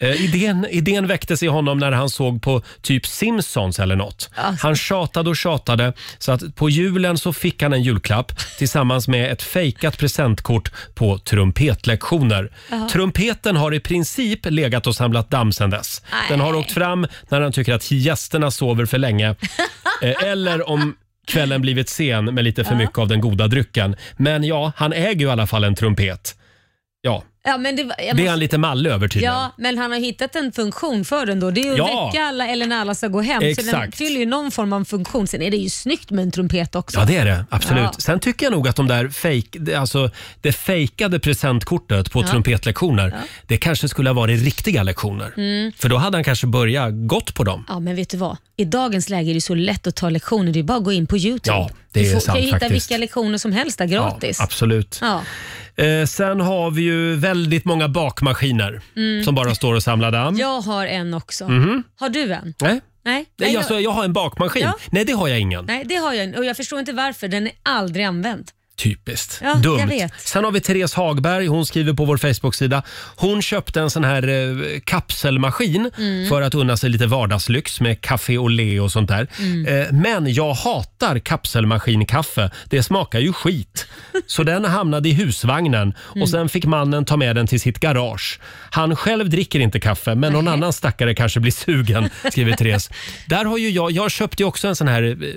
Speaker 1: Eh, idén, idén väcktes i honom när han såg på typ Simpsons eller något.
Speaker 2: Alltså.
Speaker 1: Han tjatade och tjatade så att på julen så fick han en julklapp tillsammans med ett fejkat presentkort på trumpetlektioner.
Speaker 2: Jaha.
Speaker 1: Trumpeten har i princip legat och samlat damm sedan dess. Den har åkt fram när han tycker att gästerna sover för länge eh, eller om kvällen blivit sen med lite för mycket av den goda drycken. Men ja, han äger ju i alla fall en trumpet. Ja,
Speaker 2: Ja, men det, var- jag
Speaker 1: det är
Speaker 2: måste-
Speaker 1: han lite mallig över tydligen.
Speaker 2: Ja, men han har hittat en funktion för den då. Det är ju att
Speaker 1: Ja.
Speaker 2: väcka alla eller när alla ska gå hem. Så den
Speaker 1: Exakt.
Speaker 2: fyller ju någon form av funktion. Sen är det ju snyggt med en trumpet också.
Speaker 1: Ja, det är det. Absolut.
Speaker 2: Ja.
Speaker 1: Sen tycker jag nog att de där fake, det- alltså, det fejkade presentkortet på
Speaker 2: Ja.
Speaker 1: trumpetlektioner,
Speaker 2: Ja.
Speaker 1: det kanske skulle ha varit riktiga lektioner.
Speaker 2: Mm.
Speaker 1: För då hade han kanske börjat gått på dem.
Speaker 2: Ja, men vet du vad? I dagens läge är det så lätt att ta lektioner. Det är bara att gå in på YouTube.
Speaker 1: Ja, det
Speaker 2: du
Speaker 1: är
Speaker 2: får,
Speaker 1: sant
Speaker 2: kan ju hitta
Speaker 1: faktiskt.
Speaker 2: vilka lektioner som helst där gratis.
Speaker 1: Ja, absolut.
Speaker 2: Ja.
Speaker 1: Eh, sen har vi ju väldigt många bakmaskiner
Speaker 2: Mm.
Speaker 1: som bara står och samlar damm.
Speaker 2: Jag har en också.
Speaker 1: Mhm.
Speaker 2: Har du en?
Speaker 1: Nej,
Speaker 2: Nej.
Speaker 1: Nej,
Speaker 2: jag-
Speaker 1: jag... Alltså, jag har en bakmaskin.
Speaker 2: Ja.
Speaker 1: Nej, det har jag ingen.
Speaker 2: Nej, det har jag inte. Och jag förstår inte varför. Den är aldrig använd.
Speaker 1: Typiskt.
Speaker 2: Ja,
Speaker 1: Dumt.
Speaker 2: jag vet.
Speaker 1: Sen har vi Therese Hagberg. Hon skriver på vår Facebook-sida. Hon köpte en sån här eh, kapselmaskin
Speaker 2: Mm.
Speaker 1: för att unna sig lite vardagslyx med kaffe och le och sånt där.
Speaker 2: Mm.
Speaker 1: Eh, men jag hatar kapselmaskinkaffe. Det smakar ju skit. Så den hamnade i husvagnen
Speaker 2: Mm.
Speaker 1: och sen fick mannen ta med den till sitt garage. Han själv dricker inte kaffe, men någon annan stackare kanske blir sugen, skriver Therese. Där har ju jag, jag köpte ju också en sån här eh,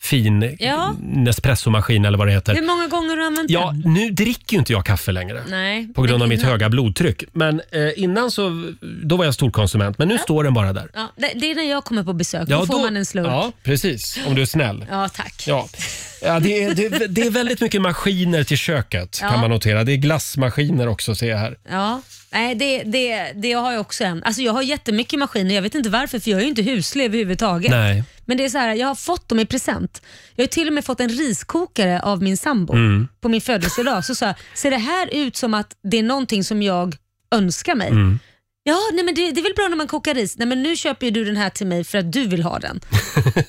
Speaker 1: fin
Speaker 2: Ja.
Speaker 1: Nespresso-maskin eller vad det heter.
Speaker 2: Hur många gånger har du använt
Speaker 1: Ja,
Speaker 2: den?
Speaker 1: nu dricker ju inte jag kaffe längre.
Speaker 2: Nej.
Speaker 1: På grund
Speaker 2: Men
Speaker 1: av mitt
Speaker 2: innan-
Speaker 1: höga blodtryck. Men eh, innan så då var jag storkonsument. Men nu står den bara där.
Speaker 2: Ja, det, det är när jag kommer på besök. då får man en slurk.
Speaker 1: Ja,
Speaker 2: Ja,
Speaker 1: precis. Om du är snäll.
Speaker 2: tack.
Speaker 1: Ja. Ja, det, är, det, det är väldigt mycket maskiner till köket
Speaker 2: Ja.
Speaker 1: kan man notera. Det är glassmaskiner också ser jag här.
Speaker 2: Ja. Nej, det, det, det har jag också en. Alltså jag har jättemycket maskiner, jag vet inte varför för jag är ju inte huslig överhuvudtaget.
Speaker 1: Nej.
Speaker 2: Men det är så här, jag har fått dem i present. Jag har till och med fått en riskokare av min sambo
Speaker 1: Mm.
Speaker 2: på min födelsedag. Så sa jag, ser det här ut som att det är någonting som jag önskar mig?
Speaker 1: Mm.
Speaker 2: Ja, nej men det, det är väl bra när man kokar ris. Nej men nu köper ju du den här till mig för att du vill ha den.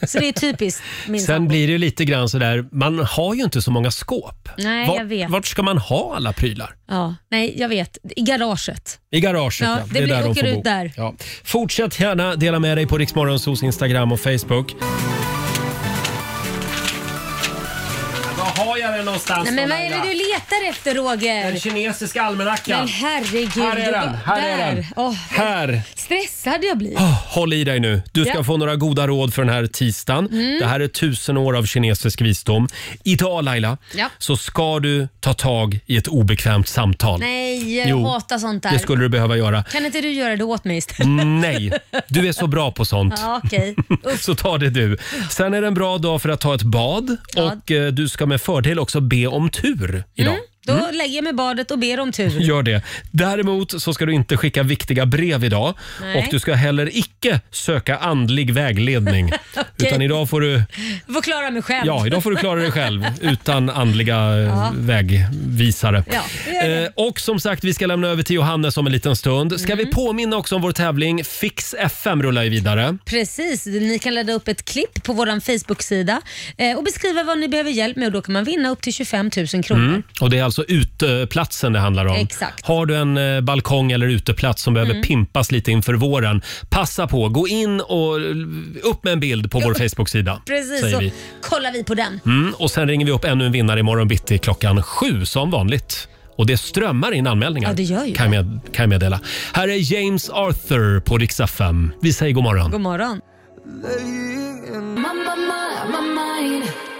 Speaker 2: Så det är typiskt min
Speaker 1: Sen blir det ju lite grann sådär, man har ju inte så många skåp.
Speaker 2: Nej,
Speaker 1: Vart-
Speaker 2: jag vet.
Speaker 1: Vart ska man ha alla prylar?
Speaker 2: Ja, nej, jag vet. I garaget.
Speaker 1: I garaget,
Speaker 2: Ja,
Speaker 1: ja.
Speaker 2: det blir-
Speaker 1: är där de
Speaker 2: åker
Speaker 1: får
Speaker 2: ut
Speaker 1: bo.
Speaker 2: där.
Speaker 1: Ja. Fortsätt gärna dela med dig på Riksmorgonsos Instagram och Facebook. Var har jag den någonstans
Speaker 2: Nej, men
Speaker 1: då,
Speaker 2: vad är det
Speaker 1: Laila?
Speaker 2: du letar efter Roger?
Speaker 1: Den kinesiska almanackan.
Speaker 2: Men herregud.
Speaker 1: Här är den, här är
Speaker 2: där.
Speaker 1: den.
Speaker 2: Åh,
Speaker 1: Här!
Speaker 2: stressad jag blir.
Speaker 1: Oh, håll i dig nu. Du ska
Speaker 2: Ja.
Speaker 1: få några goda råd för den här tisdagen.
Speaker 2: Mm.
Speaker 1: Det här är tusen år av kinesisk visdom. Idag Laila,
Speaker 2: Ja.
Speaker 1: så ska du ta tag i ett obekvämt samtal.
Speaker 2: Nej, jag
Speaker 1: Jo,
Speaker 2: hatar sånt där.
Speaker 1: Det skulle du behöva göra.
Speaker 2: Kan inte du göra det åt mig istället?
Speaker 1: Nej, du är så bra på sånt.
Speaker 2: Ja, okej.
Speaker 1: Så ta det du. Sen är det en bra dag för att ta ett bad
Speaker 2: Ja.
Speaker 1: och eh, du ska med fördel också be om tur idag.
Speaker 2: Då
Speaker 1: Mm.
Speaker 2: lägger jag mig i badet och ber om tur.
Speaker 1: Gör det. Däremot så ska du inte skicka viktiga brev idag
Speaker 2: Nej.
Speaker 1: och du ska heller icke söka andlig vägledning.
Speaker 2: Okej.
Speaker 1: Utan idag får du,
Speaker 2: Jag får klara mig själv.
Speaker 1: ja, idag får du klara dig själv utan andliga eh,
Speaker 2: Ja.
Speaker 1: vägvisare.
Speaker 2: Ja, det gör det.
Speaker 1: Eh, och som sagt, vi ska lämna över till Johannes om en liten stund.
Speaker 2: Mm.
Speaker 1: Ska vi påminna också om vår tävling? Fix FM rullar ju vidare.
Speaker 2: Precis, ni kan ladda upp ett klipp på vår Facebook-sida eh, och beskriva vad ni behöver hjälp med och då kan man vinna upp till 25 000 kronor.
Speaker 1: Mm. Och det är alltså uteplatsen det handlar om.
Speaker 2: Exakt.
Speaker 1: Har du en eh, balkong eller uteplats som behöver
Speaker 2: Mm.
Speaker 1: pimpas lite inför våren, passa på. Gå in och eh, upp med en bild på vår Facebook-sida.
Speaker 2: Precis,
Speaker 1: säger
Speaker 2: så
Speaker 1: vi.
Speaker 2: kollar vi på den.
Speaker 1: Mm. Och sen ringer vi upp ännu en vinnare imorgon bitti klockan sju som vanligt. Och det strömmar in anmälningar.
Speaker 2: Ja, det gör ju
Speaker 1: kan, jag, kan jag meddela. Här är James Arthur på Rix FM. Vi säger god morgon.
Speaker 2: God morgon.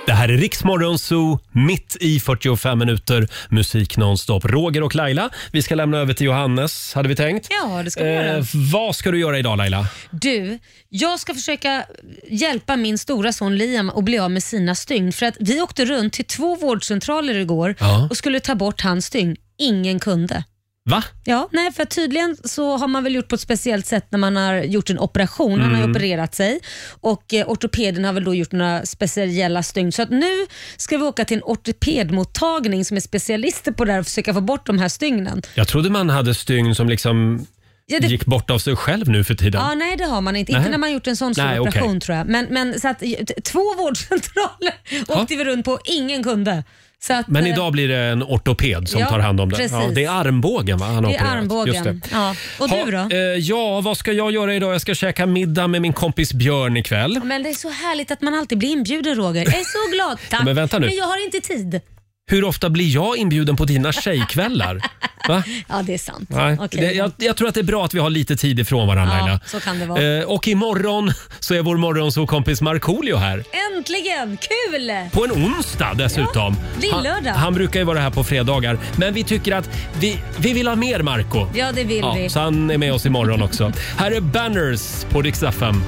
Speaker 1: Det här är Riksmorgon Zoo, mitt i 45 minuter musik nonstop. Roger och Laila, vi ska lämna över till Johannes, hade vi tänkt.
Speaker 2: Ja, det ska vi göra.
Speaker 1: Eh, vad ska du göra idag Laila?
Speaker 2: Du, jag ska försöka hjälpa min stora son Liam att bli av med sina stygn. För att vi åkte runt till två vårdcentraler igår
Speaker 1: Ja.
Speaker 2: och skulle ta bort hans stygn. Ingen kunde.
Speaker 1: Va?
Speaker 2: Ja, nej, för tydligen så har man väl gjort på ett speciellt sätt när man har gjort en operation. Han har ju
Speaker 20: Mm.
Speaker 2: opererat sig och eh, ortopeden har väl då gjort några speciella stygn. Så att nu ska vi åka till en ortopedmottagning som är specialister på det här och försöka få bort de här stygnen.
Speaker 1: Jag trodde man hade stygn som liksom
Speaker 2: Ja, det-
Speaker 1: gick bort av sig själv nu för tiden.
Speaker 2: Ja, nej det har man inte.
Speaker 1: Nej.
Speaker 2: Inte när man gjort en sån stor
Speaker 1: Nej, okej.
Speaker 2: operation tror jag. Men, men så att, t- två vårdcentraler åkte vi runt på, ingen kunde. Så att,
Speaker 1: Men
Speaker 2: eh,
Speaker 1: idag blir det en ortoped som
Speaker 2: Ja,
Speaker 1: tar hand om det.
Speaker 2: precis.
Speaker 1: Ja, det är armbågen va? Han har
Speaker 2: det är
Speaker 1: opererat. Just
Speaker 2: armbågen.
Speaker 1: det.
Speaker 2: Ja. Och
Speaker 1: Ha,
Speaker 2: du då?
Speaker 1: eh, ja, vad ska jag göra idag? Jag ska käka middag med min kompis Björn ikväll.
Speaker 2: Men det är så härligt att man alltid blir inbjuden Roger. Jag är så glad. Tack.
Speaker 1: Men vänta nu.
Speaker 2: jag har inte tid.
Speaker 1: Hur ofta blir jag inbjuden på dina tjejkvällar? Va?
Speaker 2: Ja, det är sant.
Speaker 1: Nej.
Speaker 2: Okej.
Speaker 1: Det, jag, jag tror att det är bra att vi har lite tid ifrån varandra.
Speaker 2: ja,
Speaker 1: Laila.
Speaker 2: så kan det vara.
Speaker 1: Eh, och imorgon så är vår morgonsåkompis Markoolio här.
Speaker 2: Äntligen! Kul!
Speaker 1: På en onsdag dessutom.
Speaker 2: Ja, lillördag.
Speaker 1: Han, han brukar ju vara här på fredagar. Men vi tycker att vi, vi vill ha mer Marco.
Speaker 2: Ja, det vill vi.
Speaker 1: Så han är med oss imorgon också. här är Banners på Rix FM.
Speaker 2: Mm.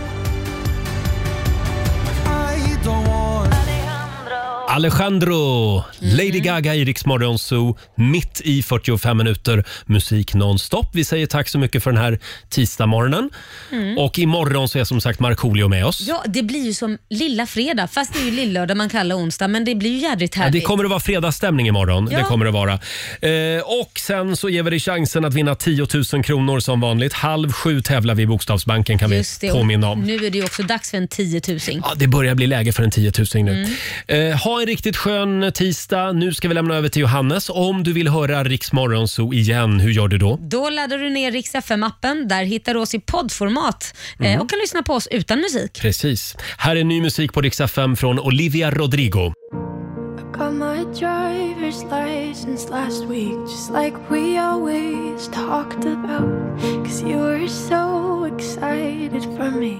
Speaker 1: Alejandro, Lady Gaga i Rix Morgon Zoo, mitt i 45 minuter musik nonstop. Vi säger tack så mycket för den här tisdagmorgonen.
Speaker 2: Mm.
Speaker 1: Och imorgon så är som sagt Markoolio med oss.
Speaker 2: Ja, det blir ju som lilla fredag, fast det är ju lillördag man kallar onsdag, men det blir ju jädrigt
Speaker 1: Ja,
Speaker 2: härligt.
Speaker 1: det kommer att vara fredagsstämning imorgon.
Speaker 2: Ja.
Speaker 1: Det kommer det vara. Eh, och sen så ger vi dig chansen att vinna 10 000 kronor som vanligt. Halv sju tävlar vi i Bokstavsbanken kan vi
Speaker 2: Just det, och
Speaker 1: påminna om.
Speaker 2: Nu är det ju också dags för en 10 000.
Speaker 1: Ja, det börjar bli läge för en 10 000 nu.
Speaker 2: Mm.
Speaker 1: Eh, ha en riktigt skön tisdag. Nu ska vi lämna över till Johannes. Om du vill höra Riks Morgonzoo igen, hur gör du då?
Speaker 2: Då laddar du ner Rix FM-appen. Där hittar du oss i poddformat eh,
Speaker 1: Mm.
Speaker 2: och kan lyssna på oss utan musik.
Speaker 1: Precis. Här är ny musik på Rix FM från Olivia Rodrigo.
Speaker 12: Got my driver's license last week, just like we always talked about. Cause you were so excited for me.